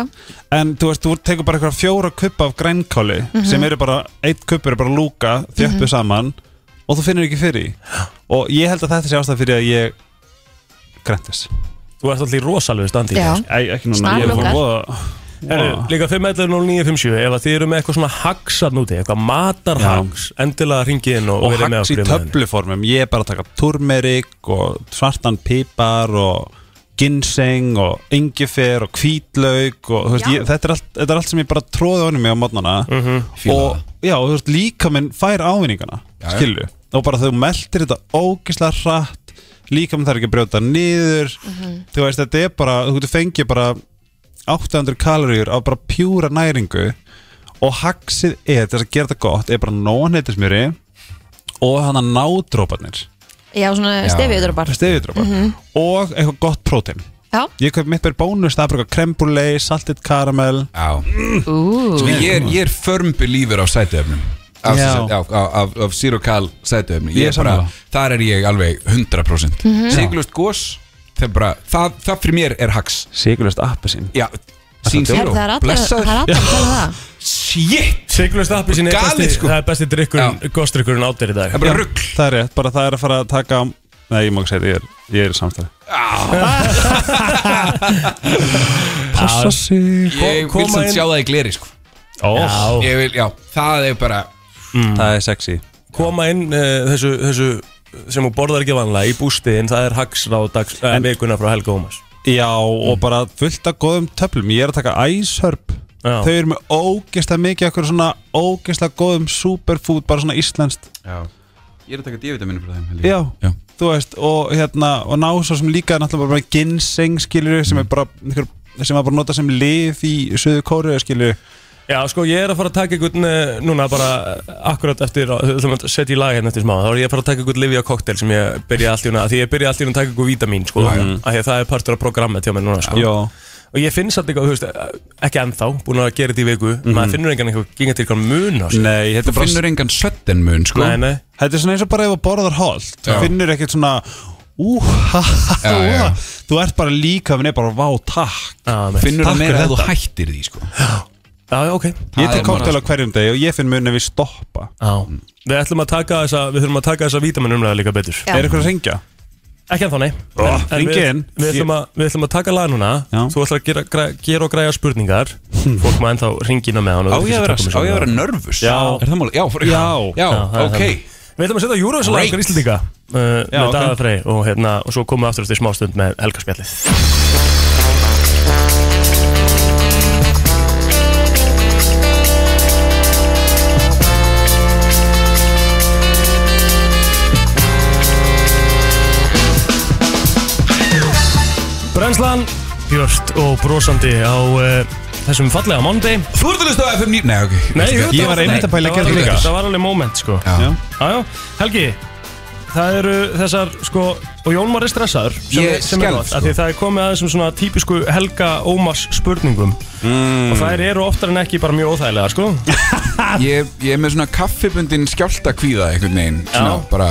[SPEAKER 8] En þú veist, þú tekur bara eitthvað fjóra kuppa af grænkáli sem eru bara, eitt kupp eru bara lúka þjöppu saman og þú finnir ekki fyrir því. Og ég held að þetta sé ástæð fyrir að ég græntis
[SPEAKER 1] Þú ert alltaf í rosalegu standi í
[SPEAKER 2] já,
[SPEAKER 1] dag, sko.
[SPEAKER 8] Æ, ekki núna, ég
[SPEAKER 2] Snarlúkar.
[SPEAKER 8] er fór voða
[SPEAKER 1] Herðu, Líka 5.11.09.57 Ef að þið eru með eitthvað svona haggsarn úti Eitthvað matarhags Endilega ringið inn og,
[SPEAKER 8] Og
[SPEAKER 1] verið með
[SPEAKER 8] hax í
[SPEAKER 1] okkur í umræðunni.
[SPEAKER 8] töfluformum, ég er bara að taka turmerik og svartan pipar og ginseng og yngifer og hvítlauk og þú
[SPEAKER 2] Já.
[SPEAKER 8] veist, ég, þetta, er allt, þetta er allt sem ég bara tróði honum mig á mótnana
[SPEAKER 1] Mhm.
[SPEAKER 3] Fíla
[SPEAKER 8] og já, og þú veist, líka minn fær ávinningana
[SPEAKER 3] Já, já.
[SPEAKER 8] skilu, og bara þau meldir þetta ógislega hratt, líka minn þarf ekki að brjóta niður, þú veist, þetta er bara þú getur fengið bara 800 kaloríur af bara pjúra næringu og haxið er þess að gera þetta gott, er bara nóan heitismjöri og hann að nádróparnir
[SPEAKER 2] já svona stefiður bara
[SPEAKER 8] stefiðdrópar og eitthvað gott prótein
[SPEAKER 2] Já,
[SPEAKER 8] ég kaup mitt bara í bónus, það er bara krembúlei saltið karamel
[SPEAKER 3] Já,
[SPEAKER 2] ú,
[SPEAKER 3] Svo ég er, ég er firm believer á sætuöfnum Af,
[SPEAKER 8] Já.
[SPEAKER 3] af, af, af, af sírokal sætuöfni
[SPEAKER 8] Ég er sammála.
[SPEAKER 3] Þar er ég alveg 100%
[SPEAKER 2] Mhm.
[SPEAKER 3] mm Sigurlust gos það, er bara, það, það fyrir mér er hax
[SPEAKER 8] sigurlust appasín
[SPEAKER 3] Já, sín
[SPEAKER 2] Her,
[SPEAKER 3] síró
[SPEAKER 2] það er allir það er
[SPEAKER 3] Blessaður
[SPEAKER 2] allir að tala um það
[SPEAKER 3] Shit
[SPEAKER 1] Sigurlaust appelsín er
[SPEAKER 3] Galið,
[SPEAKER 1] besti,
[SPEAKER 3] sko.
[SPEAKER 1] það er besti drikkurinn,
[SPEAKER 3] Já.
[SPEAKER 1] gosdrikkurinn átir í dag
[SPEAKER 3] Það er bara rugg
[SPEAKER 8] það er rétt, bara það er að fara að taka á- nei, ég má ekki segja þetta, ég er, ég er samstæði (laughs) passa sig
[SPEAKER 3] Ég
[SPEAKER 1] Ko-
[SPEAKER 3] vil
[SPEAKER 1] koma
[SPEAKER 3] samt
[SPEAKER 1] inn-
[SPEAKER 3] sjá það í gleri sko
[SPEAKER 1] Já,
[SPEAKER 3] Ég vil, já, það er bara
[SPEAKER 8] það er sexy
[SPEAKER 1] koma inn uh, þessu, þessu sem hún borðar ekki vanlega í bústiðin, það er hagsráð dags, uh, vikuna frá Helga Ómas
[SPEAKER 8] já, og bara fullt af góðum töflum ég er að taka æshörp
[SPEAKER 1] Já.
[SPEAKER 8] þau eru með ógeðslega mikið okkur svona ógeðslega góðum superfood bara svona íslenskt
[SPEAKER 3] já. Ég er að taka divitaminum frá þeim held ég.
[SPEAKER 8] Já, þú veist og hérna og ná svo sem líka náttúrulega bara ginseng skilur
[SPEAKER 3] Mm.
[SPEAKER 8] sem er bara einhver, sem er bara nota sem lif í söðu kóru skilur
[SPEAKER 1] Já, sko, ég er að fara að taka einhvern uh, núna bara uh, akkurat eftir þú ætlum að setja í lag hérna eftir smá þá er ég að fara að taka einhvern livja koktel sem ég byrja allt í hún að því ég byrja allt í hún að taka einhvern vítamin, sko, af því að það er partur af programmet hjá mér núna, sko
[SPEAKER 8] Já,
[SPEAKER 1] og ég finn samt eitthvað, þú veist, eh, ekki ennþá búin að gera þetta í viku, maður finnur engan eitthvað gengar til eitthvað mun á sér.
[SPEAKER 8] Nei, þetta
[SPEAKER 3] Þú
[SPEAKER 8] er bara
[SPEAKER 3] finnur engan sötten mun, sko
[SPEAKER 1] Nei, nei,
[SPEAKER 8] Þetta er svona eins og bara ef að borðar holt Þú
[SPEAKER 3] Já.
[SPEAKER 8] finnur ekkert svona Ú, ha, ha,
[SPEAKER 3] Já, já, já.
[SPEAKER 8] ha Þú ert bara líka Minn er bara vá, takk
[SPEAKER 1] á, nei.
[SPEAKER 3] Finnur
[SPEAKER 8] Takk
[SPEAKER 3] það meira
[SPEAKER 8] fyrir
[SPEAKER 3] að þú
[SPEAKER 8] þetta.
[SPEAKER 3] hættir því, sko
[SPEAKER 1] Já, já, ok
[SPEAKER 3] Það
[SPEAKER 8] Ég
[SPEAKER 3] er
[SPEAKER 8] tek
[SPEAKER 3] bara-
[SPEAKER 8] koktel á hverjum degi og ég finn mun ef ég stoppa
[SPEAKER 1] Já. Við ætlum að taka þessa, við þurfum að taka þessa vítaminumlega líka betur
[SPEAKER 2] Já.
[SPEAKER 8] Er eitthvað að ringja?
[SPEAKER 1] Ekki ennþá, nei
[SPEAKER 8] Ó,
[SPEAKER 1] En- en
[SPEAKER 8] hringi
[SPEAKER 1] við-
[SPEAKER 8] inn.
[SPEAKER 1] Við ætlum að, við ætlum að taka lag núna
[SPEAKER 8] Já.
[SPEAKER 1] Þú ætlar að gera, græ, gera og græja spurningar Fólk maður ennþá ringina með hann og
[SPEAKER 3] Hmm. Á
[SPEAKER 1] við
[SPEAKER 3] ég að vera,
[SPEAKER 1] tökum þessu
[SPEAKER 3] á ég að vera
[SPEAKER 1] lag.
[SPEAKER 3] nervus?
[SPEAKER 1] Já.
[SPEAKER 3] Er það máli? Já, fyrir-
[SPEAKER 8] Já.
[SPEAKER 3] já,
[SPEAKER 1] Já, það er
[SPEAKER 3] ok
[SPEAKER 1] þannig. Við ætlum að setja Júruvísalag
[SPEAKER 3] Great.
[SPEAKER 1] okkar Íslandinga uh, Með
[SPEAKER 8] ok.
[SPEAKER 1] okay. Daðafrey og, hérna, og svo komum við aftur eftir smástund með Helga Spjallið Brennslan, björt og brosandi á uh, þessum fallega mándi
[SPEAKER 3] Þú ert að hlusta á FM 9 Nei, ok
[SPEAKER 1] jú,
[SPEAKER 8] Ég
[SPEAKER 1] það
[SPEAKER 8] var einmitt að pæla
[SPEAKER 1] það
[SPEAKER 8] að gera
[SPEAKER 1] var
[SPEAKER 8] þetta
[SPEAKER 1] alveg-
[SPEAKER 8] líka.
[SPEAKER 1] Það var alveg moment sko
[SPEAKER 3] Já.
[SPEAKER 1] Jájá, Helgi Það eru þessar, sko, og Jón Már er stressaður sem,
[SPEAKER 3] Ég
[SPEAKER 1] sem er
[SPEAKER 3] skelf,
[SPEAKER 1] gott,
[SPEAKER 3] sko.
[SPEAKER 1] af því það er komið aðeins um svona típisku Helga Ómars spurningum
[SPEAKER 3] Mm.
[SPEAKER 1] og þær eru oftar en ekki bara mjög
[SPEAKER 3] (laughs)
[SPEAKER 1] óþægilega, sko
[SPEAKER 3] Ég, ég er með svona kaffibundin skjálta kvíða einhvern veginn svona,
[SPEAKER 1] Já.
[SPEAKER 3] bara,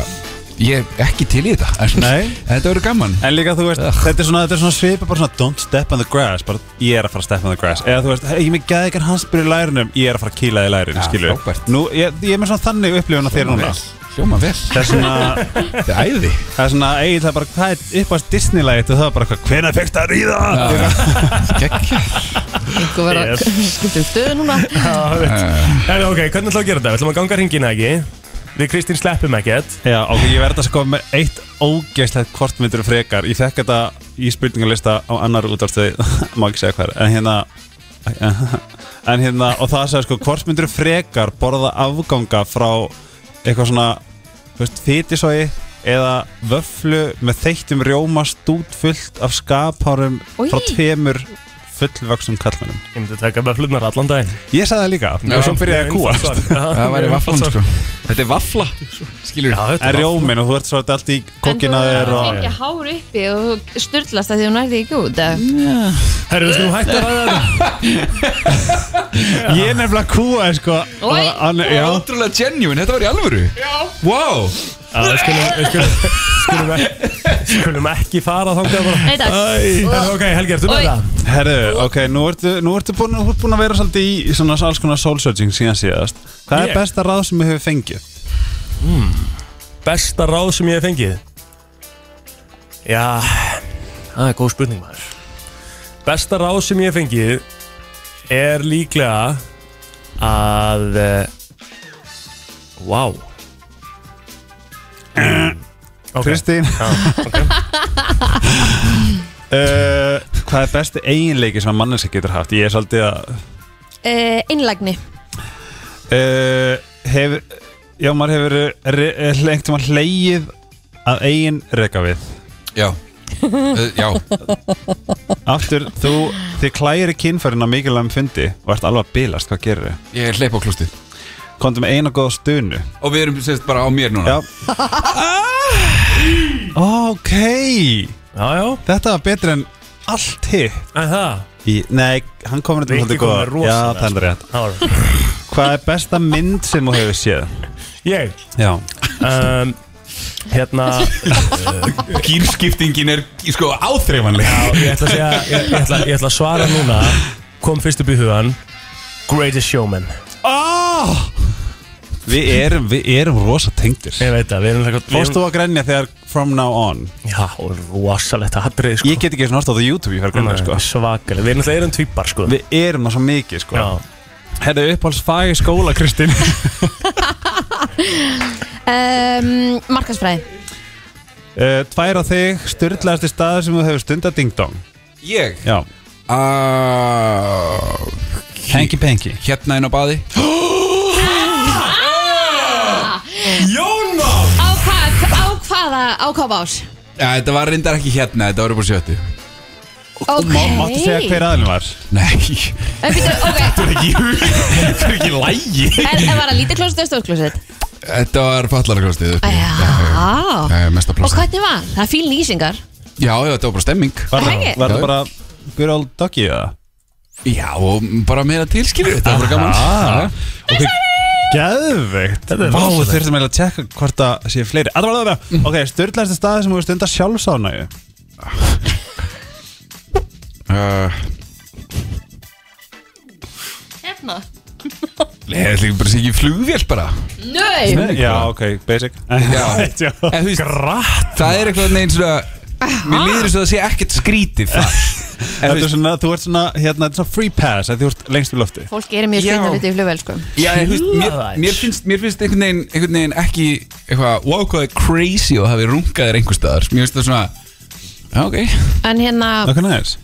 [SPEAKER 3] Ég er ekki til í þetta
[SPEAKER 8] Nei. Hérna
[SPEAKER 3] Þetta verður gaman
[SPEAKER 8] En líka þú veist, þetta er svona, þetta er svona svipa bara svona Don't step on the grass, bara ég er að fara að step on the grass Eða þú veist, hey, ég með gæði ekkert hans byrja í lærunum Ég er að fara að kýla í lærunum,
[SPEAKER 3] Já,
[SPEAKER 8] skilju
[SPEAKER 3] frábært.
[SPEAKER 8] Nú, ég, ég er með svona þannig upplifun að þér núna
[SPEAKER 3] Hljóma vel
[SPEAKER 8] Það er svona,
[SPEAKER 3] Þetta er æði
[SPEAKER 8] það er svona, eigið það er bara, hvað er uppáðast Disney-lægið og það er bara eitthvað, hvenær fyrst að ríða?
[SPEAKER 3] Gekk
[SPEAKER 2] Einhver verður að (laughs) skipta um stöðu núna
[SPEAKER 1] En ok, hvernig ætlum við að gera þetta? Við ætlum að ganga hringina ekki Við Kristín sleppum ekkert
[SPEAKER 8] Já, ok, ég verð að sko með eitt ógeðslegt kvortmyndur frekar Ég fekk þetta í spurningalista á annar útvarstuði, (laughs) má ekki segja hver En hérna, (laughs) en hérna, og það sagði sko kvortmyndur frekar borða afganga frá eitthvað svona, þú veist, fytisói Eða vöflu með þeittum rjóma stútfullt af skaphárum
[SPEAKER 2] Oj.
[SPEAKER 8] frá tveimur fullvöksum kallmennum
[SPEAKER 1] Ég myndi taka bara flutnar allan daginn
[SPEAKER 8] Ég sagði það líka,
[SPEAKER 3] Já,
[SPEAKER 8] og svo byrjaði ég að kúast
[SPEAKER 3] Það væri vaflan sko Þetta er vafla Skilur
[SPEAKER 1] Já, þetta
[SPEAKER 8] er
[SPEAKER 1] er
[SPEAKER 8] rjómin og þú ert svolítið allt í kokkina
[SPEAKER 2] En
[SPEAKER 8] þér
[SPEAKER 2] þú
[SPEAKER 8] og...
[SPEAKER 2] fengið hár uppi og styrlast að því hún nærði ekki út eða?
[SPEAKER 1] Herru, við skulum hætta að ræða þetta
[SPEAKER 8] Ég er nefnilega kúaði sko
[SPEAKER 2] Oj.
[SPEAKER 8] að- að- Já,
[SPEAKER 3] Ótrúlega genuine, þetta var í alvöru Já Wow
[SPEAKER 1] Já, við skulum, við skulum, skulum, ekki- skulum ekki fara þangað bara
[SPEAKER 2] Nei, takk.
[SPEAKER 1] Æ, herru, Ok, Helgi, ertu
[SPEAKER 2] Oj.
[SPEAKER 1] með það?
[SPEAKER 8] herðu, ok, nú ertu, nú ertu búin, þú ert búin að vera svolítið í svona alls konar soul searching síðan síðast Hvað
[SPEAKER 1] Ég?
[SPEAKER 8] er besta ráð sem við hefur fengið?
[SPEAKER 1] Besta ráð sem ég hef fengið? Já, það er góð spurning maður Besta ráð sem ég hef fengið er líklega að eh, Vá wow. Ok,
[SPEAKER 8] Kristín
[SPEAKER 1] já,
[SPEAKER 8] (laughs)
[SPEAKER 1] ok
[SPEAKER 8] uh, Hvað er besti eiginleiki sem að manneska getur haft? Ég er svolítið að
[SPEAKER 2] Eh, Einlægni
[SPEAKER 8] uh, hefur, Já, maður hefur re- eh, lengt um að hleyið að eigin reka við
[SPEAKER 3] (laughs) Já Uh, Já,
[SPEAKER 8] Aftur, þú, þið klæri kynfærin á mikilvægum fundi og ert alveg að bilast, hvað gerir þau?
[SPEAKER 3] ég er hleyp á klústið
[SPEAKER 8] Komdu með eina góða stunu
[SPEAKER 3] Og við erum sérst bara á mér núna
[SPEAKER 8] (laughs) Já Ah, Ok
[SPEAKER 1] Já, já,
[SPEAKER 8] Þetta var betur en allt hitt
[SPEAKER 1] en það
[SPEAKER 8] Í, Nei, hann komur þetta
[SPEAKER 1] Rikki
[SPEAKER 8] svolítið
[SPEAKER 1] kom
[SPEAKER 8] góða
[SPEAKER 1] með rosalega,
[SPEAKER 8] Já, það er rétt
[SPEAKER 1] Það var-
[SPEAKER 8] Hvað er besta mynd sem þú hefur séð?
[SPEAKER 1] Ég
[SPEAKER 8] Já
[SPEAKER 1] um, Hérna,
[SPEAKER 3] Gýrskiptingin er sko áþreifanlega
[SPEAKER 1] ég ætla að segja, ég, ég, ætla, ég ætla að svara núna Kom fyrst upp í hugan Greatest Showman
[SPEAKER 8] oh! Við erum, við erum rosa tengdir
[SPEAKER 1] Ég veit það, við erum eitthvað
[SPEAKER 8] Fórst þú að grenja þegar From Now On?
[SPEAKER 1] Já, rosalegt atrið sko.
[SPEAKER 8] Ég get ekki svona hort á það á YouTube, ég fer að grenja sko
[SPEAKER 1] Svakalega, við erum alltaf erum tvípar sko
[SPEAKER 8] Við erum það svo mikið sko
[SPEAKER 1] Já,
[SPEAKER 8] Herðu uppáhalds fag í skóla, (laughs) Kristín
[SPEAKER 2] um, Markansfræði
[SPEAKER 8] uh, Tvær á þig, styrlaðasti staður sem þú hefur stundat Ding Dong
[SPEAKER 3] Ég
[SPEAKER 8] Já
[SPEAKER 3] Ah,
[SPEAKER 8] Hengi Pengi
[SPEAKER 3] Hérna inn á baði
[SPEAKER 2] Á, hvað, á hvaða, á hvað ás?
[SPEAKER 3] Já, þetta var reyndar ekki hérna, þetta var upp á sjöttu
[SPEAKER 2] Ok
[SPEAKER 8] Máttu segja hver aðlum var?
[SPEAKER 3] (laughs) Nei
[SPEAKER 2] En býttu, ok,
[SPEAKER 1] það er ekki lægi
[SPEAKER 2] en en var það lítið klósett eða stórt klósett?
[SPEAKER 3] Þetta var fallarklostið
[SPEAKER 2] Já
[SPEAKER 3] Mesta
[SPEAKER 2] Og
[SPEAKER 3] plastið
[SPEAKER 2] hvernig var? Það er fín lýsingar
[SPEAKER 3] Já, já, þetta var bara stemming
[SPEAKER 8] Var
[SPEAKER 2] Hengi?
[SPEAKER 8] það var það bara good old doggy eða?
[SPEAKER 3] Já, og bara meira tilskilur Þetta var bara (laughs) gaman Ah.
[SPEAKER 8] Ok, geðveikt Vá, þurftum eiginlega að tjekka hvort það sé fleiri Alla var það bara, ok, styrlæðstu staði sem þú stunda sjálfsánægju
[SPEAKER 3] uh,
[SPEAKER 7] Hérna
[SPEAKER 3] Nei, þetta er bara sér ekki flugvél bara
[SPEAKER 7] Nau
[SPEAKER 8] Já, ok, basic
[SPEAKER 3] (laughs) Já.
[SPEAKER 8] (laughs) Já.
[SPEAKER 3] En þú veist,
[SPEAKER 1] Gratt
[SPEAKER 3] það er eitthvað neginn svona Mér líður þess að það sé ekkert skrítið (laughs) það En þú
[SPEAKER 8] Þetta er
[SPEAKER 3] veist,
[SPEAKER 8] svona, þú ert svona, hérna, þetta er svona free pass að Þú ert lengst í lofti
[SPEAKER 2] Fólk gerir mjög
[SPEAKER 3] Já.
[SPEAKER 2] skrýtna hluti í flugvel sko
[SPEAKER 3] já, en þú veist mér, mér finnst, mér finnst einhvern, veginn, einhvern veginn ekki eitthvað Wow, hvað er crazy og hafi rungaðir einhver staðar Mér finnst það svona Já, ok Eða
[SPEAKER 2] En hérna
[SPEAKER 8] Ok, nice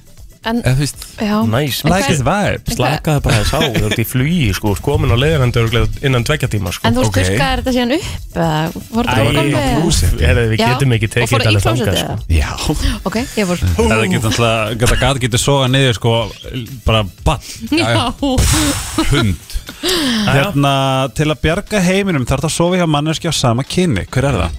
[SPEAKER 2] en,
[SPEAKER 3] þú veist
[SPEAKER 2] já,
[SPEAKER 1] Næs
[SPEAKER 2] En hvað-
[SPEAKER 8] Like his vibes
[SPEAKER 1] Slakaði bara þess á, þú ert í flugi sko Komin á leiðarendu örugglega innan tveggja tíma sko
[SPEAKER 2] En þú
[SPEAKER 3] Ok.
[SPEAKER 2] styrkaði þetta síðan upp eða Fór þetta á golfið?
[SPEAKER 1] Æ, heyrðu, við getum ekki
[SPEAKER 2] og
[SPEAKER 1] tekið
[SPEAKER 2] fór
[SPEAKER 1] þetta
[SPEAKER 2] í
[SPEAKER 1] alveg
[SPEAKER 2] klósett
[SPEAKER 1] þangað
[SPEAKER 2] eða?
[SPEAKER 1] sko.
[SPEAKER 3] Já
[SPEAKER 2] Ok, ég fór
[SPEAKER 8] (laughs) Það getur alltaf, þetta gat getur soga niður sko, bara bann
[SPEAKER 7] Já
[SPEAKER 3] Hund
[SPEAKER 8] Hérna, til að bjarga heiminum þarf það að sofa hjá manneski á sama kynni Hver er það?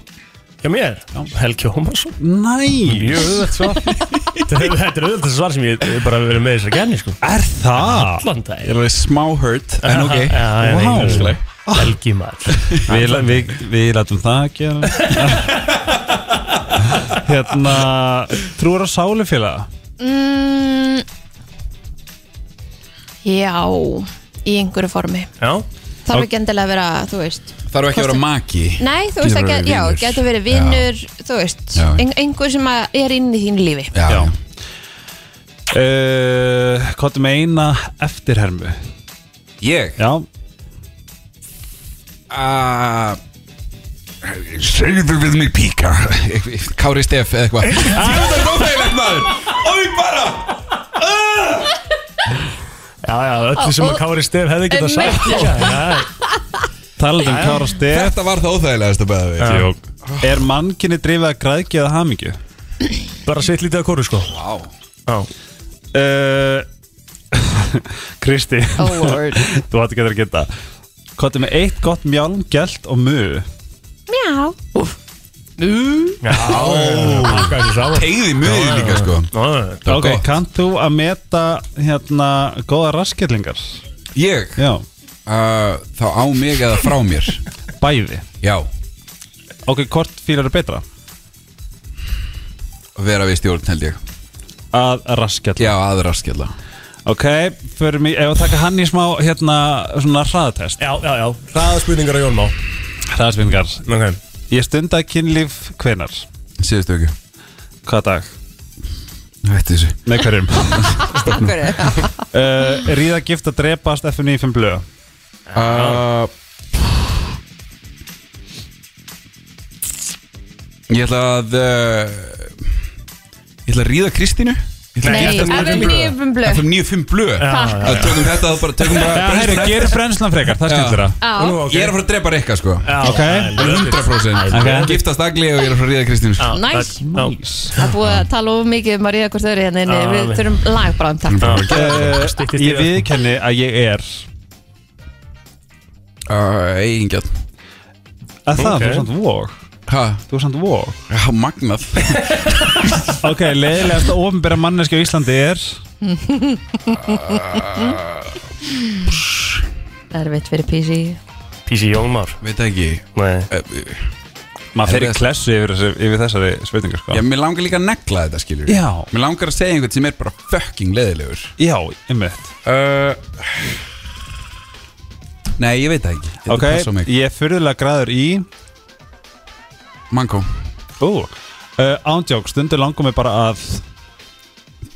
[SPEAKER 1] Já mér, Helgi Hómarsson
[SPEAKER 8] Næ,
[SPEAKER 1] Mjög auðvelt svar Þetta er- þetta er auðvelt svar sem ég ég bara hef verið með þess að genni sko
[SPEAKER 8] er það?
[SPEAKER 1] Allan
[SPEAKER 3] Ég
[SPEAKER 1] dag
[SPEAKER 3] er alveg smá hurt, en (laughs) ok
[SPEAKER 8] Vá.
[SPEAKER 1] Vá Helgi maður
[SPEAKER 8] Við, við, við látum það að
[SPEAKER 1] (laughs)
[SPEAKER 8] gera Hérna Trúar á sálufélaga
[SPEAKER 2] mm, Já Í einhverju formi
[SPEAKER 1] Já,
[SPEAKER 2] Þarf ekki endilega að vera, þú veist
[SPEAKER 3] Þarf ekki að vera maki
[SPEAKER 2] Nei, þú veist,
[SPEAKER 3] Getur
[SPEAKER 2] það
[SPEAKER 3] verið
[SPEAKER 2] get, já,
[SPEAKER 3] vinur.
[SPEAKER 2] getur verið vinnur Þú veist,
[SPEAKER 3] Já.
[SPEAKER 2] ein, einhver sem að er inn í þínu lífi
[SPEAKER 3] Já, já.
[SPEAKER 8] uh, Kottum eina eftirhermu
[SPEAKER 3] Ég
[SPEAKER 8] Já,
[SPEAKER 3] Uh, Segðu við mig píka (laughs) Kári Steff eða (laughs) eitthvað Þetta er óþægilegt maður Ói bara
[SPEAKER 1] já, já, öllu sem að Kári Stef hefði getað sagt Já,
[SPEAKER 8] talandi um Kára Stef
[SPEAKER 3] Þetta var það óþægilegast að beða við
[SPEAKER 1] já.
[SPEAKER 8] Er mannkinni drifið að græðki eða hamingju?
[SPEAKER 1] Bara sitt lítið að kóru sko
[SPEAKER 3] Vá.
[SPEAKER 1] Já Eh, (laughs)
[SPEAKER 8] Uh, Kristi
[SPEAKER 2] Oh lord
[SPEAKER 8] Þú hætti getur að geta Kottum með eitt gott mjálm, gælt og mu
[SPEAKER 2] Já,
[SPEAKER 1] Já, pakka þessu saman
[SPEAKER 3] Tegði mjög líka sko
[SPEAKER 1] Já,
[SPEAKER 3] Það var
[SPEAKER 8] Ok,
[SPEAKER 3] gott.
[SPEAKER 8] kannt þú að meta hérna góða raskillingar?
[SPEAKER 3] Ég,
[SPEAKER 8] Já,
[SPEAKER 3] uh, þá á mig eða frá mér
[SPEAKER 8] bæði
[SPEAKER 3] Já,
[SPEAKER 8] Ok, hvort fílar er betra?
[SPEAKER 3] vera við stjórn held ég
[SPEAKER 8] Að raskjall
[SPEAKER 3] Já, aðra skella
[SPEAKER 8] Ok, förum í, ef að taka hann í smá hérna svona hraðatest
[SPEAKER 1] já, já Hraða spurningar á Jón Má
[SPEAKER 8] Hraðasvingar
[SPEAKER 1] Ok
[SPEAKER 8] Ég stundaði kynlíf hvenar?
[SPEAKER 3] Síðustu ekki
[SPEAKER 8] Hvaða dag?
[SPEAKER 3] Þetta þessu
[SPEAKER 8] Með hverjum?
[SPEAKER 3] (laughs)
[SPEAKER 2] einhverju
[SPEAKER 8] uh, ríða gift að drepast FN95 blöð
[SPEAKER 3] uh, Ég ætla að uh, Ég ætla að ríða Kristínu Ég ætla að
[SPEAKER 2] Nei,
[SPEAKER 3] gifta mig
[SPEAKER 2] FM
[SPEAKER 3] með blöð.
[SPEAKER 2] 95 blöð.
[SPEAKER 8] Eh.
[SPEAKER 3] FM 95 blöð
[SPEAKER 2] Takk.
[SPEAKER 3] Það tökum þetta bara, tökum bara
[SPEAKER 8] Já, herri, gerir brennslan frekar, það skildur það
[SPEAKER 2] Já,
[SPEAKER 3] Ég er að fara að drepa Rikka sko
[SPEAKER 8] Ok.
[SPEAKER 3] 100%
[SPEAKER 8] Ok.
[SPEAKER 3] Giftast agli og ég er að fara að ríða Kristínu sko.
[SPEAKER 2] Næs.
[SPEAKER 1] Næs
[SPEAKER 2] það er búið að tala of mikið um að ríða hvort þau eru hérna inni.
[SPEAKER 1] Ah,
[SPEAKER 2] Við
[SPEAKER 1] við-
[SPEAKER 2] þurfum lag bara um þetta
[SPEAKER 1] Styttist
[SPEAKER 8] uh,
[SPEAKER 1] í
[SPEAKER 8] Ég
[SPEAKER 1] það.
[SPEAKER 8] viðkenni að ég er
[SPEAKER 3] uh, Eigingjarn
[SPEAKER 8] að það,
[SPEAKER 1] Ok.
[SPEAKER 8] þú er samt vóg
[SPEAKER 3] Ha,
[SPEAKER 8] Þú er samt vóg
[SPEAKER 3] já, magnað (laughs)
[SPEAKER 8] Ok, leiðilegast að ofinbera manneski á Íslandi er
[SPEAKER 2] Erfitt fyrir PC
[SPEAKER 1] Písi Jón Már
[SPEAKER 3] Veit ekki
[SPEAKER 1] Nei
[SPEAKER 3] uh,
[SPEAKER 8] Maður fer í
[SPEAKER 3] Erfiðast-
[SPEAKER 8] klessu yfir, þessu- yfir þessari spurningu sko
[SPEAKER 3] Já, mér langar líka að negla þetta skilur
[SPEAKER 8] Já.
[SPEAKER 3] Mér langar að segja einhvern sem er bara fucking leðilegur
[SPEAKER 8] Já, einmitt
[SPEAKER 3] Uh, Nei, ég veit það ekki Þetta
[SPEAKER 8] Ok,
[SPEAKER 3] passa á mig.
[SPEAKER 8] ég er fyrðulega græður í
[SPEAKER 3] Mango
[SPEAKER 8] Ú, uh, ándjók, stundu langum við bara að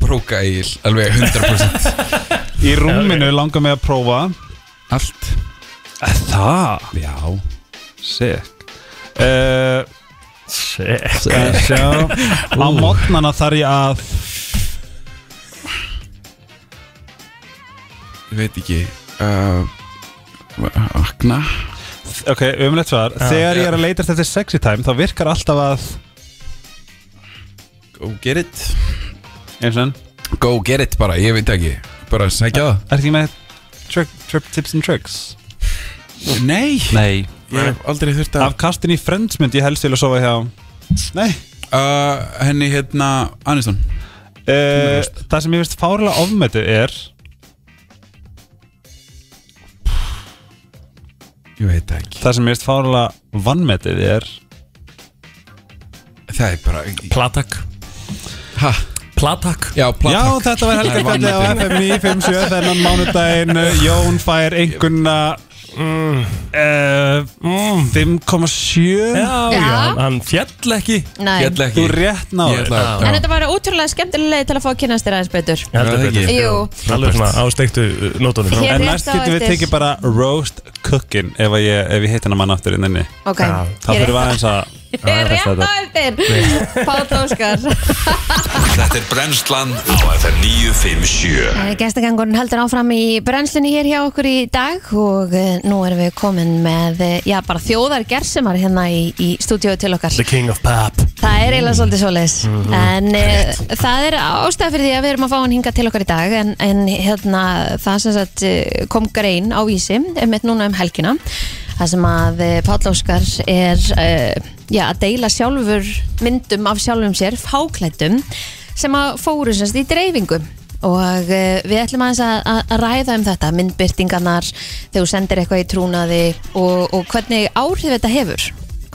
[SPEAKER 3] Bróka eigil, alveg
[SPEAKER 1] (laughs)
[SPEAKER 3] 100%
[SPEAKER 8] Í rúminu langum við að prófa
[SPEAKER 3] Allt
[SPEAKER 8] að Eh, Það,
[SPEAKER 3] Já
[SPEAKER 8] sick uh,
[SPEAKER 1] Sick
[SPEAKER 8] uh, Sjá Á mótnana þarf ég að
[SPEAKER 3] Ég veit ekki uh, Akna
[SPEAKER 8] Ok, umlegt svar Þegar ég er að leitast eftir sexy time þá virkar alltaf að
[SPEAKER 3] Go get it
[SPEAKER 8] eins og enn
[SPEAKER 3] Go get it bara, ég veit það ekki Bara sækja
[SPEAKER 8] Er ekki með trick, trip tips and tricks?
[SPEAKER 3] það Nei
[SPEAKER 8] Nei
[SPEAKER 3] Ég hef aldrei þurft að
[SPEAKER 8] Af kastin í Friends myndi ég helst til að sofa hjá Nei
[SPEAKER 3] uh, Henni hérna Aniston
[SPEAKER 8] Uh, það sem ég veist fárlega ofmetið er
[SPEAKER 3] Ég veit það ekki
[SPEAKER 8] Það sem ég veist fárlega vannmetið er
[SPEAKER 3] Það er bara
[SPEAKER 1] Platak
[SPEAKER 3] ha,
[SPEAKER 1] Platak
[SPEAKER 3] Já, platak
[SPEAKER 8] Já, þetta var helga kallið á FM 957 Þennan mánudaginn uh, Jón fær einhverna Mm. uh, 5,7
[SPEAKER 1] Já, já,
[SPEAKER 2] Já.
[SPEAKER 1] hann, hann fjall ekki
[SPEAKER 2] Nei.
[SPEAKER 3] Ég ætla ekki
[SPEAKER 8] Þú rétt
[SPEAKER 3] Ég
[SPEAKER 8] náður
[SPEAKER 3] ætla
[SPEAKER 1] Já.
[SPEAKER 3] að
[SPEAKER 2] En þetta var ótrúlega skemmtileg leið til að fá að kynast þér aðeins betur
[SPEAKER 1] Ég held
[SPEAKER 3] Já,
[SPEAKER 1] að
[SPEAKER 3] það
[SPEAKER 1] þetta
[SPEAKER 3] ekki.
[SPEAKER 2] Jú,
[SPEAKER 1] er alveg svona ástektu nótunum
[SPEAKER 2] Hér-
[SPEAKER 8] En
[SPEAKER 2] rétt
[SPEAKER 8] næst
[SPEAKER 2] á
[SPEAKER 8] getum við
[SPEAKER 2] eftir.
[SPEAKER 8] tekið bara roast cookin ef, að ég, ef ég heit hennar mann aftur inn inni
[SPEAKER 2] ok
[SPEAKER 1] Já,
[SPEAKER 8] Þá
[SPEAKER 2] Ég er
[SPEAKER 8] fyrir við
[SPEAKER 2] rétt-
[SPEAKER 8] aðeins að
[SPEAKER 2] Ég er rétt á eftir Páll Óskar
[SPEAKER 4] Þetta er brennslan á FM 957
[SPEAKER 2] Gæstegangurinn Eh, heldur áfram í brennslunni hér hjá okkur í dag og eh, nú erum við komin með eh, já, bara þjóðar gersemar hérna í, í stúdíu til okkar.
[SPEAKER 1] The king of pop
[SPEAKER 2] Það er eiginlega svolítið svoleiðis en e, það er ástæða fyrir því að við erum að fá hann hingað til okkar í dag en, en hérna það sem sagt eh, kom grein á vísi einmitt núna um helgina það sem að eh, Páll Óskar er e, já, að deila sjálfur myndum af sjálfum sér fáklættum sem að fóru semst í dreifingu og uh, við ætlum aðeins að, að, að ræða um þetta, myndbyrtingarnar þegar þú sendir eitthvað í trúnaði og, og hvernig áhrif þetta hefur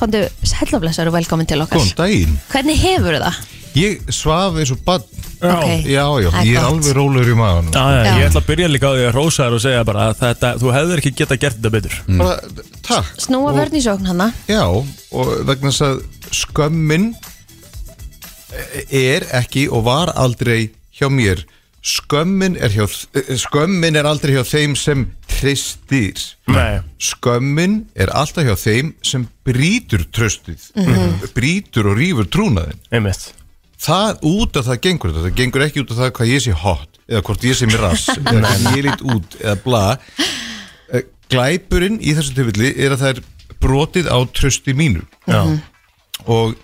[SPEAKER 2] komdu sælloflessar og velkomin til okkar
[SPEAKER 9] Góðan daginn.
[SPEAKER 2] hvernig hefur það?
[SPEAKER 9] Ég svaf eins og bann.
[SPEAKER 2] Ok.
[SPEAKER 9] Já, já,
[SPEAKER 2] Það er
[SPEAKER 9] ég er
[SPEAKER 2] gott.
[SPEAKER 9] alveg rólegur í maðurinn.
[SPEAKER 1] Já, já,
[SPEAKER 2] Já.
[SPEAKER 1] ég ætla að byrja líka á því að rósa þér og segja bara að þetta, þú hefðir ekki geta gert þetta betur
[SPEAKER 9] Bara, takk.
[SPEAKER 2] Snúa
[SPEAKER 9] Og-
[SPEAKER 2] vörn í sókn hana
[SPEAKER 9] Já, og vegna þess að skömmin er ekki og var aldrei hjá mér. Skömmin er, hjá, eh, skömmin er aldrei hjá þeim sem treystir.
[SPEAKER 1] Nei,
[SPEAKER 9] Skömmin er alltaf hjá þeim sem brýtur tröstið, brýtur og rýfur trúnaðin.
[SPEAKER 1] einmitt
[SPEAKER 9] það út að það gengur þetta, það gengur ekki út að það hvað ég sé hot eða hvort ég sé mér rass eða hvað ég lít út eða bla Eh, glæpurinn í þessu tilfelli er að það er brotið á trösti mínu
[SPEAKER 1] Já,
[SPEAKER 9] og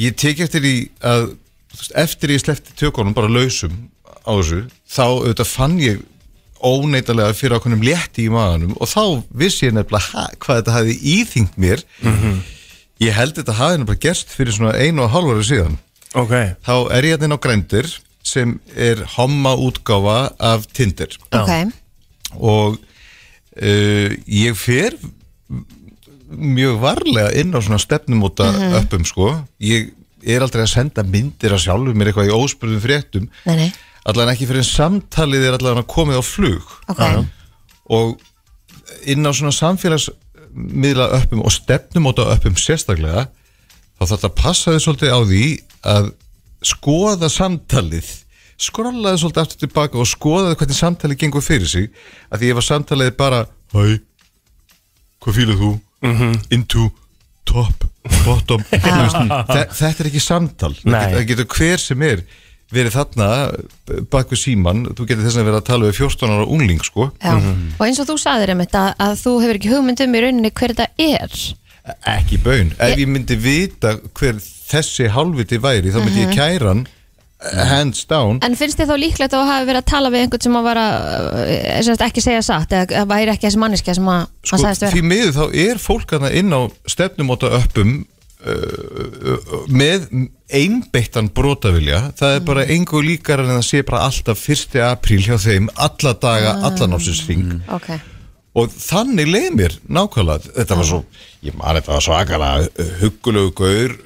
[SPEAKER 9] ég tek eftir í að þú veist, eftir ég sleppti tökunum bara lausum á þessu þá auðvitað fann ég óneitalega fyrir ákveðnum létti í maðanum og þá vissi ég nefnilega ha, hvað þetta hafi íþyngt mér ég held þetta hafi nefnilega gerst fyrir svona einu og hálfari síðan
[SPEAKER 1] ok
[SPEAKER 9] þá er ég hérna á Grændir sem er homma útgáfa af Tinder
[SPEAKER 2] ok,
[SPEAKER 9] og uh, ég fer mjög varlega inn á svona stefnumóta mm uppum sko ég er aldrei að senda myndir að sjálfur mér eitthvað í óspurðum fréttum
[SPEAKER 2] nei nei,
[SPEAKER 9] allan ekki fyrir en samtalið er allan að komið á flug
[SPEAKER 2] ok
[SPEAKER 9] og inn á svona samfélagsmiðla uppum og stefnumóta uppum um sérstaklega þá þarf þetta að passa þið svolítið á því að skoða samtalið skrollaði svolítið aftur tilbaka og skoðaði hvernig samtalið gengur fyrir sig að því ef að samtalið er bara hæ, hvað fýlað þú Mhm. into, top, (laughs) bottom þú veist, þe- E, þetta er ekki samtal það
[SPEAKER 1] Nei.
[SPEAKER 9] getur, það getur hver sem er verið þarna bak við síman þú getur þess að vera að tala við 14 ára ungling sko
[SPEAKER 2] Já. og eins og þú sagðir um þetta að þú hefur ekki hugmynd um í rauninni hver þetta er
[SPEAKER 9] ekki bön ef
[SPEAKER 2] Ég-
[SPEAKER 9] ég myndi vita hver þessi halviti væri þá myndi
[SPEAKER 2] Mhm.
[SPEAKER 9] ég kæra hann eh, hands down
[SPEAKER 2] en finnst þið þá líklegt að þú hafi verið að tala við einhvern sem að vera eh, sem sagt ekki segja satt eða það væri ekki þessi manniska sem að sko,
[SPEAKER 9] sko,
[SPEAKER 2] hann sagðist vera
[SPEAKER 9] því miður þá er fólk hann inn á stefnumóta uppum með einbeittan brotavilja, það er
[SPEAKER 2] Mhm.
[SPEAKER 9] bara engu líkar en það sé bara alltaf 1. apríl hjá þeim, alla daga,
[SPEAKER 2] Ah.
[SPEAKER 9] allan ásins
[SPEAKER 2] ok,
[SPEAKER 9] og þannig leið mér nákvæmlega, þetta var svo ég man þetta var svakalega uh, huggulegu gaur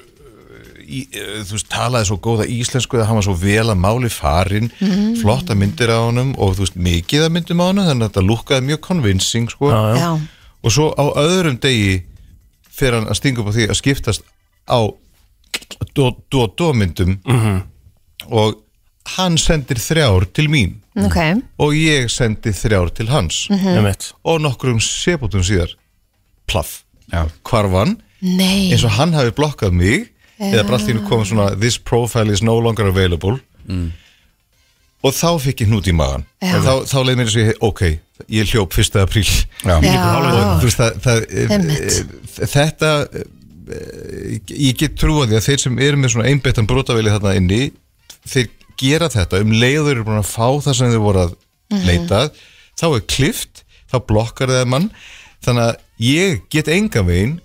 [SPEAKER 9] í, eh, þú veist, talaði svo góða íslensku að hann var svo vel að máli farin flotta myndir á honum og þú veist, mikið að myndum á honum þannig að þetta lúkkaði mjög convincing sko.
[SPEAKER 2] já,
[SPEAKER 9] og svo á öðrum degi fer hann að stinga upp á því að skiptast á do-do-myndum
[SPEAKER 2] Mhm.
[SPEAKER 9] og hann sendir þrjár til mín
[SPEAKER 2] ok
[SPEAKER 9] og ég sendi þrjár til hans
[SPEAKER 1] einmitt
[SPEAKER 9] og nokkrum sébútum síðar plaff,
[SPEAKER 3] Já.
[SPEAKER 9] hvarfan
[SPEAKER 2] nei,
[SPEAKER 9] eins og hann hafi blokkað mig eða bara allt í einu kom svona this profile is no longer available og þá fikk ég hnút í maðan
[SPEAKER 2] Já.
[SPEAKER 9] þá, þá leið mér að segja, ok ég hljóp 1. apríl
[SPEAKER 2] já.
[SPEAKER 9] og þú veist það, það
[SPEAKER 2] Einmitt.
[SPEAKER 9] eh, þetta eh, ég get trúið því að þeir sem eru með svona einbeittan brotavili þarna inni þeir gera þetta um leiður eru búin að fá það sem þeir voru að leita að, þá er klift, þá blokkar það mann þannig að ég get enga veginn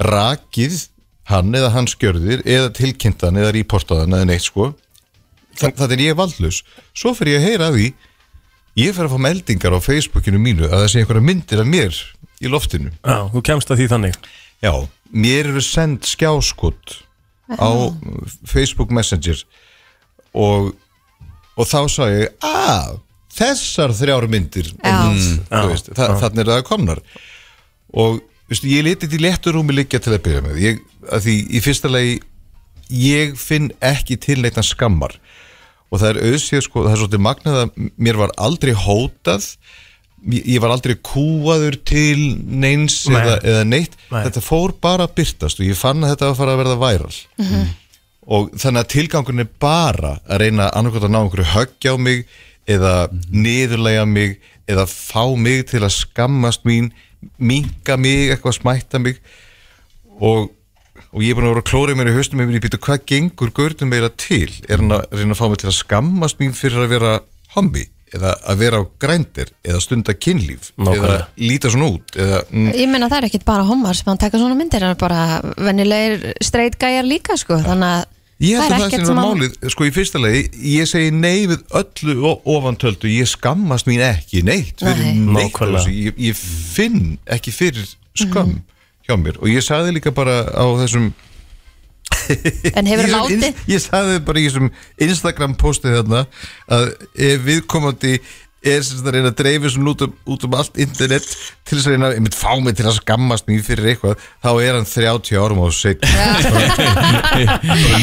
[SPEAKER 9] rakið hann eða hans gjörðir eða tilkynntan eða reportaðan eða neitt sko þannig er ég valdlaus svo fer ég að heyra af því ég fer að fá meldingar á Facebookinu mínu að það sé einhverja myndir af mér í loftinu
[SPEAKER 1] Já, þú kemst að því þannig
[SPEAKER 9] já, mér eru send skjáskot á Facebook Messenger og og þá sá ég að þessar þrjár myndir Mm,
[SPEAKER 2] Já.
[SPEAKER 9] þú veist, þa þannig er það komnar og veistu, ég leti því léttur rúmi liggja til að byrja með ég, að því í fyrsta lagi ég finn ekki til neittan skammar og það er auðsig sko, það er svolítið magnað að mér var aldrei hótað ég ég var aldrei kúaður til neins
[SPEAKER 1] Nei.
[SPEAKER 9] eða, eða neitt
[SPEAKER 1] Nei.
[SPEAKER 9] þetta fór bara að byrtast og ég fann að þetta var að fara að verða væral og þannig að tilgangun er bara að reyna annarkot að ná einhverju höggja á mig eða niðurlega mig eða fá mig til að skammast mín minka mig, eitthvað smætta mig og, og ég er búin að vera að klóra í mér í haustum með mér í býtu hvað gengur gurnum meira til er hann að reyna að fá mig til að skammast mín fyrir að vera hombi eða að vera á grændir eða stunda kynlíf eða
[SPEAKER 1] Nákvæmlega.
[SPEAKER 9] líta svona út eða, mm,
[SPEAKER 2] Ég meina það er ekkit bara homar sem hann taka svona myndir hann er bara vennilegir straight gæjar líka sko þannig að
[SPEAKER 9] Ég held að það sem
[SPEAKER 2] ekkert
[SPEAKER 9] er
[SPEAKER 2] að-
[SPEAKER 9] málið, sko í fyrsta legi, ég segi nei við öllu o- ofantöldu, ég skammast mín ekki neitt, fyrir
[SPEAKER 2] Nei.
[SPEAKER 9] neitt af
[SPEAKER 1] Nákvæmlega.
[SPEAKER 9] þessu. ég, ég finn ekki fyrir skam hjá mér og ég sagði líka bara á þessum
[SPEAKER 2] En hefur
[SPEAKER 9] Ég-
[SPEAKER 2] látið
[SPEAKER 9] ins- Ég sagði bara í þessum Instagram postið þarna að ef viðkomandi er sem það reyna að dreifu sem út um, út um allt internet til þess að reyna einmitt fá mig til að skammast mér fyrir eitthvað þá er hann 30 árum á
[SPEAKER 2] (laughs)
[SPEAKER 9] sig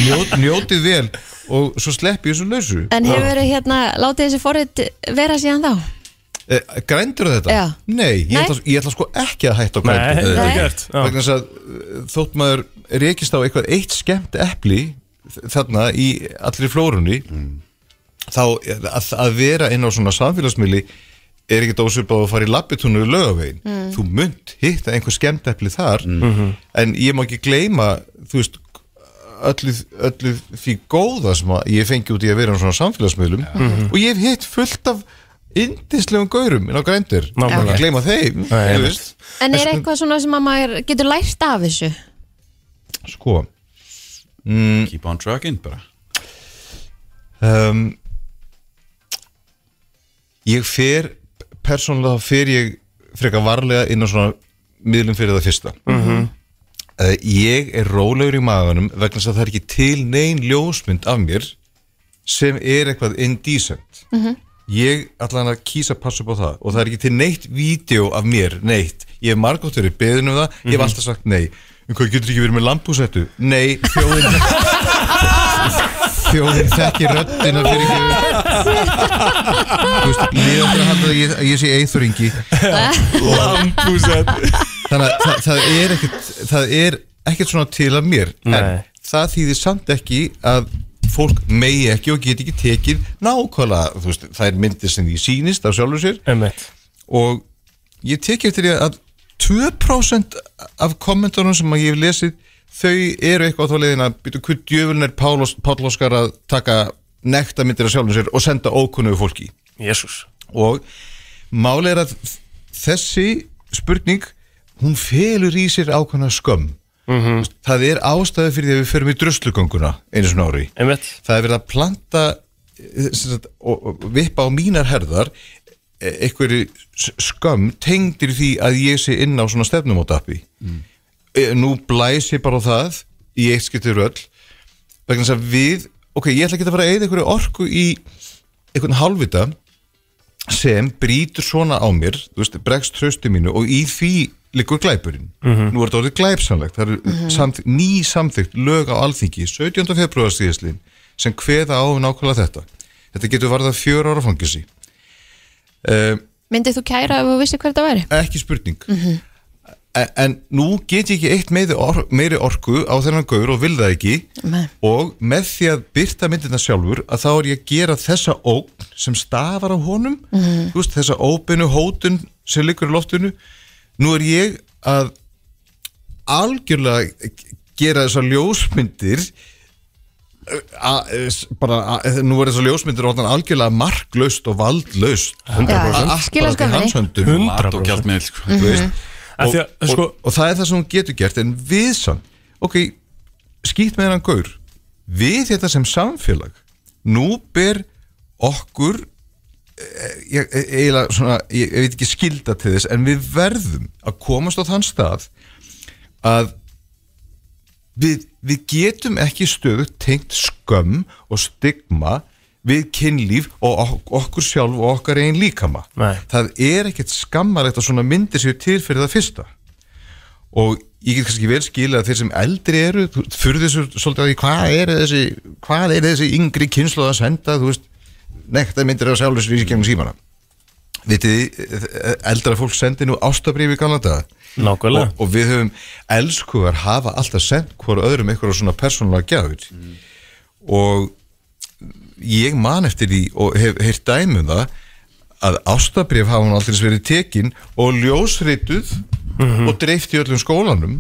[SPEAKER 9] Njót, njótið vel og svo sleppi ég þessu lausu
[SPEAKER 2] En hefur hérna látið þessi forrið vera síðan þá?
[SPEAKER 9] Eh, Grændur þetta?
[SPEAKER 2] Já.
[SPEAKER 9] Nei, ég
[SPEAKER 2] Nei.
[SPEAKER 9] ætla, ég ætla sko ekki að hætta á
[SPEAKER 1] Nei,
[SPEAKER 9] grændur
[SPEAKER 1] þetta
[SPEAKER 2] Nei.
[SPEAKER 1] er gert já.
[SPEAKER 9] vegna þess að uh, þótt maður rekist á eitthvað eitt skemmt epli þ- þarna í allri flórunni þá eh, að, að vera inn á svona samfélagsmiðli er ekkert ósvip á að fara í lappitúnu í lögavegin,
[SPEAKER 2] Mm.
[SPEAKER 9] þú munt hitta einhver skemmt epli þar
[SPEAKER 1] Mhm.
[SPEAKER 9] en ég má ekki gleyma þú veist öllu, öllu því góða sem að ég fengi út í að vera á svona samfélagsmiðlum
[SPEAKER 1] Mhm.
[SPEAKER 9] og ég hef hitt fullt af indislegum gaurum inn á grændur, má
[SPEAKER 1] Nákvæmlega.
[SPEAKER 9] ekki gleyma þeim
[SPEAKER 1] Nei,
[SPEAKER 9] þú
[SPEAKER 1] einmitt.
[SPEAKER 9] veist
[SPEAKER 2] En er eitthvað svona sem að maður getur lært af þessu?
[SPEAKER 9] sko
[SPEAKER 3] Keep on trucking bara
[SPEAKER 9] um, ég fer persónulega þá fer ég frekar varlega inn á svona miðlum fyrir það fyrsta uh, ég er rólegur í maðanum vegna þess að það er ekki til neyn ljósmynd af mér sem er eitthvað indecent ég allan að kýsa að passa upp á það og það er ekki til neitt vídeo af mér, neitt ég hef margótt verið beðin um það ég hef alltaf sagt nei en hvað getur ekki verið með lambúsettu? nei, þjóðin þjóðin þekkir röddina fyrir ekki þú veist, líðan fyrir að halda að ég, að ég sé eithöringi
[SPEAKER 1] Lambúsett
[SPEAKER 9] þannig að það, það er ekkert það er ekkert svona til að mér en
[SPEAKER 1] Nei.
[SPEAKER 9] það þýðir samt ekki að fólk megi ekki og get ekki tekið nákvæmlega, þú veist, það er myndir sem því sýnist af sjálfur sér
[SPEAKER 1] Emmett
[SPEAKER 9] og ég teki eftir því að 2% af kommentunum sem að ég hef lesið þau eru eitthvað á þá leiðin að byrja hvern djöfulin er Pál Ós- Páll Óskar að taka nekta myndir af sjálfum sér og senda ókunnugu fólki
[SPEAKER 1] Jésús
[SPEAKER 9] og máli er að þessi spurning hún felur í sér ákvæmna skömm -hmm. það er ástæði fyrir því að við förum í druslugönguna einu svona ári
[SPEAKER 1] Emmett
[SPEAKER 9] það er verið að planta eh, sem sagt, og, og vippa á mínar herðar eh, einhverju s- skömm tengdir því að ég sé inn á svona stefnumótappi mm. nú blæs ég bara á það í eitt skiptir öll vegna þess að við, ok, ég ætla ekki að fara að eyða einhverju orku í einhvern halvvita sem brýtur svona á mér, þú veist, bregst tröstu mínu og í því liggur glæpurinn nú er þetta orðið glæpsamlegt það er mm ný samþygt lög á alþingi 17. februar síðastlín sem kveða á um nákvæmlega þetta þetta getur varða fjör ára fangisi um,
[SPEAKER 2] Myndið þú kæra ef þú vissir hver þetta væri?
[SPEAKER 9] ekki spurning en, en nú get ég ekki eitt meiri, or meiri orku á þennan gaur og vil það ekki
[SPEAKER 2] Nei.
[SPEAKER 9] og með því að byrta myndina sjálfur að þá er ég að gera þessa ógn sem stafar á honum
[SPEAKER 2] Mhm.
[SPEAKER 9] mm. veist, þessa óbeinu hótun sem liggur í loftinu nú er ég að algjörlega gera þessar ljósmyndir a, s- bara, a, nú er þessar ljósmyndir orðnar algjörlega marklaust og valdlaust 100%
[SPEAKER 2] Já, skil á
[SPEAKER 9] Bara í
[SPEAKER 2] skömminni.
[SPEAKER 9] hans höndum
[SPEAKER 3] Mat og
[SPEAKER 1] 100%
[SPEAKER 3] gjald með sko.
[SPEAKER 9] Þú veist
[SPEAKER 1] Af
[SPEAKER 9] og,
[SPEAKER 1] því að, sko-
[SPEAKER 9] og, og það er það sem hún getur gert en við samt, ok skýt með hann gaur við þetta sem samfélag nú ber okkur eh, ég, ég- eiginlega svona, ég, ég veit ekki skilda til þess en við verðum að komast á þann stað að við, við getum ekki stöðugt tengt skömm og stigma við kynlíf og ok- okkur sjálf og okkar einn líkama
[SPEAKER 1] Nei.
[SPEAKER 9] það er ekkert skammarlegt að svona myndir sér til fyrir það fyrsta og ég get kannski vel skilið að þeir sem eldri eru þú- fyrir þessu svolítið á því hvað er þessi, hvað er þessi yngri kynslu að senda þú veist, nektar myndir að sjálfur sér í gegnum símana vitið, þið, eh, eldra fólk sendi nú ástabrýfi í Kanada
[SPEAKER 1] Nákvæmlega.
[SPEAKER 9] og, og við höfum elskuðar hafa alltaf sendt hvora öðrum eitthvað svona persónulega gjafir og ég man eftir því og hef heyrt dæmum það að ástabrif hafa hún aldrei verið tekin og ljósrituð og dreift í öllum skólanum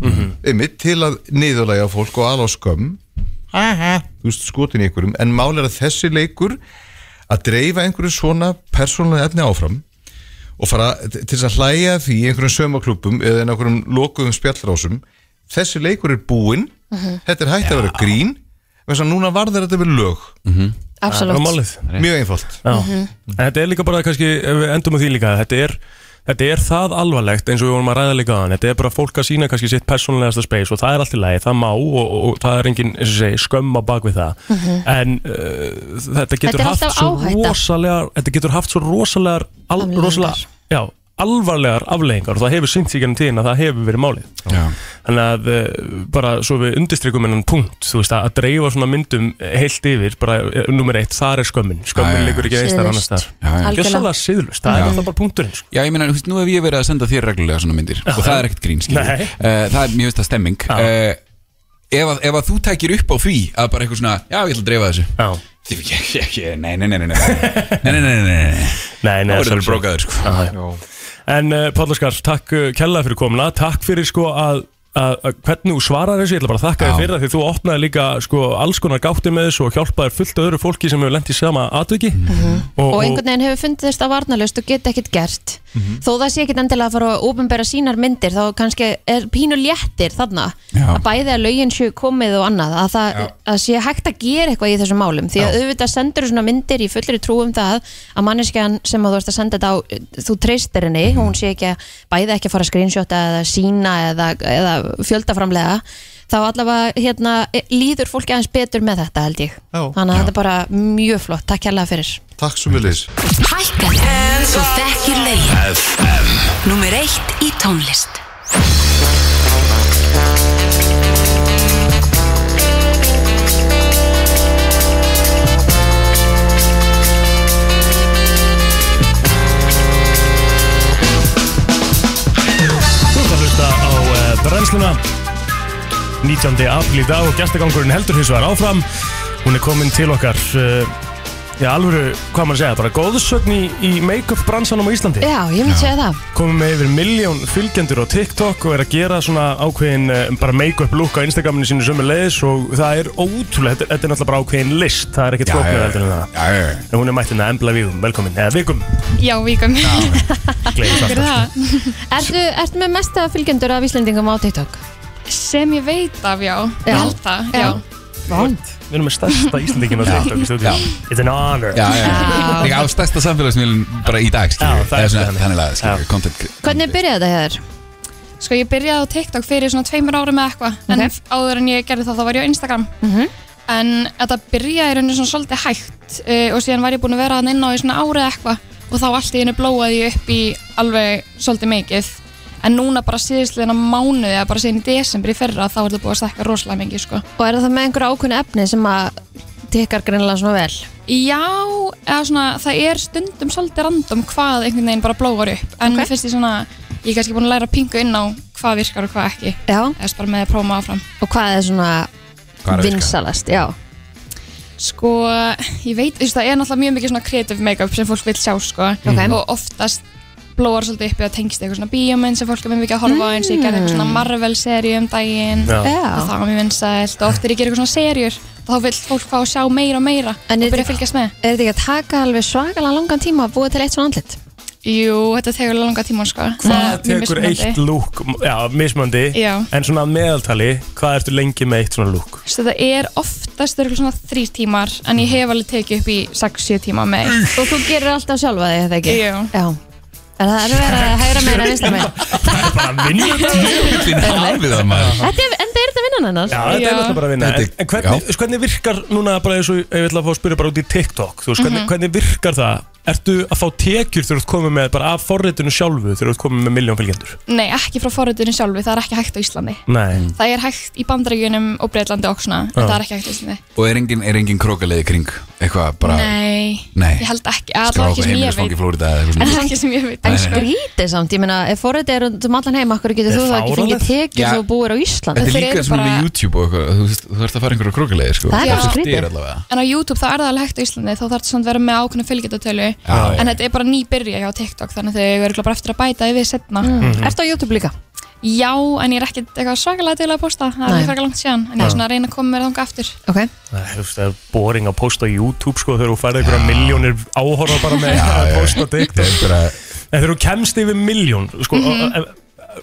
[SPEAKER 9] einmitt til að niðurlæga fólk og alá skömm þú veist skotin í einhverjum en mál er að þessi leikur að dreifa einhverju svona persónulega efni áfram og fara til þess að hlæja að því í einhverjum sömaklúpum eða í einhverjum lokuðum spjallrásum þessi leikur er búinn þetta er hægt að vera grín þess að núna varðar þetta verið lög
[SPEAKER 1] Það er
[SPEAKER 2] Absolutt
[SPEAKER 1] málið
[SPEAKER 9] mjög einfalt
[SPEAKER 1] Já,
[SPEAKER 2] Mhm.
[SPEAKER 1] en þetta er líka bara kannski, ef við endum á því líka, þetta er, þetta er það alvarlegt eins og við vorum að ræða líka aðan, þetta er bara fólk að sína kannski sitt persónlegasta space og það er allt í lagi, það má og, og, og það er engin, eins og segi, skömm á bak við það, en uh, þetta getur
[SPEAKER 2] Mhm. Þetta er
[SPEAKER 1] haft
[SPEAKER 2] alltaf
[SPEAKER 1] svo
[SPEAKER 2] áhætta.
[SPEAKER 1] rosalega, þetta getur haft svo rosalegar, al,
[SPEAKER 2] Afleiðingar.
[SPEAKER 1] rosalega, já, alvarlegar afleggingar og það hefur synt sig gennum tíðin að það hefur verið málið.
[SPEAKER 3] Já.
[SPEAKER 1] Þannig að eh, bara svo við undirstrykum hennan punkt, þú veist, að að dreifa svona myndum heilt yfir, bara eh, nummer eitt, þar er
[SPEAKER 3] Já,
[SPEAKER 1] skömmin,
[SPEAKER 3] já.
[SPEAKER 1] skömmin liggur ekki einstar annars þar.
[SPEAKER 2] Siðlaust.
[SPEAKER 3] Já, já.
[SPEAKER 1] Gjössalega
[SPEAKER 2] Algjörlega
[SPEAKER 1] siðlust, það er alltaf bara punkturinn sko.
[SPEAKER 3] Já, ég meina, þú veist, nú hef ég verið að senda þér reglulega svona myndir og það er ekkert grín, skilur
[SPEAKER 1] Nei.
[SPEAKER 3] uh, Það er, mér finnst það stemming
[SPEAKER 1] Já.
[SPEAKER 3] uh, ef, að, ef að þú tækir upp á því að bara eitthvað svona, já, ég ætla að dreifa þessu (laughs)
[SPEAKER 1] Já,
[SPEAKER 3] Því, ég, ég, ég, nei, nei, nei, nei Nei, nei, nei, nei, nei, nei, nei.
[SPEAKER 1] nei,
[SPEAKER 3] Það
[SPEAKER 1] nei sjálfsögðu.
[SPEAKER 3] verður brókaður, sko
[SPEAKER 1] Já, já. En uh, Pállaskar, takk uh, kella fyrir komuna Takk fyrir sko að að- að hvernig þú svarar þessu, ég ætla bara að þakka þér
[SPEAKER 3] Já.
[SPEAKER 1] fyrir það því þú opnaði líka sko alls konar gáttir með þessu og hjálpaði fullt af öðru fólki sem hefur lent í sama atviki
[SPEAKER 2] Mhm. og einhvern veginn hefur fundist að varnalust og geta ekkert gert þó það sé ekkert endilega að fara að ofinbera sínar myndir þá kannski er pínu léttir þarna
[SPEAKER 3] Já.
[SPEAKER 2] að bæði að lögin séu komið og annað að það að sé hægt að gera eitthvað í þessum málum því að auðvitað sendur svona myndir í fullri trú um það að manneskjan sem að þú ert að senda þetta á þú treystir henni, hún sé ekki að bæði ekki að fara að screenshota eða sína eða, eða fjöldaframlega þá allavega hérna, líður fólki aðeins betur með þetta held ég
[SPEAKER 9] Já.
[SPEAKER 2] þannig að þetta er bara mjög flott, takk hérlega fyrir
[SPEAKER 9] Takk svo mjög leys
[SPEAKER 10] Hækkan Þú þekkir lögin FM Númer eitt í tónlist
[SPEAKER 1] Þú ert að hlusta á uh, brennsluna 19. apríl í dag og gestagangurinn heldur hins vegar áfram Hún er komin til okkar uh, Já, alvöru, hvað maður að segja, bara góðsögn í, í make-up bransanum á Íslandi
[SPEAKER 2] Já, ég myndi segja það
[SPEAKER 1] komum með yfir miljón fylgjendur á TikTok og er að gera svona ákveðin eh, bara make-up look á Instagraminu sínu sömu leiðis og það er ótrúlega, þetta, þetta er náttúrulega bara ákveðin list, það er ekkert flóknir heldur en það.
[SPEAKER 3] já, já, já.
[SPEAKER 1] En hún er mættin að embla vígum, velkomin, Eh, eða vikum,
[SPEAKER 7] Já, vikum
[SPEAKER 1] gleymið það.
[SPEAKER 7] Það
[SPEAKER 2] Ertu, ertu með mesta fylgjendur af Íslendingum á TikTok?
[SPEAKER 7] sem ég veit af, já Ég held það, já
[SPEAKER 2] Vánd
[SPEAKER 1] Við erum með stærsta Íslandingin á TikTok í stúdíu. It's an honor.
[SPEAKER 3] Já, já, já. Líka á stærsta samfélagsmiðlun bara í dag, skilur
[SPEAKER 1] Já, það er
[SPEAKER 3] Eða svona
[SPEAKER 1] þannig.
[SPEAKER 3] Þannig lagað, skilur,
[SPEAKER 1] Já.
[SPEAKER 3] content
[SPEAKER 2] Hvernig byrjaði þetta hér?
[SPEAKER 7] Sko, ég byrjaði á TikTok fyrir svona tveimur árum eða eitthvað En áður en ég gerði það, þá var ég á Instagram En þetta byrjaði í rauninu svona svolítið hægt uh, Og síðan var ég búin að vera hann inn á í svona árið eitthvað Og þá allt í henni blóaði ég upp í alveg svolítið mikið En núna bara síðislega mánuði eða bara síðan í desember í fyrra Þá er það búið að stekka rosalega mikið, sko
[SPEAKER 2] Og er það með einhverja ákveðna efni sem að tikkar greinlega svona vel?
[SPEAKER 7] Já, eða svona, það er stundum svolítið random hvað einhvern veginn bara blóvar upp en mér finnst ég svona, ég er kannski búin að læra pingu inn á hvað virkar og hvað ekki
[SPEAKER 2] Já
[SPEAKER 7] eða þess bara með að prófa maður áfram
[SPEAKER 2] Og hvað er svona
[SPEAKER 3] Hvað er að virka?
[SPEAKER 2] vinsalast? Já
[SPEAKER 7] Sko, ég veit, þú veist, það er náttúrulega mjög mikið svona creative make-up sem fólk vil sjá, sko
[SPEAKER 2] Ok.
[SPEAKER 7] og oftast blóvar svolítið upp eða tengst eitthvað svona bíómynd sem fólk er mjög mikið að horfa á eins og ég gerði eitthvað
[SPEAKER 2] Mm.
[SPEAKER 7] svona Marvel-seríu um daginn
[SPEAKER 1] Já.
[SPEAKER 7] og
[SPEAKER 2] Já
[SPEAKER 7] það var mjög vinsælt og oft er ég að gera eitthvað svona serjur og þá vil fólk fá að sjá meira og meira
[SPEAKER 2] En
[SPEAKER 7] og
[SPEAKER 2] er
[SPEAKER 7] byrja að
[SPEAKER 2] þetta-
[SPEAKER 7] fylgjast með
[SPEAKER 2] Er þetta ekki að taka alveg svakalega langan tíma að búa til eitt svona andlit?
[SPEAKER 7] Jú, þetta tekur langa tíma sko
[SPEAKER 1] Hvað
[SPEAKER 7] Það er mjög
[SPEAKER 1] tekur
[SPEAKER 7] mismunandi.
[SPEAKER 1] eitt lúk Já, mismöndi
[SPEAKER 7] Já.
[SPEAKER 1] En svona að meðaltali, hvað ertu lengi með eitt svona lúk?
[SPEAKER 7] Svo þetta er oftast örgulega svona þrýr tímar en ég hef alveg tekið upp í 6-7 tíma með eitt.
[SPEAKER 2] Og þú gerir alltaf sjálfa þig, er það ekki?
[SPEAKER 7] Jú.
[SPEAKER 2] Já. En það er verið að hægra meira en
[SPEAKER 3] (laughs)
[SPEAKER 2] vinstra meira.
[SPEAKER 1] Bara
[SPEAKER 7] (laughs)
[SPEAKER 1] vinna
[SPEAKER 9] Bíllinn hafið það maður
[SPEAKER 2] Þetta er, en það er þetta vinnan hennar.
[SPEAKER 1] Já, þetta
[SPEAKER 7] Já.
[SPEAKER 1] er náttúrulega bara að vinna
[SPEAKER 9] Þetta
[SPEAKER 1] En,
[SPEAKER 9] er-
[SPEAKER 1] en hvernig, veist, hvernig virkar núna bara eins og ég vil að fá að spyrja bara út í TikTok Þú veist,
[SPEAKER 7] Mhm.
[SPEAKER 1] hvernig, hvernig virkar það? Ertu að fá tekjur þegar þú ert komið með bara af forritinu sjálfu þegar þú ert komið með miljón fylgjendur?
[SPEAKER 7] Nei, ekki frá forritunni sjálfu, það er ekki hægt á Íslandi.
[SPEAKER 1] Nei
[SPEAKER 7] Það er hægt í Bandaríkjunum og Breitlandi og svona, en
[SPEAKER 1] Já.
[SPEAKER 7] það er ekki hægt á Íslandi.
[SPEAKER 3] Og er engin, er engin krókaleið kring eitthvað bara
[SPEAKER 7] Nei,
[SPEAKER 3] Nei.
[SPEAKER 7] ég held ekki, að það
[SPEAKER 3] skrá
[SPEAKER 7] er
[SPEAKER 3] okkur
[SPEAKER 7] ekki sem ég
[SPEAKER 3] heimilisfang í
[SPEAKER 7] veit.
[SPEAKER 3] Flórida eða eitthvað
[SPEAKER 7] En
[SPEAKER 3] svona.
[SPEAKER 7] það er ekki sem ég veit.
[SPEAKER 2] En
[SPEAKER 7] sko.
[SPEAKER 2] skrítið samt, ég meina, ef forrið er um allan heim, akkur getur
[SPEAKER 1] Er
[SPEAKER 2] þú þá ekki fengið
[SPEAKER 1] fáránlegt?
[SPEAKER 2] tekið
[SPEAKER 3] Já.
[SPEAKER 2] þú búir á Íslandi?
[SPEAKER 3] Þetta
[SPEAKER 7] þeir
[SPEAKER 3] er líka
[SPEAKER 7] eru
[SPEAKER 3] eins og með
[SPEAKER 7] bara-
[SPEAKER 3] YouTube og eitthvað Þú veist, þú ert að fara einhverja krókaleið sko
[SPEAKER 2] Það er bara
[SPEAKER 7] Já.
[SPEAKER 3] Þetta
[SPEAKER 2] skrítið.
[SPEAKER 3] allavega
[SPEAKER 7] En á YouTube það er það alveg hægt á Íslandi, þá þarf það samt að vera með ákveðna fylgjendatölu.
[SPEAKER 3] Já, já.
[SPEAKER 7] En þetta er bara nýbyrja hjá TikTok, þannig að þau eru örugglega bara eftir að bæta yfir setna.
[SPEAKER 3] Mhm.
[SPEAKER 2] Ertu á YouTube líka?
[SPEAKER 7] Já, en ég er ekkert eitthvað svakalega til að posta, það
[SPEAKER 2] Nei.
[SPEAKER 7] er frekar langt síðan, en ég er svona að reyna að koma mér þangað aftur.
[SPEAKER 2] Ok.
[SPEAKER 1] Nei, Þú veist, það er boring að posta á YouTube sko þegar þú færði einhverja miljónir áhorfa bara með að posta á
[SPEAKER 3] Þetta
[SPEAKER 1] TikTok
[SPEAKER 3] er bara
[SPEAKER 1] En þegar þú kemst yfir miljón sko,
[SPEAKER 7] Mhm.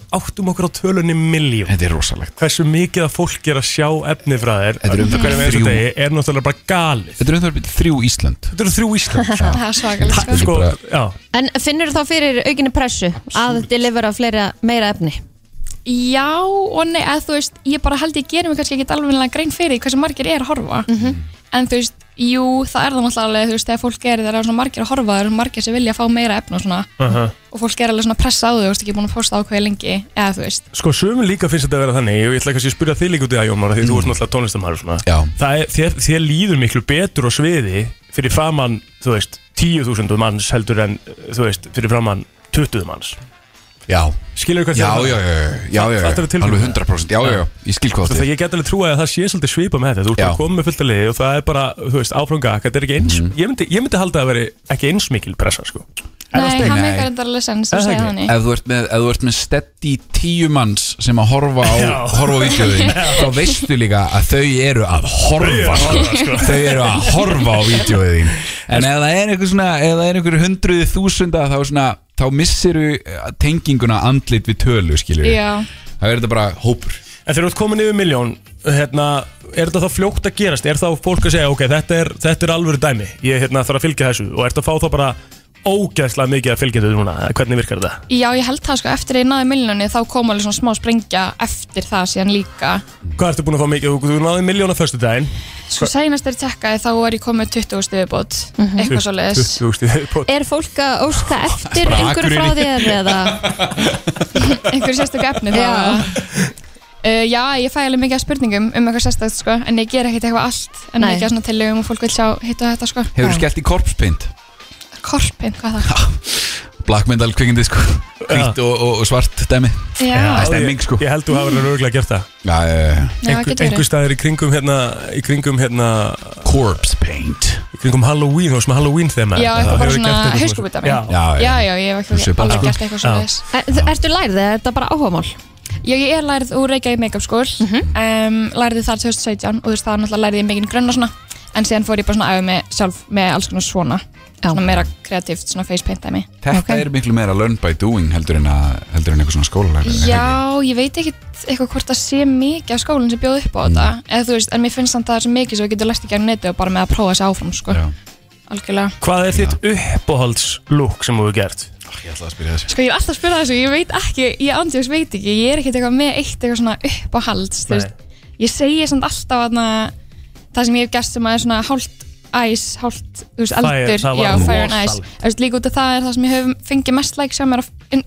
[SPEAKER 1] áttum okkur á tölunni miljón
[SPEAKER 3] Þetta er rosalegt
[SPEAKER 1] Hversu mikið að fólk er að sjá efni frá þér
[SPEAKER 3] Þetta er um það
[SPEAKER 1] hverjum
[SPEAKER 3] bil
[SPEAKER 1] einasta
[SPEAKER 3] þrjú.
[SPEAKER 1] degi er náttúrulega bara galið
[SPEAKER 3] Þetta er um það þrjú Ísland
[SPEAKER 1] Þetta eru þrjú Ísland
[SPEAKER 7] Það er svakalega, sko.
[SPEAKER 1] sko,
[SPEAKER 3] bara-
[SPEAKER 1] já,
[SPEAKER 2] En finnur þá fyrir aukinni pressu að delivera fleira, meira efni?
[SPEAKER 7] Já og nei, eða þú veist, ég bara held ég gerum mig kannski ekki alveg grein fyrir því hversu margir er að horfa en þú veist, jú, það er það náttúrulega alveg, þú veist, þegar fólk er, það eru svona margir að horfa það eru margir sem vilja að fá meira efni og svona
[SPEAKER 1] Aha.
[SPEAKER 7] og fólk er alveg svona pressa á þau, þú veist, ekki búin að posta á hvað lengi eða þú veist,
[SPEAKER 1] Sko, sömum líka finnst þetta að vera þannig og ég ætla kannski að spyrja þig líka út í það, Jómar af því þú ert náttúrulega tónlistamæður svona
[SPEAKER 3] Mm. Já.
[SPEAKER 1] Það er, þér, þér líður miklu betur á sviði fyrir framann, þú veist, 10.000 manns heldur en, þú veist, fyrir framann 20 manns
[SPEAKER 3] Já
[SPEAKER 1] Skilur hvað
[SPEAKER 3] Já, já, já, já, já, já,
[SPEAKER 1] Fattar þú
[SPEAKER 3] já.
[SPEAKER 1] tilfinninguna?
[SPEAKER 3] alveg 100% Já, já, já, ég skil hvað
[SPEAKER 1] Það
[SPEAKER 3] þetta
[SPEAKER 1] ég get alveg trúið að það sé svolítið svipa með þetta Þú ert
[SPEAKER 3] Já. Mhm.
[SPEAKER 1] að koma með fullt að liði og það er bara, þú veist, áframgak Þetta er ekki eins, ég, myndi, ég myndi halda að veri ekki eins mikil pressa, sko
[SPEAKER 7] nei,
[SPEAKER 3] stein?
[SPEAKER 7] hann
[SPEAKER 3] Nei.
[SPEAKER 7] meikar þetta alveg sens
[SPEAKER 1] Er
[SPEAKER 7] þú
[SPEAKER 1] það
[SPEAKER 7] segja
[SPEAKER 1] ekki?
[SPEAKER 7] þannig,
[SPEAKER 3] Ef þú ert með, ef þú ert með steady tíu manns sem að horfa á,
[SPEAKER 1] Já.
[SPEAKER 3] horfa á (laughs) vídeoðin þá veistu líka að þau eru að horfa sko. þau eru að horfa á vídeoðin en ef það er einhver svona ef það er einhver hundruði þúsunda þá svona þá missiru tenginguna andlit við tölu skilur
[SPEAKER 7] Já.
[SPEAKER 3] það er þetta bara hópur
[SPEAKER 1] En þegar þú ert komin yfir miljón hérna, Er þetta þá fljótt að gerast? Er þá fólk að segja, ok, þetta er, þetta er alvöru dæmi Ég hérna, þarf að fylgja þessu Og ert að fá þá bara ógæðslega mikið að fylgja þetta núna eða Hvernig virkar þetta?
[SPEAKER 7] já, ég held það sko, eftir að ég náði miljónu þá kom alveg svona smá sprengja eftir það síðan líka
[SPEAKER 1] Hvað ertu búin að fá mikið? Þú, þú náði miljón á föstu daginn
[SPEAKER 7] sko, sænast er tekkaði þá var ég komið 20 stöðubót, eitthvað svo
[SPEAKER 2] Er fólk að óska eftir
[SPEAKER 3] Bara
[SPEAKER 2] einhverju frá þér eða?
[SPEAKER 7] einhver sérstök efni þá
[SPEAKER 2] Já.
[SPEAKER 7] Uh, já, ég fæ alveg mikið af spurningum um eitthvað sérstakt sko, en ég ger ekkert eitthvað allt
[SPEAKER 2] Nei.
[SPEAKER 7] en Nei. mikið af svona tillögum og fólk vil sjá hitt og þetta sko.
[SPEAKER 3] hefur þú skellt í korpspint
[SPEAKER 7] Korpinn, hvað er það?
[SPEAKER 3] black metal kvikindi sko hvít og, og, og svart dæmi
[SPEAKER 7] Já,
[SPEAKER 3] það er stemming sko
[SPEAKER 1] Ég held þú hafa verið örgulega gert það
[SPEAKER 3] Já, já, já, já.
[SPEAKER 7] Já, það
[SPEAKER 1] Einhver,
[SPEAKER 7] getur verið.
[SPEAKER 1] einhver staðir í kringum hérna Í kringum hérna
[SPEAKER 3] corpse paint
[SPEAKER 1] Í kringum Halloween og sem Halloween þema
[SPEAKER 7] Já, eitthvað bara svona hauskúpudæmi.
[SPEAKER 1] Já,
[SPEAKER 3] já,
[SPEAKER 7] já, já, ég hef
[SPEAKER 3] Þú sé
[SPEAKER 7] ekki
[SPEAKER 3] bara,
[SPEAKER 7] alveg
[SPEAKER 3] sko.
[SPEAKER 7] gert eitthvað svo
[SPEAKER 1] Já.
[SPEAKER 7] þess.
[SPEAKER 2] Er, ertu lærið eða er þetta bara áhugamál?
[SPEAKER 7] Já, ég er lærið úr Reykjavík Makeup School,
[SPEAKER 2] Mhm.
[SPEAKER 7] um, lærið þar 2017 og þú veist það náttúrulega lærið ég mikið grönn og svona, en síðan fór ég bara svona að æfa mig sjálf með alls konar svona,
[SPEAKER 2] Já.
[SPEAKER 7] svona meira kreatíft, svona facepaint dæmi.
[SPEAKER 3] Þetta
[SPEAKER 2] Ok.
[SPEAKER 3] er miklu meira learn by doing heldur en, að, heldur en eitthvað svona skólalæri
[SPEAKER 7] Já, ég veit ekki eitthvað hvort það sé mikið af skólinn sem bjóð upp á þetta
[SPEAKER 1] Mm.
[SPEAKER 7] eða þú veist, en mér finnst samt að það er svo mikið sem við getum lært ekki á netu og bara með að prófa þessi áfram sko,
[SPEAKER 3] Já.
[SPEAKER 7] algjörlega
[SPEAKER 1] Hvað er þitt uppáhaldslúk sem þú hefur gert?
[SPEAKER 3] Ég ætlaði að spyrja þessu
[SPEAKER 7] Sko ég er alltaf að spyrja þessu, ég veit ekki, ég andjóks veit ekki ég er ekkert eitthvað með eitt eitthvað svona upp á hald þú veist, ég segi samt alltaf aðna, það sem ég hef gert sem að er svona hálft æs, hálft, þú veist,
[SPEAKER 1] Fire,
[SPEAKER 7] eldur
[SPEAKER 1] það var
[SPEAKER 7] já, fire and ice,
[SPEAKER 1] rosalegt.
[SPEAKER 7] Þú veist, líka út af það er það sem ég hef fengið mest like sem er á,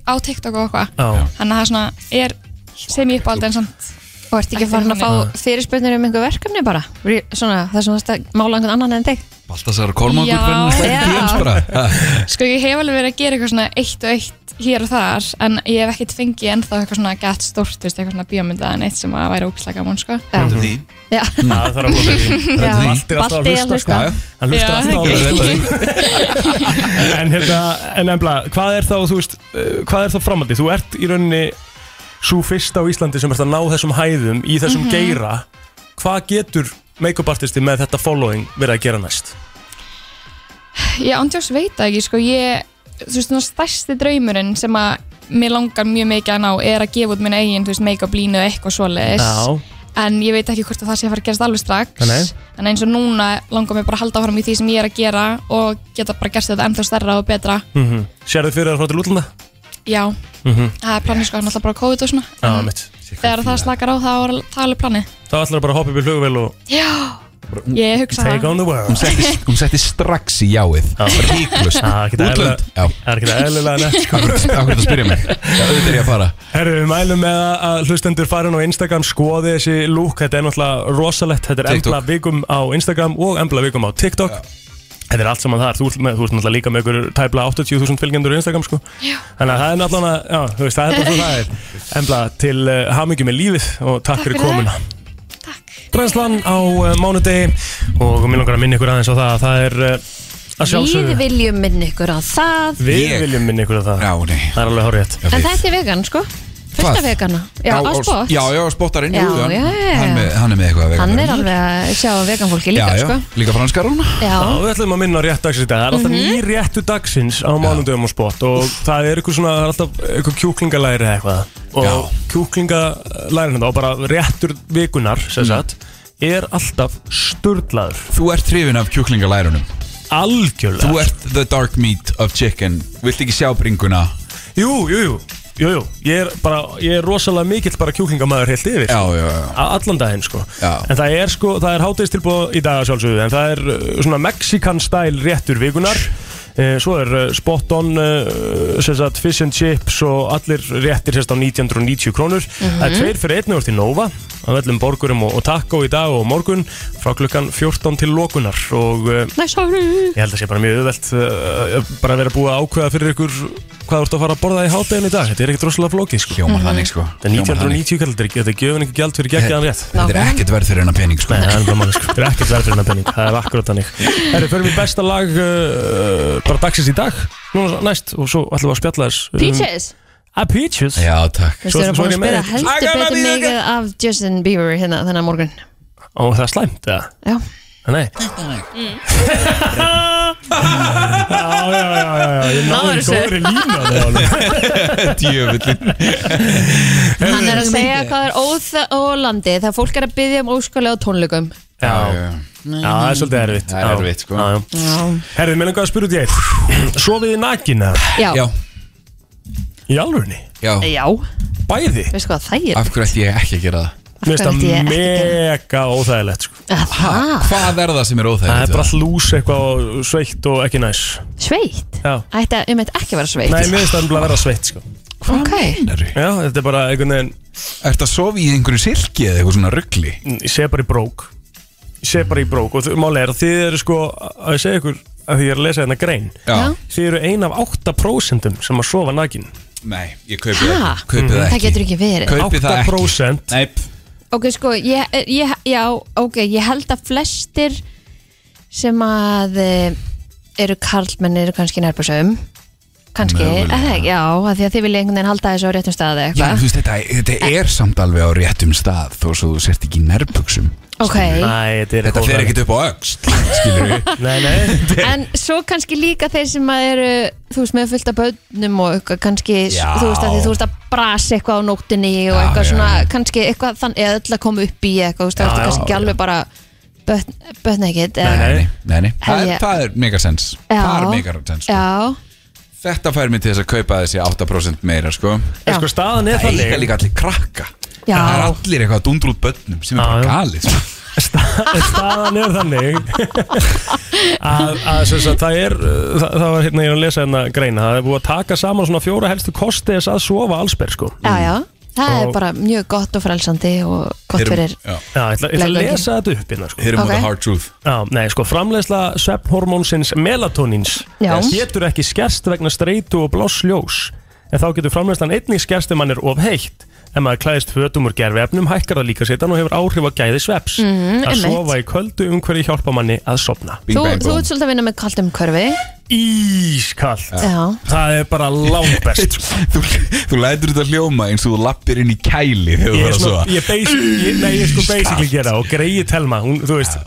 [SPEAKER 7] á TikTok og eitthvað
[SPEAKER 1] Já.
[SPEAKER 7] þannig að það er svona, er sem ég upp á hald en samt
[SPEAKER 2] Og ert ekki
[SPEAKER 7] Ekki
[SPEAKER 2] farin að
[SPEAKER 7] þannig.
[SPEAKER 2] fá fyrirspurnir um einhver verkefni bara? Re- Svona, það sem það mála einhvern annan en þig?
[SPEAKER 3] Baltasar Kormákur
[SPEAKER 7] Já,
[SPEAKER 3] brennur stærn
[SPEAKER 2] já.
[SPEAKER 3] DMs bara Ha,
[SPEAKER 7] Sko ég hef alveg verið að gera eitthvað svona eitt og eitt hér og þar en ég hef ekkert fengið ennþá eitthvað svona gætt stórt, þú veist, eitthvað svona bíómyndað en eitt sem að væri ógislega gaman, sko.
[SPEAKER 2] Já.
[SPEAKER 3] því.
[SPEAKER 2] Já.
[SPEAKER 1] Það þarf að koma því
[SPEAKER 2] Já.
[SPEAKER 1] Balti er alltaf að
[SPEAKER 2] Balti
[SPEAKER 1] hlusta
[SPEAKER 2] er að
[SPEAKER 1] sko
[SPEAKER 2] hlusta.
[SPEAKER 1] Hann hlusta
[SPEAKER 7] Já,
[SPEAKER 1] alltaf á
[SPEAKER 3] Ég veit
[SPEAKER 1] hlusta
[SPEAKER 3] það ekki.
[SPEAKER 1] En hérna, en embla, hvað er þá, þú veist, uh, hvað er þá framhaldi? Þú ert í rauninni svo fyrst á Íslandi sem ert að ná þessum hæðum í þessum
[SPEAKER 3] Mhm.
[SPEAKER 1] geira Hvað getur make-up artisti með þetta following verið að gera næst?
[SPEAKER 7] Ég andjós veit það ekki, sko, ég þú veist, svona stærsti draumurinn sem að mér langar mjög mikið að ná er að gefa út minn eigin, þú veist, make-up línu eða eitthvað svoleiðis en ég veit ekki hvort að það sé að fara að gerast alveg strax
[SPEAKER 1] Nei.
[SPEAKER 7] en eins og núna langar mér bara að halda áfram í því sem ég er að gera og geta bara gert þetta ennþá stærra og betra
[SPEAKER 1] mm -hmm. Sérðu fyrir þér að fara til útlanda?
[SPEAKER 7] já,
[SPEAKER 1] Mm -hmm.
[SPEAKER 7] það er planið sko, náttúrulega bara COVID og svona
[SPEAKER 1] Já,
[SPEAKER 7] En
[SPEAKER 1] mitt
[SPEAKER 7] þegar það slakar á þá er það alveg planið
[SPEAKER 1] Þá ætlar bara að hoppa upp í flugvél og
[SPEAKER 7] já, ég hugsa
[SPEAKER 1] take on the world
[SPEAKER 3] Hún setti, hún setti strax í jáið Ríklust
[SPEAKER 1] Já, ekkert eðlilega-
[SPEAKER 3] Útlönd Já
[SPEAKER 1] Það er ekki það eðlilega nefnt sko.
[SPEAKER 3] Akkur þetta spyrja mig Já, auðvitað er ég að fara
[SPEAKER 1] Herru, við mælum með að- að hlustendur farin á Instagram skoði þessi lúk, þetta er náttúrulega rosalett Þetta er
[SPEAKER 3] TikTok.
[SPEAKER 1] embla vikum á Instagram og embla vikum á TikTok Þetta er allt saman þar, þú, ert með, þú ert náttúrulega líka með ykkur tæpla 80.000 fylgjendur á Instagram sko. Þannig að það er náttúrulega, já, þú veist, það er bara svo það er Embla til uh, hamingjum með lífið og takk, fyrir
[SPEAKER 7] fyrir það.
[SPEAKER 1] komuna Brænslan á uh, mánudegi og mér langar að minna ykkur aðeins á það að það er uh, að
[SPEAKER 2] Við
[SPEAKER 1] sjálfsögðu
[SPEAKER 2] viljum minn ykkur á það
[SPEAKER 1] Við
[SPEAKER 3] Ég.
[SPEAKER 1] viljum minna ykkur að það
[SPEAKER 3] Já, nei
[SPEAKER 1] Það er alveg hárétt
[SPEAKER 3] Já,
[SPEAKER 2] En
[SPEAKER 3] þið.
[SPEAKER 2] þetta er vegan, sko Fyrsta
[SPEAKER 3] Hvað?
[SPEAKER 2] vegana Já, á spott
[SPEAKER 3] Já, já, spottarinn
[SPEAKER 2] Já,
[SPEAKER 3] jú, hann-
[SPEAKER 2] já, já, já.
[SPEAKER 3] Hann, með- hann er með eitthvað að vega
[SPEAKER 2] Hann er
[SPEAKER 3] fyrir.
[SPEAKER 2] alveg að sjá vegan fólki líka,
[SPEAKER 3] já, já,
[SPEAKER 2] sko
[SPEAKER 3] Líka franskar hún
[SPEAKER 1] Já,
[SPEAKER 2] Já,
[SPEAKER 1] við ætlum að minna á rétt dagsins í dag. Það er
[SPEAKER 3] Mhm.
[SPEAKER 1] alltaf mm ný réttu dagsins á mánundöfum og spott og það er eitthvað svona, það er alltaf eitthvað kjúklingalæri eða eitthvað og
[SPEAKER 3] Já.
[SPEAKER 1] kjúklingalæri hérna og bara réttur vikunar,
[SPEAKER 3] Mhm.
[SPEAKER 1] sem sagt, er alltaf sturglaður.
[SPEAKER 3] Þú ert hrifin af kjúklingalærunum
[SPEAKER 1] Algjörlega.
[SPEAKER 3] Þú ert the dark meat of chicken Vilt ekki sjá bringuna
[SPEAKER 1] Jú, jú, jú. Jú, jú, ég er bara, ég er rosalega mikill bara kjúklingamæður heilt yfir
[SPEAKER 3] Já, já, já
[SPEAKER 1] Á allan daginn sko
[SPEAKER 3] Já.
[SPEAKER 1] En það er sko, það er hátegistilbúð í dag að sjálfsögðu En það er uh, svona Mexican style réttur vikunar Eh, Svo er uh, spot on uh, sem sagt, fish and chips og allir réttir sérst á 1990 krónur Það er tveir fyrir einn og til Nova Á öllum borgurum og, og taco í dag og morgun Frá klukkan 14 til lokunar Og uh,
[SPEAKER 2] næ, sorry
[SPEAKER 1] ég held að sé bara mjög auðvelt uh, Bara að vera búið að ákveða fyrir ykkur Hvað þú ert að fara að borða í háttegin í dag Þetta er ekkert rosalega flókið sko
[SPEAKER 2] Mhm.
[SPEAKER 3] Hjómar þannig sko
[SPEAKER 1] Þetta er
[SPEAKER 3] Hljómar þannig.
[SPEAKER 1] 1990 kallar, þetta er gjöfin ekki gjald fyrir geggjaðan rétt
[SPEAKER 3] Þetta er ekkert verð fyrir hennar pening sko
[SPEAKER 1] Nei, það er bara manni, sko. Það er ekkert verður hennar penning. Það er akkurat þannig. Herri, förum við besta lag uh, bara dagsins í dag. Núna næst og svo ætlum við að spjalla þess. um-
[SPEAKER 2] Peaches
[SPEAKER 1] Ah, Peaches.
[SPEAKER 3] Já, takk
[SPEAKER 2] Þessu
[SPEAKER 1] svo
[SPEAKER 2] eru
[SPEAKER 1] er ég
[SPEAKER 2] búin að spila
[SPEAKER 1] með.
[SPEAKER 3] I
[SPEAKER 2] heldur
[SPEAKER 3] gotta
[SPEAKER 2] betur
[SPEAKER 3] be the
[SPEAKER 2] mikið af Justin Bieber hérna þennan morgun
[SPEAKER 1] Og það er slæmt, eða?
[SPEAKER 2] Já,
[SPEAKER 1] Ah, Nei.
[SPEAKER 2] Mm.
[SPEAKER 1] já, já, já, já, já, ég náður góðri lína það alveg.
[SPEAKER 3] Djöfullin
[SPEAKER 2] hann er að segja hvað er óþa og landi þegar fólk er að byggja um óskalega tónleikum
[SPEAKER 1] Já, já, það er svolítið erfitt.
[SPEAKER 3] Það er
[SPEAKER 1] Já,
[SPEAKER 3] erfitt, sko.
[SPEAKER 1] já, já.
[SPEAKER 2] Já,
[SPEAKER 1] Herri, mér langar að spyrja út í eitt. (clears throat) Sofið þið nakin eða?
[SPEAKER 3] Já,
[SPEAKER 2] já,
[SPEAKER 1] Í alvörni?
[SPEAKER 3] já
[SPEAKER 2] já.
[SPEAKER 1] Bæði?
[SPEAKER 2] veistu hvað það
[SPEAKER 1] Ah,
[SPEAKER 2] er?
[SPEAKER 3] Af hverju ætti ég ekki að gera það?
[SPEAKER 1] Mér finnst
[SPEAKER 2] ætti ég
[SPEAKER 1] það
[SPEAKER 2] ekki að
[SPEAKER 1] mega óþægilegt, sko.
[SPEAKER 2] Eh, Það,
[SPEAKER 3] Hvað er það sem er óþægilegt?
[SPEAKER 1] Það er
[SPEAKER 3] við
[SPEAKER 1] bara lús eitthvað og sveitt og ekki næs.
[SPEAKER 2] sveitt
[SPEAKER 1] Já.
[SPEAKER 2] Ætti að, um ekki að vera sveitt
[SPEAKER 1] Nei, mér finnst það bara að vera sveitt sko
[SPEAKER 2] Ok,
[SPEAKER 3] Meinarðu?
[SPEAKER 1] Já, þetta er bara einhvern veginn
[SPEAKER 3] Ertu að sofa í einhverju silki eða eitthvað svona ruggli?
[SPEAKER 1] Ég sé bara í brók Ég sé bara í brók og þau- málið er að þið eru sko að ég segja ykkur að því ég er að lesa hérna grein
[SPEAKER 2] Já.
[SPEAKER 1] Þið eru ein af 8% sem að sofa nakin
[SPEAKER 3] Nei, ég kaupi það
[SPEAKER 2] Ha?
[SPEAKER 3] ekki Kaupi það
[SPEAKER 2] það
[SPEAKER 3] ekki
[SPEAKER 2] getur ekki verið
[SPEAKER 3] Kaupi það ekki
[SPEAKER 1] 8%
[SPEAKER 3] Nei,
[SPEAKER 2] Ok, sko, ég, ég, já, ok, ég held að flestir sem að eh, eru karlmenn eru kannski nærbúrsöfum kannski,
[SPEAKER 3] Mögulega.
[SPEAKER 2] eða ekki, já, að því að þið vilja einhvern veginn halda þessu á réttum staði
[SPEAKER 3] Já, þú
[SPEAKER 2] eitthvað
[SPEAKER 3] veist, þetta, þetta
[SPEAKER 2] Eh.
[SPEAKER 3] er samt alveg á réttum stað þó svo þú sért ekki í nærbuksum
[SPEAKER 2] Ok,
[SPEAKER 1] Nei, þetta er
[SPEAKER 3] Þetta fer ekkert upp á öxt skilur við
[SPEAKER 1] Nei, nei,
[SPEAKER 2] (laughs) en svo kannski líka þeir sem að eru, þú veist, með fullt af bönnum og eitthvað, kannski,
[SPEAKER 3] Já.
[SPEAKER 2] þú veist, að því þú veist að brasa eitthvað á nóttinni og
[SPEAKER 3] Já,
[SPEAKER 2] eitthvað
[SPEAKER 3] já,
[SPEAKER 2] svona,
[SPEAKER 3] já.
[SPEAKER 2] kannski eitthvað þann, eða öll að koma upp í eitthvað, þú veist, það
[SPEAKER 1] Já,
[SPEAKER 2] ertu
[SPEAKER 1] já,
[SPEAKER 2] kannski ekki alveg bara bötn, bötn ekkit
[SPEAKER 1] Nei,
[SPEAKER 3] Nei, nei, nei, það,
[SPEAKER 2] Hef
[SPEAKER 3] er,
[SPEAKER 2] ég-
[SPEAKER 3] það er megasens Það er megasens sko.
[SPEAKER 2] Já,
[SPEAKER 3] Þetta fær mér til þess að kaupa þessi 8% meira sko.
[SPEAKER 1] En
[SPEAKER 2] Já.
[SPEAKER 1] sko staðan er
[SPEAKER 3] Það eiga
[SPEAKER 1] þannig
[SPEAKER 3] líka allir krakka
[SPEAKER 2] Já.
[SPEAKER 3] Það er allir eitthvað að dundra út börnum sem er
[SPEAKER 1] Já,
[SPEAKER 3] bara
[SPEAKER 1] já.
[SPEAKER 3] galið sko.
[SPEAKER 1] En (laughs) staðan er þannig að, að sem sagt, það er uh, það, það var hérna ég er að lesa hérna greina það er búið að taka saman svona fjóra helstu kosti þess að sofa allsber sko
[SPEAKER 2] já,
[SPEAKER 3] Mm.
[SPEAKER 2] já Það
[SPEAKER 1] Og-
[SPEAKER 2] er bara mjög gott og frelsandi og gott
[SPEAKER 3] Þeir-
[SPEAKER 2] fyrir
[SPEAKER 3] já,
[SPEAKER 1] Já, ég ætla, ég ætla að
[SPEAKER 2] Leggöngin.
[SPEAKER 1] lesa þetta upp hérna sko.
[SPEAKER 3] Þeir eru
[SPEAKER 2] Ok.
[SPEAKER 3] mútið hard truth
[SPEAKER 1] Já, nei, sko, framleiðsla svefnhormónsins melatónins
[SPEAKER 2] Já.
[SPEAKER 1] getur ekki skerst vegna streitu og bláss ljós en þá getur framleiðslan einnig skerst ef mann er of heitt ef maður klæðist fötum úr gerfiefnum hækkar það líka sétan og hefur áhrif að gæði sveps
[SPEAKER 2] Mhm,
[SPEAKER 1] að
[SPEAKER 2] einmitt.
[SPEAKER 1] sofa í köldu umhverju hjálpa manni að sopna
[SPEAKER 3] Bing,
[SPEAKER 2] Þú,
[SPEAKER 3] bang,
[SPEAKER 2] þú
[SPEAKER 3] boom.
[SPEAKER 2] ert svolítið að vinna með kallt umhverfi
[SPEAKER 1] Ískallt
[SPEAKER 2] Já,
[SPEAKER 1] Það er bara langbest sko.
[SPEAKER 3] þú, þú lætur þetta hljóma eins og þú lappir inn í kæli þegar (laughs) þú
[SPEAKER 1] Ég er
[SPEAKER 3] verður að
[SPEAKER 1] svona,
[SPEAKER 3] sofa
[SPEAKER 1] ég basic, ég, nei, ég er sko
[SPEAKER 3] Ískalt.
[SPEAKER 1] basically gera og greið telma, hún, þú veist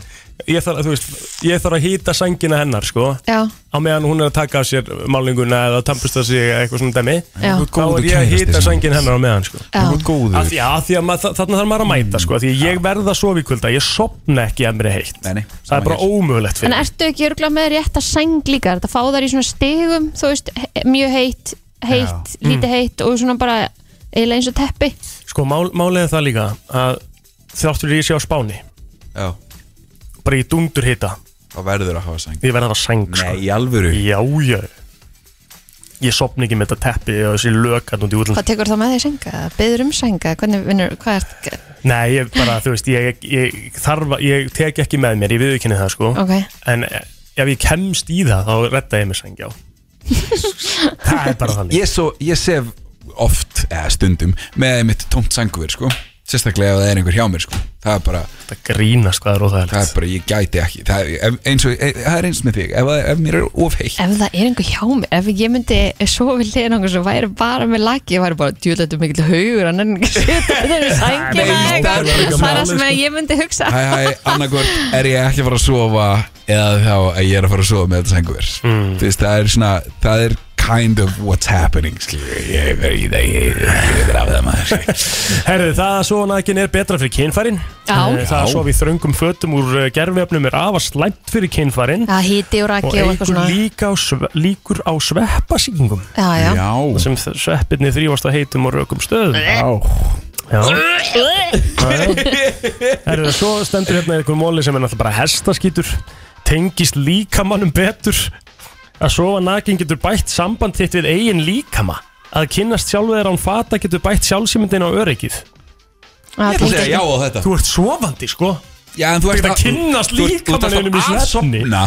[SPEAKER 1] ég þarf, þú veist, ég þarf að hýta sængina hennar sko
[SPEAKER 2] Já.
[SPEAKER 1] á meðan hún er að taka af sér málinguna eða tampusta sig eða eitthvað svona dæmi
[SPEAKER 2] Já. Þú
[SPEAKER 1] þá
[SPEAKER 2] ert góður
[SPEAKER 1] er ég að
[SPEAKER 2] kærasti
[SPEAKER 1] hýta
[SPEAKER 2] samt.
[SPEAKER 1] sængin hennar á meðan sko
[SPEAKER 2] Já. Þú ert
[SPEAKER 1] góður að því, að því að mað, þarna þarf maður að mæta sko að því að ég verða að sofa í kvölda ég sopna ekki að mér er heitt nei, nei, það er bara ómögulegt
[SPEAKER 2] En
[SPEAKER 1] fyrir mig.
[SPEAKER 2] ertu ekki örgulega með rétt að sæng líka þetta fá þar í svona stigum, þú veist he- mjög heitt, heitt,
[SPEAKER 1] Já.
[SPEAKER 2] lítið
[SPEAKER 1] Mm.
[SPEAKER 2] heitt og svona bara eiginlega eins og teppi
[SPEAKER 1] sko mál, málið er það líka að þráttur ég sé á spáni
[SPEAKER 11] Já.
[SPEAKER 1] bara í dundur hýta
[SPEAKER 11] þá verður að hafa sæng
[SPEAKER 1] Ég verða að hafa sæng sko.
[SPEAKER 11] Nei, í alvöru?
[SPEAKER 1] Já, já Ég sopna ekki með þetta teppi og þessi lök hann út í útlum
[SPEAKER 2] Hvað tekur þá með því sænga? Beður um sænga? Hvernig vinnur, hvað er
[SPEAKER 1] Nei, ég bara, þú veist, ég, ég þarf að- Ég tek ekki með mér, ég viðurkenni það sko
[SPEAKER 2] Ok.
[SPEAKER 1] En eh, ef ég kemst í það þá redda ég mér sæng,
[SPEAKER 2] (laughs)
[SPEAKER 1] já Það er bara þannig
[SPEAKER 3] Ég, svo, ég sef oft, eða stundum með einmitt tómt sængur sko sérstaklega ef það er einhver hjá mér sko það er bara
[SPEAKER 1] það grínast hvað er óþægilegt
[SPEAKER 3] það er bara, ég gæti ekki það er ef- eins, og, e, það er eins með þig ef, það- ef mér er of heitt
[SPEAKER 2] Ef það er einhver hjá mér, ef ég myndi svo við hliðin okkur sem væri bara með laki, ég væri bara djúlættu mikill haugur, hann er ekki setja þetta er
[SPEAKER 3] Nei,
[SPEAKER 2] sængina eitthvað.
[SPEAKER 3] það er bara eitthvað
[SPEAKER 2] það er það
[SPEAKER 3] málið,
[SPEAKER 2] sem
[SPEAKER 3] sko.
[SPEAKER 2] ég myndi hugsa
[SPEAKER 3] hæ hæ, annarkvort er ég ekki að fara að sofa eða þá að ég er að fara að sofa með þetta sængur mm. þú veist, það er svona það er kind of what's happening skilur, ég er í það ég ég er af það maður
[SPEAKER 1] Herðu, það að svona ekki er betra fyrir kynfærin
[SPEAKER 2] Já.
[SPEAKER 1] Eh, Það
[SPEAKER 2] Já.
[SPEAKER 1] að sofa í þröngum fötum úr gerfiöfnum er afar slæmt fyrir kynfærin
[SPEAKER 2] Já, hiti og raki og eitthvað
[SPEAKER 1] eykur
[SPEAKER 2] svona.
[SPEAKER 1] líka á sve, líkur á sveppasýkingum
[SPEAKER 2] Já, já. Já.
[SPEAKER 1] Þar sem þ- sveppirni þrývast að heitum og rökum stöðum Já, já. Herðu, svo stendur hérna einhver móli sem er náttúrulega bara hestaskítur tengist líkamannum betur að sofa nakin getur bætt samband þitt við eigin líkama að kynnast sjálfu þeirra án fata getur bætt sjálfsýmyndin á öryggið
[SPEAKER 2] Ég
[SPEAKER 3] ætla að segja já á þetta.
[SPEAKER 1] Þú ert sofandi sko
[SPEAKER 3] Já, en þú ert
[SPEAKER 1] ert að kynnast
[SPEAKER 3] þú ert- þú ert
[SPEAKER 1] líkamanninum í
[SPEAKER 3] alltaf að
[SPEAKER 1] svefni
[SPEAKER 3] sofna.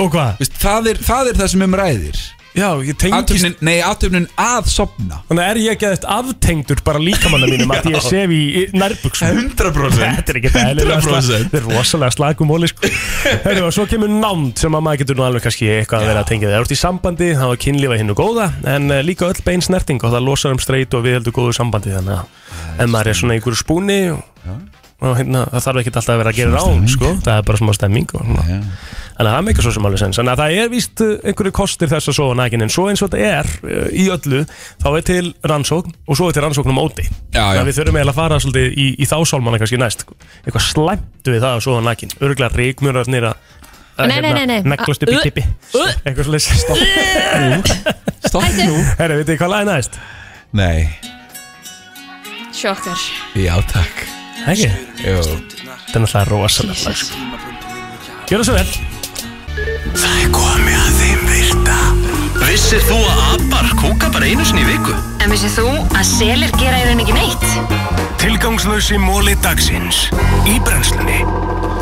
[SPEAKER 1] Og hvað?
[SPEAKER 3] Vist, það, er, það er það sem um ræðir
[SPEAKER 1] Já, ég tengist
[SPEAKER 3] atöfnin, Nei, atöfnin að sopna
[SPEAKER 1] Þannig að er ég ekki aðeins aftengdur bara líkamanna mínum að því ég
[SPEAKER 3] Já.
[SPEAKER 1] sef í í nærbuxum
[SPEAKER 3] 100%
[SPEAKER 1] Þetta er ekki dælilega
[SPEAKER 3] 100%.
[SPEAKER 1] Þetta er rosalega slagum óli sko Hörru, og svo kemur námt sem að maður getur nú alveg kannski eitthvað að vera að tengja það Það er út í sambandi, það var kynlífa hinn og góða En eh, líka öll bein snerting og það losar um streit og við heldur góðu sambandi Þannig að ef maður er svona í einhverju spúni og, og hérna, það þarf ekki alltaf að vera að gera
[SPEAKER 3] Svona
[SPEAKER 1] rán
[SPEAKER 3] stemming.
[SPEAKER 1] sko Það er bara smá stemming og svona Þannig að það er mikið svo sem alveg sens Þannig að það er víst uh, einhverju kostir þess að sofa nakin En svo eins og þetta er uh, í öllu Þá er til rannsókn og svo er til rannsókn á móti Þannig að við þurfum eiginlega að fara svolítið í, í þá sálmanna kannski næst sko. Eitthvað slæmt við það að sofa nakin Örgulega reikmjörar nýra
[SPEAKER 2] Nei, nei, nei, nei.
[SPEAKER 1] Neglast hérna, upp í
[SPEAKER 2] Uh,
[SPEAKER 1] kippi
[SPEAKER 2] uh.
[SPEAKER 1] Eitthvað svolítið Stopp nú Stopp nú Herra, veitir hvað lagið næst?
[SPEAKER 3] Nei,
[SPEAKER 2] Sjokkar
[SPEAKER 3] já takk
[SPEAKER 1] Ekki?
[SPEAKER 3] Jú
[SPEAKER 1] Þetta er náttúrulega rosalega lag, sko. Gjörðu svo vel
[SPEAKER 6] Það er komið að þeim virta Vissir þú að abar kúka bara einu sinni í viku?
[SPEAKER 10] En vissið þú að selir gera í raun ekki neitt?
[SPEAKER 6] Tilgangslösi móli dagsins Í brennslunni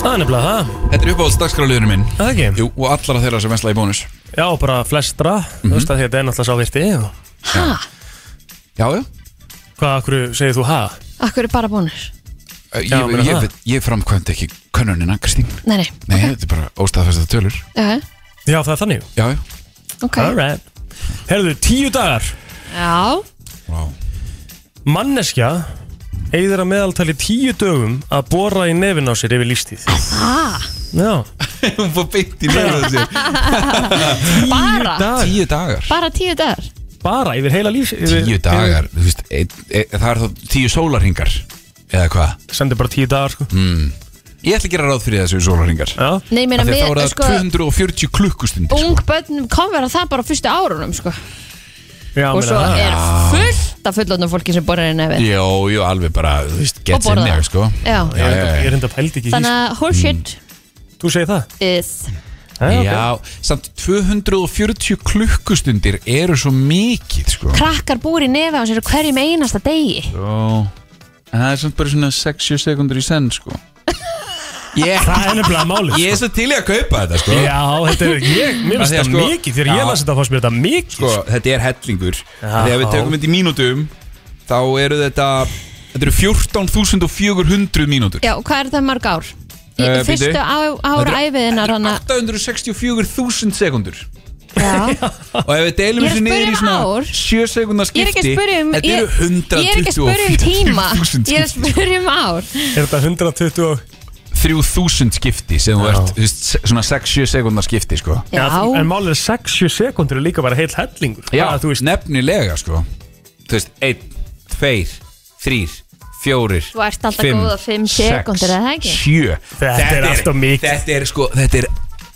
[SPEAKER 1] Það er nefnilega það
[SPEAKER 3] Þetta er uppáhalds dagskráliðurinn minn
[SPEAKER 1] Það ekki?
[SPEAKER 3] Jú, og allara þeirra sem vesla í bónus
[SPEAKER 1] Já, bara flestra
[SPEAKER 3] Mhm.
[SPEAKER 1] Þú veist að þetta er náttúrulega sá virti og...
[SPEAKER 2] Hæ?
[SPEAKER 3] Já, já
[SPEAKER 1] Hvað, akkur segir þú hæ?
[SPEAKER 2] Akkur er bara bónus?
[SPEAKER 3] Ég,
[SPEAKER 1] Já, meina
[SPEAKER 3] ég,
[SPEAKER 1] það.
[SPEAKER 3] ég, ég framkvæmd ekki könnunina, Kristín
[SPEAKER 2] Nei, nei,
[SPEAKER 3] Nei, þetta er bara óstaðfæsta tölur
[SPEAKER 2] já,
[SPEAKER 1] Já, það er þannig
[SPEAKER 3] Já, já
[SPEAKER 2] ok
[SPEAKER 1] Alright Herðu, tíu dagar
[SPEAKER 2] Já,
[SPEAKER 1] Manneskja eigður að meðaltali tíu dögum að bora í nefin á sér yfir lístíð
[SPEAKER 2] það
[SPEAKER 1] Já
[SPEAKER 3] Hún fór beint í nefnum þessi
[SPEAKER 2] Bara,
[SPEAKER 3] (laughs) Tíu dagar
[SPEAKER 2] bara tíu dagar
[SPEAKER 1] Bara yfir heila lífs yfir-
[SPEAKER 3] Tíu dagar, þú veist, ein, ein, það er þá tíu sólarhingar Eða hvað?
[SPEAKER 1] yfir- Sendir bara tíu dagar sko
[SPEAKER 3] Mm. Ég ætla að gera ráð fyrir þessu sólarhingar
[SPEAKER 1] Já
[SPEAKER 2] Nei, ég meina,
[SPEAKER 3] Af því að
[SPEAKER 2] við,
[SPEAKER 3] þá er það
[SPEAKER 2] sko,
[SPEAKER 3] 240 klukkustundir sko.
[SPEAKER 2] ung börn kom vera það bara á fyrstu árunum, sko
[SPEAKER 1] Já,
[SPEAKER 2] Og
[SPEAKER 1] meina
[SPEAKER 2] svo
[SPEAKER 1] það.
[SPEAKER 2] er fullt af fullotnum fólki sem borðar í nefið
[SPEAKER 3] Jó, jú, alveg bara, þú veist, gets in
[SPEAKER 2] borða.
[SPEAKER 3] there, sko
[SPEAKER 2] Já,
[SPEAKER 1] Ég er enda- Ég er enda pælt ekki í
[SPEAKER 2] þannig að horseshit
[SPEAKER 1] því. Þú segir það?
[SPEAKER 3] Mm.
[SPEAKER 2] is
[SPEAKER 1] Já, ok.
[SPEAKER 3] Já, samt 240 klukkustundir eru svo mikið, sko
[SPEAKER 2] Krakkar búir í nefið á sér á hverjum einasta degi
[SPEAKER 3] Jó En það er samt bara svona 60 sekundur í senn
[SPEAKER 2] (laughs)
[SPEAKER 3] sko Ég,
[SPEAKER 1] Það er nefnilega málið
[SPEAKER 3] ég
[SPEAKER 1] sko.
[SPEAKER 3] er svo til í að kaupa þetta sko
[SPEAKER 1] Já, þetta er ég,
[SPEAKER 3] Af
[SPEAKER 1] Mér finnst
[SPEAKER 3] því að
[SPEAKER 1] það
[SPEAKER 3] sko-
[SPEAKER 1] mikið Þegar ég
[SPEAKER 3] Já.
[SPEAKER 1] las þetta fannst mér þetta mikið
[SPEAKER 3] Sko, þetta er hellingur Þegar við
[SPEAKER 1] Já.
[SPEAKER 3] tökum þetta í mínútum Þá eru þetta Þetta eru 14.400 mínútur
[SPEAKER 2] Já, hvað er það mörg ár? Í
[SPEAKER 3] Eh,
[SPEAKER 2] fyrstu
[SPEAKER 3] bíddu.
[SPEAKER 2] á- ára æfiðinnar hann
[SPEAKER 3] (laughs)
[SPEAKER 2] að
[SPEAKER 3] 864.000 sekundur
[SPEAKER 2] Já,
[SPEAKER 3] Og ef við deilum
[SPEAKER 2] Ég er að
[SPEAKER 3] þessu niður í
[SPEAKER 2] spyrja um
[SPEAKER 3] svona
[SPEAKER 2] ár.
[SPEAKER 3] 7 sekundar
[SPEAKER 2] ég er
[SPEAKER 3] skipti
[SPEAKER 2] ekki að spurja um
[SPEAKER 3] Þetta eru
[SPEAKER 2] ég- Ég er ekki að spurja um tíma
[SPEAKER 3] 124.000
[SPEAKER 2] Ég er að um
[SPEAKER 3] skipti
[SPEAKER 2] spurja um ár
[SPEAKER 1] Er þetta 120 og-
[SPEAKER 3] 2-3.000 skipti sem þú
[SPEAKER 1] Já.
[SPEAKER 3] ert, þú veist, svona 6-7 sekundar skipti sko.
[SPEAKER 2] (laughs) Já.
[SPEAKER 1] En, en málið er 6-7 sekundur er líka bara heil hellingur
[SPEAKER 3] Já,
[SPEAKER 1] Hvað, þú veist,
[SPEAKER 3] nefnilega sko Þú veist, 1, 2, 3, 4
[SPEAKER 2] Þú ert alltaf góð á fimm sekúndur, er það ekki?
[SPEAKER 3] 7
[SPEAKER 1] Þetta er allt of mikið.
[SPEAKER 3] Þetta er sko, þetta er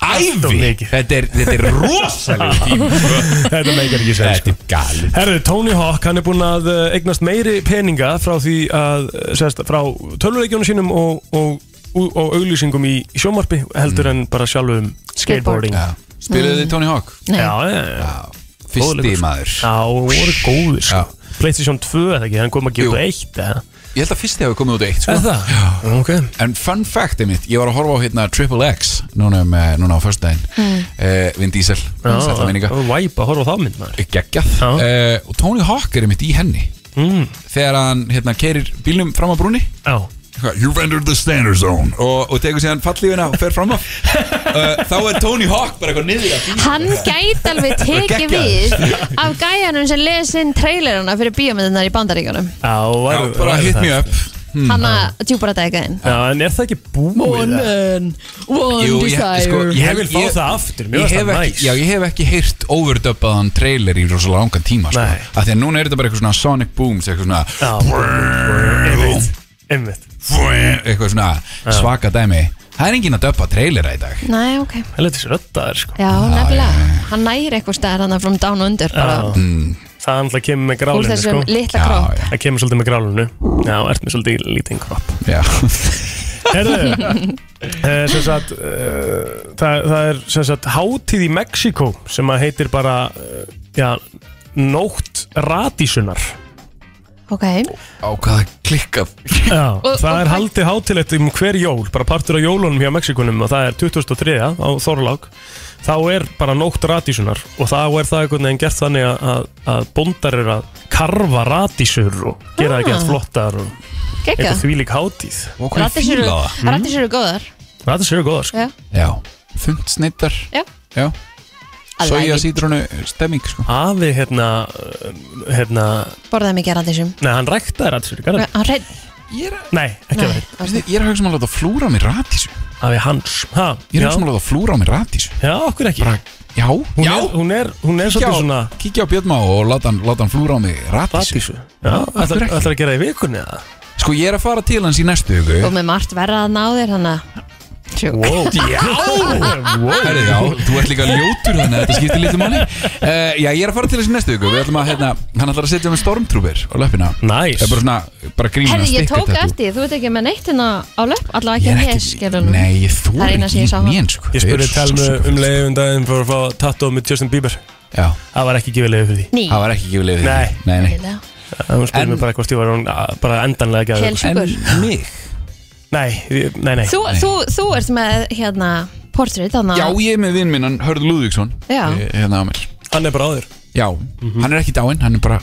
[SPEAKER 1] Allt of
[SPEAKER 3] ævi
[SPEAKER 1] mikið.
[SPEAKER 3] Þetta er, þetta er (laughs) rosalega tími sko.
[SPEAKER 1] Þetta meikar ekki sens,
[SPEAKER 3] Þetta er galið
[SPEAKER 1] Herru, Tony Hawk, hann er búinn að eh, eignast meiri peninga frá því að, eh, sérst, frá tölvuleikjónu sínum og, og, og, og auglýsingum í sjómarpi
[SPEAKER 3] Mm.
[SPEAKER 1] heldur en bara sjálfum skateboarding.
[SPEAKER 3] Já. Spiluðu þið Tony Hawk?
[SPEAKER 2] Nei.
[SPEAKER 1] Já, já, já.
[SPEAKER 3] Fyrsti
[SPEAKER 1] Góðleikur.
[SPEAKER 3] maður
[SPEAKER 1] Já, og voru góðir, sko.
[SPEAKER 3] Já.
[SPEAKER 1] PlayStation 2 eða ekki, hann kom að
[SPEAKER 3] Jú.
[SPEAKER 1] gefa eitt, eða?
[SPEAKER 3] Ég held að fyrsti hafi komið út eitt sko.
[SPEAKER 1] það? Já. Ok.
[SPEAKER 3] En fun fact einmitt, ég var að horfa á hérna Triple X núna, um, eh, núna á föstudaginn mm. Vin Diesel,
[SPEAKER 1] Já,
[SPEAKER 3] sætla minninga
[SPEAKER 1] og væpa, horfa á það mynd, maður.
[SPEAKER 3] geggjað
[SPEAKER 1] Já.
[SPEAKER 3] uh, og Tony Hawk er einmitt í henni
[SPEAKER 1] Mm.
[SPEAKER 3] þegar hann hérna keirir bílnum fram á brúni
[SPEAKER 1] Já.
[SPEAKER 3] eitthvað, You've entered the standard zone og, og tekur síðan fallífina og fer fram
[SPEAKER 1] (laughs)
[SPEAKER 3] á uh, þá er Tony Hawk bara eitthvað niður að bíl
[SPEAKER 2] Hann gæti alveg
[SPEAKER 3] (laughs)
[SPEAKER 2] tekið við
[SPEAKER 3] Geggjaður.
[SPEAKER 2] af gæjanum sem les inn trailerana fyrir bíómyndunar í bandaríkjunum
[SPEAKER 1] Já, var,
[SPEAKER 3] Já, bara hit me up
[SPEAKER 2] mm, Hanna djúpar að dæka þinn
[SPEAKER 1] Já, en er það ekki búið? eða?
[SPEAKER 2] man, one
[SPEAKER 3] Jú, ég- sko,
[SPEAKER 1] Ég vil fá það aftur, mér
[SPEAKER 3] ég
[SPEAKER 1] finnst
[SPEAKER 3] hef
[SPEAKER 1] það
[SPEAKER 3] ekki-
[SPEAKER 1] næs.
[SPEAKER 3] Já, ég hef ekki heyrt overdubbaðan trailer í rosalega langan tíma sko.
[SPEAKER 1] Nei.
[SPEAKER 3] að því að núna er þetta bara eitthvað svona Sonic Boom eitthvað svona
[SPEAKER 1] Já. Einmitt.
[SPEAKER 3] eitthvað svona svaka dæmi það er enginn að döpa trailera í dag
[SPEAKER 2] Næ, ok,
[SPEAKER 1] Helviti sér öttaðir, sko.
[SPEAKER 2] já, nefnilega Hann næri eitthvað stæðar hann frá down og undir bara
[SPEAKER 1] Já. Það er alltaf kemur með
[SPEAKER 2] úr
[SPEAKER 1] grálinu,
[SPEAKER 2] þessum
[SPEAKER 1] sko.
[SPEAKER 2] litla kropp
[SPEAKER 3] já,
[SPEAKER 1] Það kemur svolítið með grálunu Já, ert með svolítið lítinn kropp
[SPEAKER 3] já.
[SPEAKER 1] Herðu eh, sem sagt, eh, það, það er sem sagt hátíð í Mexiko sem að heitir bara eh, já, Nótt radísunar
[SPEAKER 2] Ok,
[SPEAKER 3] á hvaða klikkað
[SPEAKER 1] Já,
[SPEAKER 2] Og-
[SPEAKER 1] það
[SPEAKER 2] og-
[SPEAKER 1] er haldið hátilegt um hver jól bara partur á jólunum hjá Mexikunum og það er 2003 á Þorlák þá er bara nótt radísunar og þá er það einhvern veginn gert þannig að- að, að bóndar eru að karfa radísur og gera það
[SPEAKER 2] Ah.
[SPEAKER 1] gett flottar og
[SPEAKER 2] geggja
[SPEAKER 1] eitthvað þvílík hátíð
[SPEAKER 3] og hvað
[SPEAKER 2] Rættis
[SPEAKER 3] fíla
[SPEAKER 2] eru
[SPEAKER 3] það
[SPEAKER 2] raddir sér eru góðar
[SPEAKER 1] Það er sér góðar sko
[SPEAKER 2] Já,
[SPEAKER 3] já, fundsnittar
[SPEAKER 2] já
[SPEAKER 3] já,
[SPEAKER 2] I like
[SPEAKER 3] soja
[SPEAKER 2] it.
[SPEAKER 3] sítrónu stemming sko
[SPEAKER 1] Afi hérna, uh, hérna
[SPEAKER 2] Borðaði mikið raddir sér
[SPEAKER 1] Nei, hann ræktaði radísur í garðinum
[SPEAKER 2] Hann reynd
[SPEAKER 3] ég er að,
[SPEAKER 1] Nei, ekki að reynd
[SPEAKER 3] veistu, ég er að hugsa um að láta flúra á mér ratísu ég
[SPEAKER 1] Afi hans ha,
[SPEAKER 3] er
[SPEAKER 1] já,
[SPEAKER 3] að hugsa um að láta flúra á mér ratísu
[SPEAKER 1] já, okkur ekki
[SPEAKER 3] bara, já,
[SPEAKER 1] Hún
[SPEAKER 3] já
[SPEAKER 1] er, hún er, hún er
[SPEAKER 3] kíkja
[SPEAKER 1] svolítið
[SPEAKER 3] á-
[SPEAKER 1] svona
[SPEAKER 3] kíkja á Björnmá og láta hann, láta hann flúra á mig ratísu
[SPEAKER 1] radísu Já, ætlar
[SPEAKER 3] ekki?
[SPEAKER 1] ætlar að gera það í vikunni eða?
[SPEAKER 3] sko ég er að fara til hans í næstu hugu
[SPEAKER 2] Og með margt verra að ná þér þannig að Tjú.
[SPEAKER 1] Wow Já
[SPEAKER 3] Herri, já, þú ert líka ljótur þannig að þetta skiptir lítið máli uh, Já, ég er að fara til þessi næstu viku Við ætlum að, hérna, hann ætlar að setja með stormtrooper á löppina
[SPEAKER 1] Næs
[SPEAKER 3] Það er bara svona, bara grína
[SPEAKER 2] Herði, ég tók eftir, þú ert ekki með neitt hérna á löp Allavega
[SPEAKER 3] Ég
[SPEAKER 2] ekki
[SPEAKER 3] er
[SPEAKER 2] hér,
[SPEAKER 3] ekki,
[SPEAKER 2] skilur nú.
[SPEAKER 3] nei, ég þúr
[SPEAKER 2] Það er eina sem
[SPEAKER 3] ekki
[SPEAKER 2] ég sá hann.
[SPEAKER 3] nén, sko
[SPEAKER 1] Ég
[SPEAKER 3] Þau eru
[SPEAKER 1] spurði
[SPEAKER 3] svo
[SPEAKER 1] telmu
[SPEAKER 3] sjúklega.
[SPEAKER 1] um leiðum daginn fyrir að fá tattoo með Justin Bieber
[SPEAKER 3] Já,
[SPEAKER 1] Það var ekki gefið leiði fyrir því
[SPEAKER 2] Ný,
[SPEAKER 3] það var ekki gefið leið
[SPEAKER 1] Nei.
[SPEAKER 3] nei, nei.
[SPEAKER 2] Eðlilega.
[SPEAKER 1] Það var
[SPEAKER 3] En-
[SPEAKER 1] spurning bara hvort ég var hún að- bara endanlega að gera
[SPEAKER 2] Kels-
[SPEAKER 1] það
[SPEAKER 3] En
[SPEAKER 2] Sjúkur.
[SPEAKER 3] mig?
[SPEAKER 1] Nei, ég- nei, nei
[SPEAKER 2] þú, þú, þú ert með hérna portrait þannig
[SPEAKER 3] Já, ég er með vinn minn, hann Hörður Lúðvíksson
[SPEAKER 2] Ah. Já.
[SPEAKER 3] Ég- Hérna á mér
[SPEAKER 1] Hann er Mhm. bara áður
[SPEAKER 3] Já, hann er ekki dáinn, hann er bara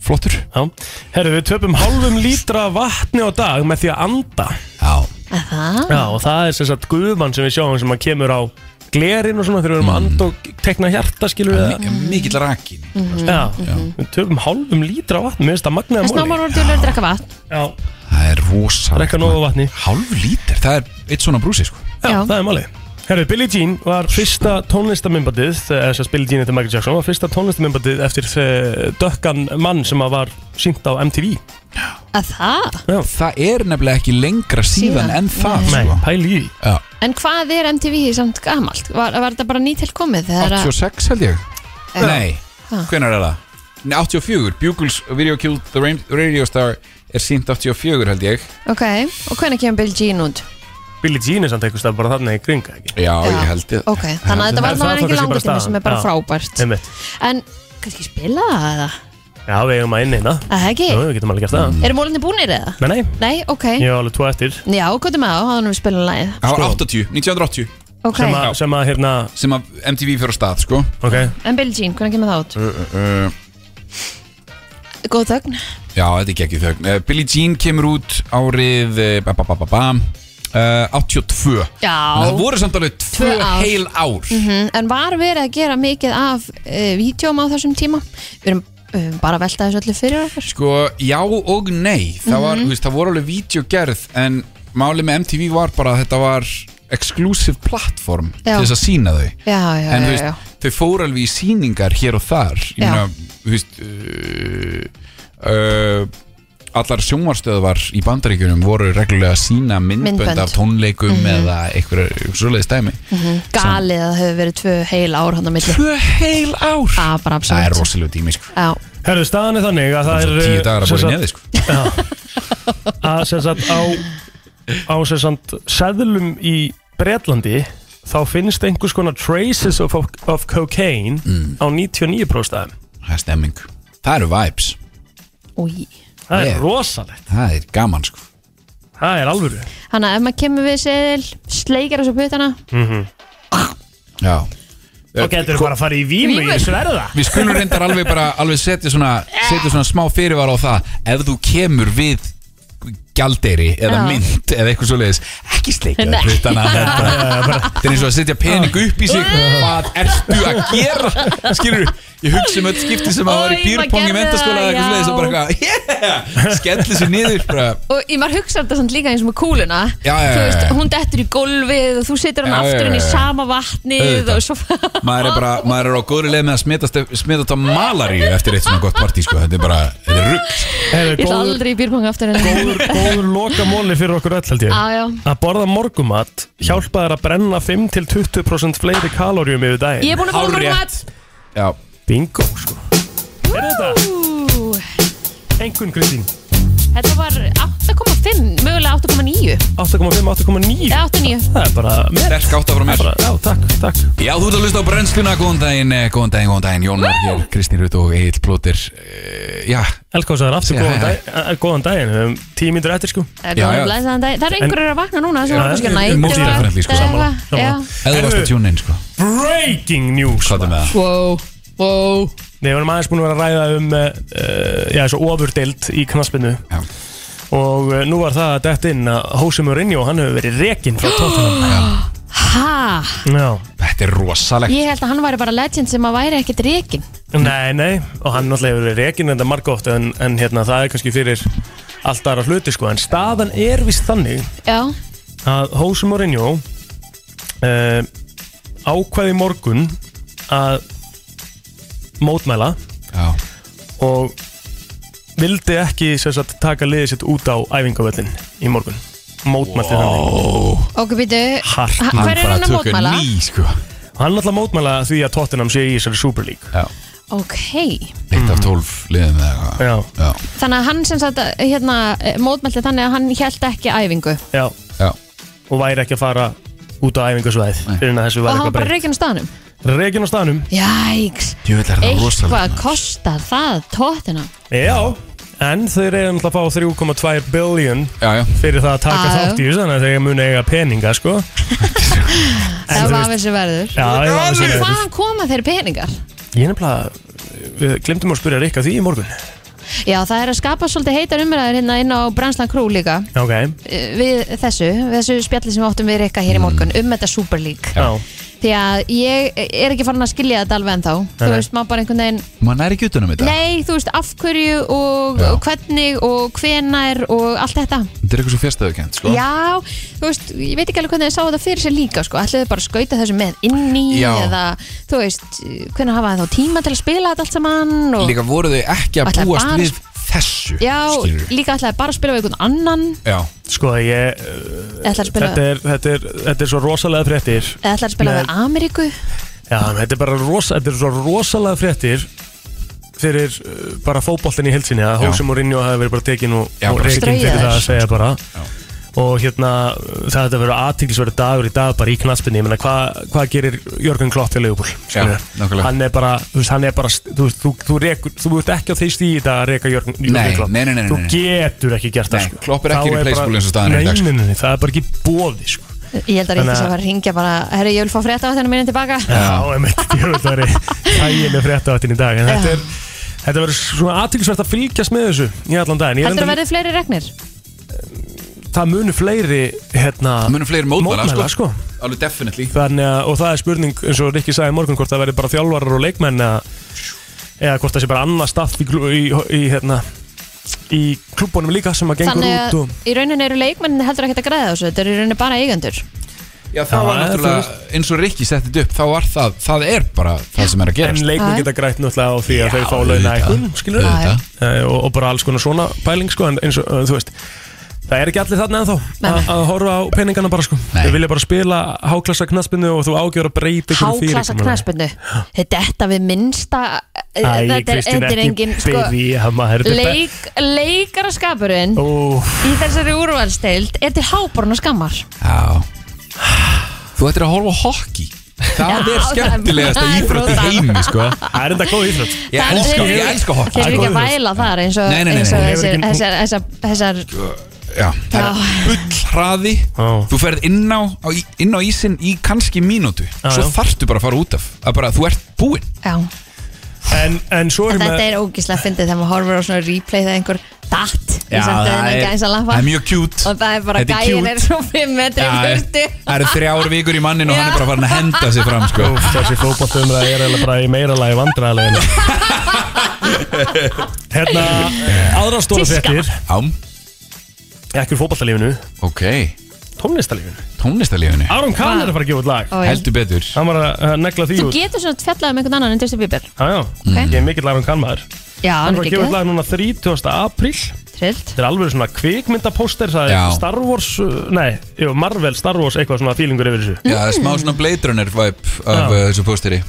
[SPEAKER 3] flottur
[SPEAKER 1] Já Herru, við töpum hálfum lítra af vatni á dag með því að anda
[SPEAKER 3] Já,
[SPEAKER 2] að það
[SPEAKER 1] Já, og það er sem sagt gufan sem við sjáum sem að kemur á glerin og svona þegar við erum að anda og tekna hjarta, skilur við það.
[SPEAKER 3] mi- mikill rakin
[SPEAKER 1] Mhm. Já, við töfum hálfum lítra af vatn, mér Mm. finnst það magnaða
[SPEAKER 2] Þess námar
[SPEAKER 1] móli.
[SPEAKER 2] voru djúlega að drekka vatn
[SPEAKER 1] Já,
[SPEAKER 3] Það er rosalega
[SPEAKER 1] drekka nógu af vatni.
[SPEAKER 3] Hálf lítir, það er eitt svona brúsi, sko
[SPEAKER 1] Já,
[SPEAKER 2] Já.
[SPEAKER 1] það er málið. Herru, Billie Jean var fyrsta tónlistamimbandið, þess að Billie Jean eftir Michael Jackson, var fyrsta tónlistamimbandið eftir eh, dökkan mann sem að var sínt á MTV.
[SPEAKER 2] Að það?
[SPEAKER 3] það er nefnilega ekki lengra síðan
[SPEAKER 2] Síðan,
[SPEAKER 3] en það
[SPEAKER 1] Nei,
[SPEAKER 3] sko.
[SPEAKER 1] pæli í. því.
[SPEAKER 3] Já,
[SPEAKER 2] En hvað er MTV samt gamalt? Var, var þetta bara nýtill komið? Þegar að,
[SPEAKER 3] 86 held ég
[SPEAKER 2] Já.
[SPEAKER 3] Nei,
[SPEAKER 2] Ha.
[SPEAKER 3] hvenær er það? Nei, 84, Bugles Video Killed the Rain- Radio Star er sínt 84 held ég
[SPEAKER 2] ok, og hvernig kemur Bill Jean út?
[SPEAKER 1] Billie Jean er samt einhvers það bara þarna í kringa, ekki?
[SPEAKER 3] Já, ég held ég
[SPEAKER 2] Ok, þannig að þetta var
[SPEAKER 1] Það- það-
[SPEAKER 2] allavega
[SPEAKER 1] það
[SPEAKER 2] ekki
[SPEAKER 1] kannski bara
[SPEAKER 2] langur tíma
[SPEAKER 1] staðan.
[SPEAKER 2] sem er bara
[SPEAKER 1] Já.
[SPEAKER 2] frábært
[SPEAKER 1] Einmitt.
[SPEAKER 2] En, kannski spila það eða?
[SPEAKER 1] Já, við eigum að inni hérna.
[SPEAKER 2] Að það ekki?
[SPEAKER 1] Jú, við getum alveg gert það.
[SPEAKER 2] Eru mólinni búnir eða?
[SPEAKER 1] Nei, nei,
[SPEAKER 2] Nei, ok
[SPEAKER 1] ég á alveg tvo eftir.
[SPEAKER 2] Já, hvað er með á? Háðan við spilum lagið
[SPEAKER 3] Það var 80, 1980
[SPEAKER 2] Ok,
[SPEAKER 1] Sem að, sem að, hérna,
[SPEAKER 3] sem að MTV fyrir á stað sko
[SPEAKER 1] ok,
[SPEAKER 2] en Bill Jean, hvernig kemur það út?
[SPEAKER 3] uh, uh, uh,
[SPEAKER 2] Góð þögn
[SPEAKER 3] Já, þetta er ekki þögn uh, Billie Jean kemur út árið uh, ba, ba, ba, ba, ba, uh, 82
[SPEAKER 2] Já.
[SPEAKER 3] En Það voru samt alveg tvö
[SPEAKER 2] Tvö ár.
[SPEAKER 3] heil ár
[SPEAKER 2] Mm, En var verið að gera mikið af uh, vídjóm á þessum tíma? Við erum uh, bara að velta þessu öllu fyrir okkur Mhm.
[SPEAKER 3] Sko, já og nei Það, var, þú veist, það voru alveg vídeo gerð En máli með MTV var bara að þetta var exclusive platform
[SPEAKER 2] Já.
[SPEAKER 3] til þess að sína þau
[SPEAKER 2] Já, já,
[SPEAKER 3] en
[SPEAKER 2] já,
[SPEAKER 3] þú
[SPEAKER 2] já,
[SPEAKER 3] veist, þau fóru alveg í síningar hér og þar ég
[SPEAKER 2] Já.
[SPEAKER 3] meina, þú veist uh, uh, allar sjónvarstöðvar í bandaríkjunum voru reglulega að sína myndbönd,
[SPEAKER 2] Myndbönd.
[SPEAKER 3] af tónleikum eða einhverja svoleiðis dæmi
[SPEAKER 2] Mhm. Galið að það hefur verið tvö heil ár hann á milli
[SPEAKER 3] Tvö heil ár?
[SPEAKER 2] Já, bara
[SPEAKER 3] það er
[SPEAKER 2] absolutt
[SPEAKER 3] rosalega tími sko.
[SPEAKER 2] Já,
[SPEAKER 1] Herðu, staðan er þannig að það
[SPEAKER 3] það
[SPEAKER 1] er eh,
[SPEAKER 3] er tíu dagar að
[SPEAKER 1] sem
[SPEAKER 3] bóra í
[SPEAKER 1] sagt-
[SPEAKER 3] neði sko.
[SPEAKER 1] að sem sagt á á sem sagt seðlum í Bretlandi þá finnst einhvers konar traces of, of cocaine á 99% stæðum.
[SPEAKER 3] það er stemming, það eru vibes
[SPEAKER 2] új
[SPEAKER 1] það
[SPEAKER 3] Yeah.
[SPEAKER 1] er rosalegt
[SPEAKER 3] það er gaman sko
[SPEAKER 1] það er alvöru
[SPEAKER 2] Þannig að ef maður kemur við seðil, sleikir þessu puttana
[SPEAKER 3] Já.
[SPEAKER 1] þá getur þú bara að fara í vímu
[SPEAKER 2] Vímu.
[SPEAKER 1] í sverða
[SPEAKER 3] við skulum reyndar alveg bara alveg setja svona, setja svona smá fyrirvara á það ef þú kemur við gjaldeiri eða
[SPEAKER 2] Já.
[SPEAKER 3] mynd eða eitthvað svoleiðis, ekki sleika það puttana,
[SPEAKER 2] (laughs)
[SPEAKER 3] þetta þetta er eins og að setja pening upp í sig hvað ertu að gera skilur, ég hugsa um öll skipti sem að það var í
[SPEAKER 2] Oj, maður
[SPEAKER 3] býrpong í
[SPEAKER 2] gerði
[SPEAKER 3] mentaskóla eða eitthvað
[SPEAKER 2] það,
[SPEAKER 3] svoleiðis og bara eitthvað, yeah skellir sér niður bara,
[SPEAKER 2] Og ég maður hugsa þetta samt líka eins og með kúluna
[SPEAKER 3] Já, já,
[SPEAKER 2] Þú
[SPEAKER 3] já,
[SPEAKER 2] veist,
[SPEAKER 3] já.
[SPEAKER 2] hún dettur í gólfið og þú setur hann
[SPEAKER 3] Eh. Já, já,
[SPEAKER 2] aftur inn í
[SPEAKER 3] já, já.
[SPEAKER 2] sama vatnið
[SPEAKER 3] Auðvitað.
[SPEAKER 2] og svo
[SPEAKER 3] maður er bara maður er á góðri leið með að smitast, smitast á malaríu eftir eitt svona gott partí sko, þetta er bara, þetta er rugg
[SPEAKER 1] Heyrðu,
[SPEAKER 2] Ég ætla
[SPEAKER 1] góður,
[SPEAKER 2] aldrei í býrpanga aftur en
[SPEAKER 1] góður, góður lokamóli fyrir okkur öll held ég
[SPEAKER 2] Já, já.
[SPEAKER 1] að borða morgumat hjálpa þær að brenna 5-20% fleiri kalórium yfir daginn
[SPEAKER 2] Ég er búin að fóra mörgum að
[SPEAKER 3] já,
[SPEAKER 1] bingo sko er þetta
[SPEAKER 2] Ú,
[SPEAKER 1] engun Kristín
[SPEAKER 2] Þetta var 8,5, mögulega 8,9
[SPEAKER 1] 8,5, 8,9
[SPEAKER 2] Eða 8,9
[SPEAKER 1] það er bara mér
[SPEAKER 3] sterk átta frá mér
[SPEAKER 1] bara, já, takk, takk
[SPEAKER 3] Já, þú ert að hlusta á brennsluna, góðan daginn, eh, góðan daginn, góðan daginn, Jón var hér, Kristín Rutt og Egil Plóter, eh, já,
[SPEAKER 1] Elkás, það er aftur
[SPEAKER 3] Segja hæ,
[SPEAKER 1] góðan,
[SPEAKER 3] hæ.
[SPEAKER 1] dag, eh, góðan daginn, við höfum tíu myndir eftir sko
[SPEAKER 2] Það er
[SPEAKER 3] Já,
[SPEAKER 2] góður
[SPEAKER 3] já.
[SPEAKER 2] blæsaðan dag. Það eru einhverjir að vakna núna sem
[SPEAKER 1] Já,
[SPEAKER 2] var kannski
[SPEAKER 1] ég- ég-
[SPEAKER 2] nættivakt
[SPEAKER 3] mótdýrafriendly, sko,
[SPEAKER 2] eða
[SPEAKER 1] sammála,
[SPEAKER 2] eitthvað.
[SPEAKER 1] sammála.
[SPEAKER 2] Já.
[SPEAKER 3] eða þú varst að
[SPEAKER 1] Herðu.
[SPEAKER 3] tjúna inn, sko,
[SPEAKER 1] Breaking news
[SPEAKER 3] hvað er með það?
[SPEAKER 2] Wow, wow
[SPEAKER 1] Nei, við erum aðeins búin að vera að ræða um uh, já, þessu ofurdeild í knaspinu
[SPEAKER 3] Já.
[SPEAKER 1] og uh, nú var það að dett inn að Jose Mourinho, hann hefur verið rekinn frá
[SPEAKER 3] (gasps)
[SPEAKER 1] Tottenham
[SPEAKER 2] Ha,
[SPEAKER 1] Já,
[SPEAKER 3] Þetta er rosalegt,
[SPEAKER 2] ég held að hann væri bara legend sem að væri ekkert rekin
[SPEAKER 1] nei, nei og hann náttúrulega hefur verið rekinn þetta margótt en, en hérna, það er kannski fyrir allt aðra hluti sko, en staðan er vist þannig
[SPEAKER 2] Já,
[SPEAKER 1] að Jose Mourinho uh, ákvaði í morgun að mótmæla
[SPEAKER 3] já,
[SPEAKER 1] og vildi ekki sem sagt, taka liðið sitt út á æfingavöllin í morgun mótmælti þannig
[SPEAKER 2] ok, býtu
[SPEAKER 1] Hart.
[SPEAKER 2] Ha- Hver er hann að
[SPEAKER 3] tók
[SPEAKER 2] mótmæla?
[SPEAKER 3] ný, sko,
[SPEAKER 1] hann ætla að mótmæla því að Tottenham sé í þessari Super League
[SPEAKER 3] já,
[SPEAKER 2] Ok,
[SPEAKER 3] eitt
[SPEAKER 2] Mm.
[SPEAKER 3] af tólf liðum eða eitthvað,
[SPEAKER 1] já,
[SPEAKER 3] já,
[SPEAKER 2] þannig að hann sem sagt hérna, eh, mótmælti þannig að hann held ekki æfingu
[SPEAKER 1] já,
[SPEAKER 3] já,
[SPEAKER 1] og væri ekki að fara út á æfingasvæð fyrir en að þessu væri
[SPEAKER 2] og hann var
[SPEAKER 1] eitthvað
[SPEAKER 2] bara
[SPEAKER 1] breytt
[SPEAKER 2] rekin á staðnum
[SPEAKER 1] Rekin á staðnum,
[SPEAKER 2] Jæks,
[SPEAKER 3] djúvel er það
[SPEAKER 2] eitthvað
[SPEAKER 3] rosalegt,
[SPEAKER 2] kostar það tóttina
[SPEAKER 1] já en þeir eiga náttúrulega að fá 3,2 billion
[SPEAKER 3] já, já,
[SPEAKER 1] fyrir það að taka
[SPEAKER 2] Já.
[SPEAKER 1] þátt í þessu þannig að þeir muni eiga peninga
[SPEAKER 2] (laughs)
[SPEAKER 1] sko
[SPEAKER 2] Það var þessi verður
[SPEAKER 1] Já, ég var
[SPEAKER 2] En
[SPEAKER 1] alveg svo
[SPEAKER 2] hvaðan koma þeir peningar?
[SPEAKER 1] Ég nefnilega, við glemdum að spyrja Rikka því í morgun
[SPEAKER 2] Já, það er að skapa svolítið heitar umræður hérna inn á Branslan Crew líka
[SPEAKER 1] Ok,
[SPEAKER 2] eh, við þessu, við þessu spjalli sem við áttum við Rikka
[SPEAKER 1] Mm.
[SPEAKER 2] hér í morgun um þetta Super League
[SPEAKER 1] já,
[SPEAKER 2] því að ég er ekki farin að skilja þetta alveg ennþá þú
[SPEAKER 1] nei.
[SPEAKER 2] veist, maður bara einhvern veginn
[SPEAKER 3] mann er ekki utanum þetta,
[SPEAKER 2] nei, þú veist, af hverju og,
[SPEAKER 3] Já.
[SPEAKER 2] og hvernig og hvenær og allt þetta
[SPEAKER 3] þetta er eitthvað svo fjastöðukent, sko,
[SPEAKER 2] já, þú veist, ég veit ekki alveg hvernig þið sá þetta fyrir sér líka, sko, ætlaðu þau bara að skauta þessu með inn í
[SPEAKER 3] Já.
[SPEAKER 2] eða, þú veist, hvernig hafa þau þá tíma til að spila þetta allt saman og
[SPEAKER 3] líka voru þau ekki að
[SPEAKER 2] Ætlaði
[SPEAKER 3] búast
[SPEAKER 2] bara-
[SPEAKER 3] við þessu,
[SPEAKER 2] já,
[SPEAKER 3] skilur,
[SPEAKER 2] líka ætlaðu bara að spila við einhvern annan
[SPEAKER 3] já,
[SPEAKER 1] sko ég
[SPEAKER 2] eða ætlaðu að spila,
[SPEAKER 1] þetta er, þetta, er, þetta er svo rosalega fréttir
[SPEAKER 2] eða ætlaðu að spila
[SPEAKER 1] Nei.
[SPEAKER 2] við Ameríku
[SPEAKER 1] Já, þetta er bara rosa, þetta er svo rosalega fréttir fyrir uh, bara fótboltin í helsinni að
[SPEAKER 3] Já.
[SPEAKER 1] Hósum og Rinjó hafi verið bara tekin og,
[SPEAKER 3] Já,
[SPEAKER 1] og
[SPEAKER 3] bara
[SPEAKER 1] rekin fyrir
[SPEAKER 2] straujaðir.
[SPEAKER 1] það að segja bara og hérna það þetta verið aðtiklisverið dagur í dag bara í knaspinni, ég meina hvað hva gerir Jörgen Klopp til Leopold
[SPEAKER 3] Já, nákvæmlega.
[SPEAKER 1] hann er bara, þú veist, hann er bara þú, veist, þú, þú, rekur, þú ert ekki á þeir stíði í dag að reka Jörgen, Jörgen
[SPEAKER 3] Nei,
[SPEAKER 1] Klopp
[SPEAKER 3] nei, nei, nei,
[SPEAKER 1] þú
[SPEAKER 3] nei, nei.
[SPEAKER 1] getur ekki gert það
[SPEAKER 3] Nei,
[SPEAKER 1] sko.
[SPEAKER 3] Klopp er
[SPEAKER 1] Þá
[SPEAKER 3] ekki replaceable
[SPEAKER 1] bara-
[SPEAKER 3] eins og staðan er í dag, sko.
[SPEAKER 1] nei, nei, nei, það er bara ekki bóði sko.
[SPEAKER 2] Ég held að
[SPEAKER 1] Þannig að-
[SPEAKER 2] Ríkis að fara að ringja bara Herri, ég vil fá frétta á þetta minni tilbaka
[SPEAKER 1] Já, einmitt, ég veit það er þægileg frétta áttin í dag en þetta, er, þetta verður svona aðtilsvært að fylgjast með þessu í allan daginn Ég
[SPEAKER 2] Heldur
[SPEAKER 1] reyndar-
[SPEAKER 2] að verði fleiri regnir?
[SPEAKER 1] Það munu fleiri hérna,
[SPEAKER 3] það munum fleiri mótmæla,
[SPEAKER 1] mótmæla
[SPEAKER 3] sko,
[SPEAKER 1] sko.
[SPEAKER 3] alveg definitely,
[SPEAKER 1] Þannig að, og það er spurning eins og Rikki sagði í morgun hvort það verði bara þjálfarar og leikmenn eða, eða hvort það sé bara annað staff í, glú- í, í hérna í klubbunum líka sem að gengur
[SPEAKER 2] Þannig
[SPEAKER 1] út og
[SPEAKER 2] að í rauninni eru leikmennin heldur ekkert að græða á þessu Þetta eru í rauninni bara eigendur
[SPEAKER 3] Já, það var náttúrulega, eins og Rikki setti þetta upp, þá var það, það er bara það sem er að
[SPEAKER 1] En
[SPEAKER 3] gerast.
[SPEAKER 1] leikmenn
[SPEAKER 2] Já.
[SPEAKER 1] geta grætt náttúrulega á því að þeir fá launa
[SPEAKER 3] auðvitað.
[SPEAKER 1] eitthvað, skilur
[SPEAKER 3] Auðvitað.
[SPEAKER 1] Eh, og, og bara alls konar svona pæling, sko, en eins og, eh, þú veist Það er ekki allir þarna ennþá
[SPEAKER 2] Nei, nei.
[SPEAKER 1] að- að horfa á peningana bara, sko
[SPEAKER 3] Nei.
[SPEAKER 1] Þau vilja bara spila háklassa knaspinu og þú ágjör að breyta einhverju fyrir,
[SPEAKER 2] Háklasa
[SPEAKER 1] skilurðu.
[SPEAKER 2] knaspinnu Þetta er þetta við minnsta Æ,
[SPEAKER 1] Æ,
[SPEAKER 2] Þetta er,
[SPEAKER 1] Kristín,
[SPEAKER 2] þetta er
[SPEAKER 1] ekki
[SPEAKER 2] engin sko,
[SPEAKER 1] byrja, maður þetta-
[SPEAKER 2] leik, Leikaraskapurinn
[SPEAKER 1] Ó,
[SPEAKER 2] í þessari úrvalsteild er til háborna skammar
[SPEAKER 3] Já. Þú ættir að horfa á hockey. Það
[SPEAKER 2] Já,
[SPEAKER 3] er skemmtilegasta
[SPEAKER 2] það er
[SPEAKER 3] íþrótt í
[SPEAKER 2] brútal.
[SPEAKER 3] heimi, sko.
[SPEAKER 1] Það er enda góð íþrótt
[SPEAKER 3] Ég
[SPEAKER 2] Það er-
[SPEAKER 3] elska,
[SPEAKER 2] þeir-
[SPEAKER 3] ég elska hockey.
[SPEAKER 2] Þeir eru ekki að
[SPEAKER 1] góður.
[SPEAKER 2] væla þar eins og,
[SPEAKER 3] Nei, nei, nei,
[SPEAKER 2] eins og
[SPEAKER 3] nei.
[SPEAKER 2] þessir,
[SPEAKER 1] Hefur ekki- Sko-
[SPEAKER 2] þessar, þessar, þessar
[SPEAKER 3] Já, það er bull hraði
[SPEAKER 1] Já.
[SPEAKER 3] Þú ferð inn á, á, í- inn á ísin í kannski mínútu Svo
[SPEAKER 1] já.
[SPEAKER 3] þarftu bara að fara út af að bara, Þú ert búinn
[SPEAKER 2] Já,
[SPEAKER 1] En, en svo hérna- erum
[SPEAKER 2] en þetta
[SPEAKER 1] við
[SPEAKER 2] er ógíslega fyndið þegar maður horfir á svona replay þegar einhver datt í samt að henni gæsa lappa
[SPEAKER 3] það er mjög kjút
[SPEAKER 2] og það er bara
[SPEAKER 3] Þetta er
[SPEAKER 2] gæin
[SPEAKER 3] cute.
[SPEAKER 2] er svo 5 metri í burtu
[SPEAKER 3] Það eru þrjár vikur í mannin og hann
[SPEAKER 2] Já.
[SPEAKER 3] er bara farin að henda sig fram sko.
[SPEAKER 1] Úf, þessi fótballtum það er eiginlega bara í meira lagi
[SPEAKER 2] (laughs)
[SPEAKER 1] vandræðalegin Hérna, aðra stóra
[SPEAKER 2] Tíska.
[SPEAKER 1] fréttir
[SPEAKER 3] Já,
[SPEAKER 1] Ekki úr fótballalífinu,
[SPEAKER 3] ok
[SPEAKER 1] tónlistalífinu
[SPEAKER 3] Tónlistalífinu,
[SPEAKER 1] Aron Kahn er að fara að gefa út lag
[SPEAKER 2] Oj.
[SPEAKER 3] heldur betur
[SPEAKER 1] Hann var að uh, negla því
[SPEAKER 2] Þú
[SPEAKER 1] út
[SPEAKER 2] getur svona fjallað um einhvern annan en Justin Bieber
[SPEAKER 1] Já, já, ég er mikill Aron Kahn maður
[SPEAKER 2] Já,
[SPEAKER 1] Hann
[SPEAKER 2] hann
[SPEAKER 1] var að
[SPEAKER 2] er
[SPEAKER 1] gefa
[SPEAKER 2] ekki
[SPEAKER 1] út lag núna 30. apríl
[SPEAKER 2] trillt
[SPEAKER 1] Þetta er alveg svona kvikmyndapóster Það er
[SPEAKER 3] Já.
[SPEAKER 1] Star Wars, uh, nei, jú, Marvel, Star Wars eitthvað svona fílingur yfir
[SPEAKER 2] Mm.
[SPEAKER 1] þessu
[SPEAKER 3] Já, það er smá svona Blade Runner vibe af uh, þessu pósteri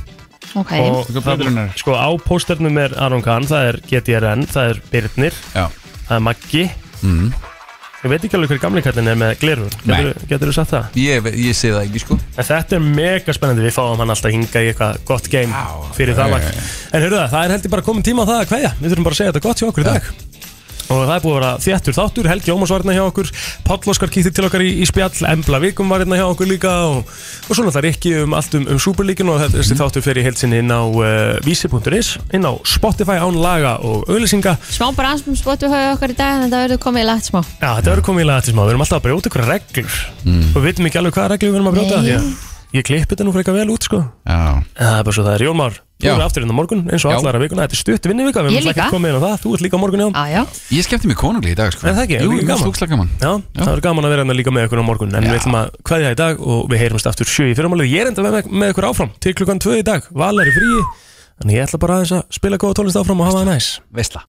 [SPEAKER 2] Ok,
[SPEAKER 1] Og það, sko á pósternum er Aron Kahn, það er GTRN, það er Birnir
[SPEAKER 3] Já,
[SPEAKER 1] það er Maggi ég veit ekki alveg hver gamli kallin er með glerur getur þú sagt það?
[SPEAKER 3] ég, ve- ég sé það ekki sko
[SPEAKER 1] En þetta er mega spennandi, við fáum hann alltaf hinga í eitthvað gott game
[SPEAKER 3] Já,
[SPEAKER 1] fyrir það
[SPEAKER 3] já,
[SPEAKER 1] lag
[SPEAKER 3] já, já.
[SPEAKER 1] En hörðu það, það er heldur bara komin tíma á það að kveðja Við þurfum bara að segja þetta gott hjá okkur í dag Og það er búið að vera þjættur þáttur, Helgi Ómars var hérna hjá okkur Páll Óskar kýtti til okkar í, í spjall Embla Vikum var hérna hjá okkur líka Og, og svona það er ekki um allt um, um Superlíkin Og þetta-
[SPEAKER 3] Mhm.
[SPEAKER 1] þessi þáttur fer í heilsinni inn á uh, vísi.is Inn á Spotify án laga og auðlýsinga
[SPEAKER 2] smá bara aðsmum spottu höfðu okkar í dag en það verður komið í lagt smá
[SPEAKER 1] Já, þetta verður komið í laga til smá, við erum alltaf að brjóta ykkur reglur
[SPEAKER 3] Mhm.
[SPEAKER 1] og við veitum ekki alveg hvaða reglur við erum að brjóta
[SPEAKER 2] Nei.
[SPEAKER 1] því að ég klippi þetta nú frekar vel út sko
[SPEAKER 3] Já,
[SPEAKER 1] Það er bara svo það er Jólmár, þú
[SPEAKER 3] Já.
[SPEAKER 1] eru aftur inn á morgun eins og
[SPEAKER 3] Já.
[SPEAKER 1] allara vikuna, þetta er stutt vinni vika, við
[SPEAKER 2] Ég
[SPEAKER 1] erum ekki
[SPEAKER 2] líka.
[SPEAKER 1] komið inn á það, þú ert líka á morgun hjá
[SPEAKER 2] Já, já,
[SPEAKER 3] ég skemmti mig konungli í dag sko
[SPEAKER 1] Er það ekki?
[SPEAKER 3] Jú,
[SPEAKER 1] Líka
[SPEAKER 3] ég
[SPEAKER 1] gaman.
[SPEAKER 3] var slúkslega gaman
[SPEAKER 1] Já, það er gaman að vera hérna líka með ykkur á morgun en við ætlum að kveðja í dag og við heyrumst aftur sjö í fyrramálið, ég er enda með, með ykkur áfram til klukkan tvö í dag, val er í fríi, þannig ég ætla bara aðeins að spila góða tólist áfram og hafa það næs
[SPEAKER 3] Veistla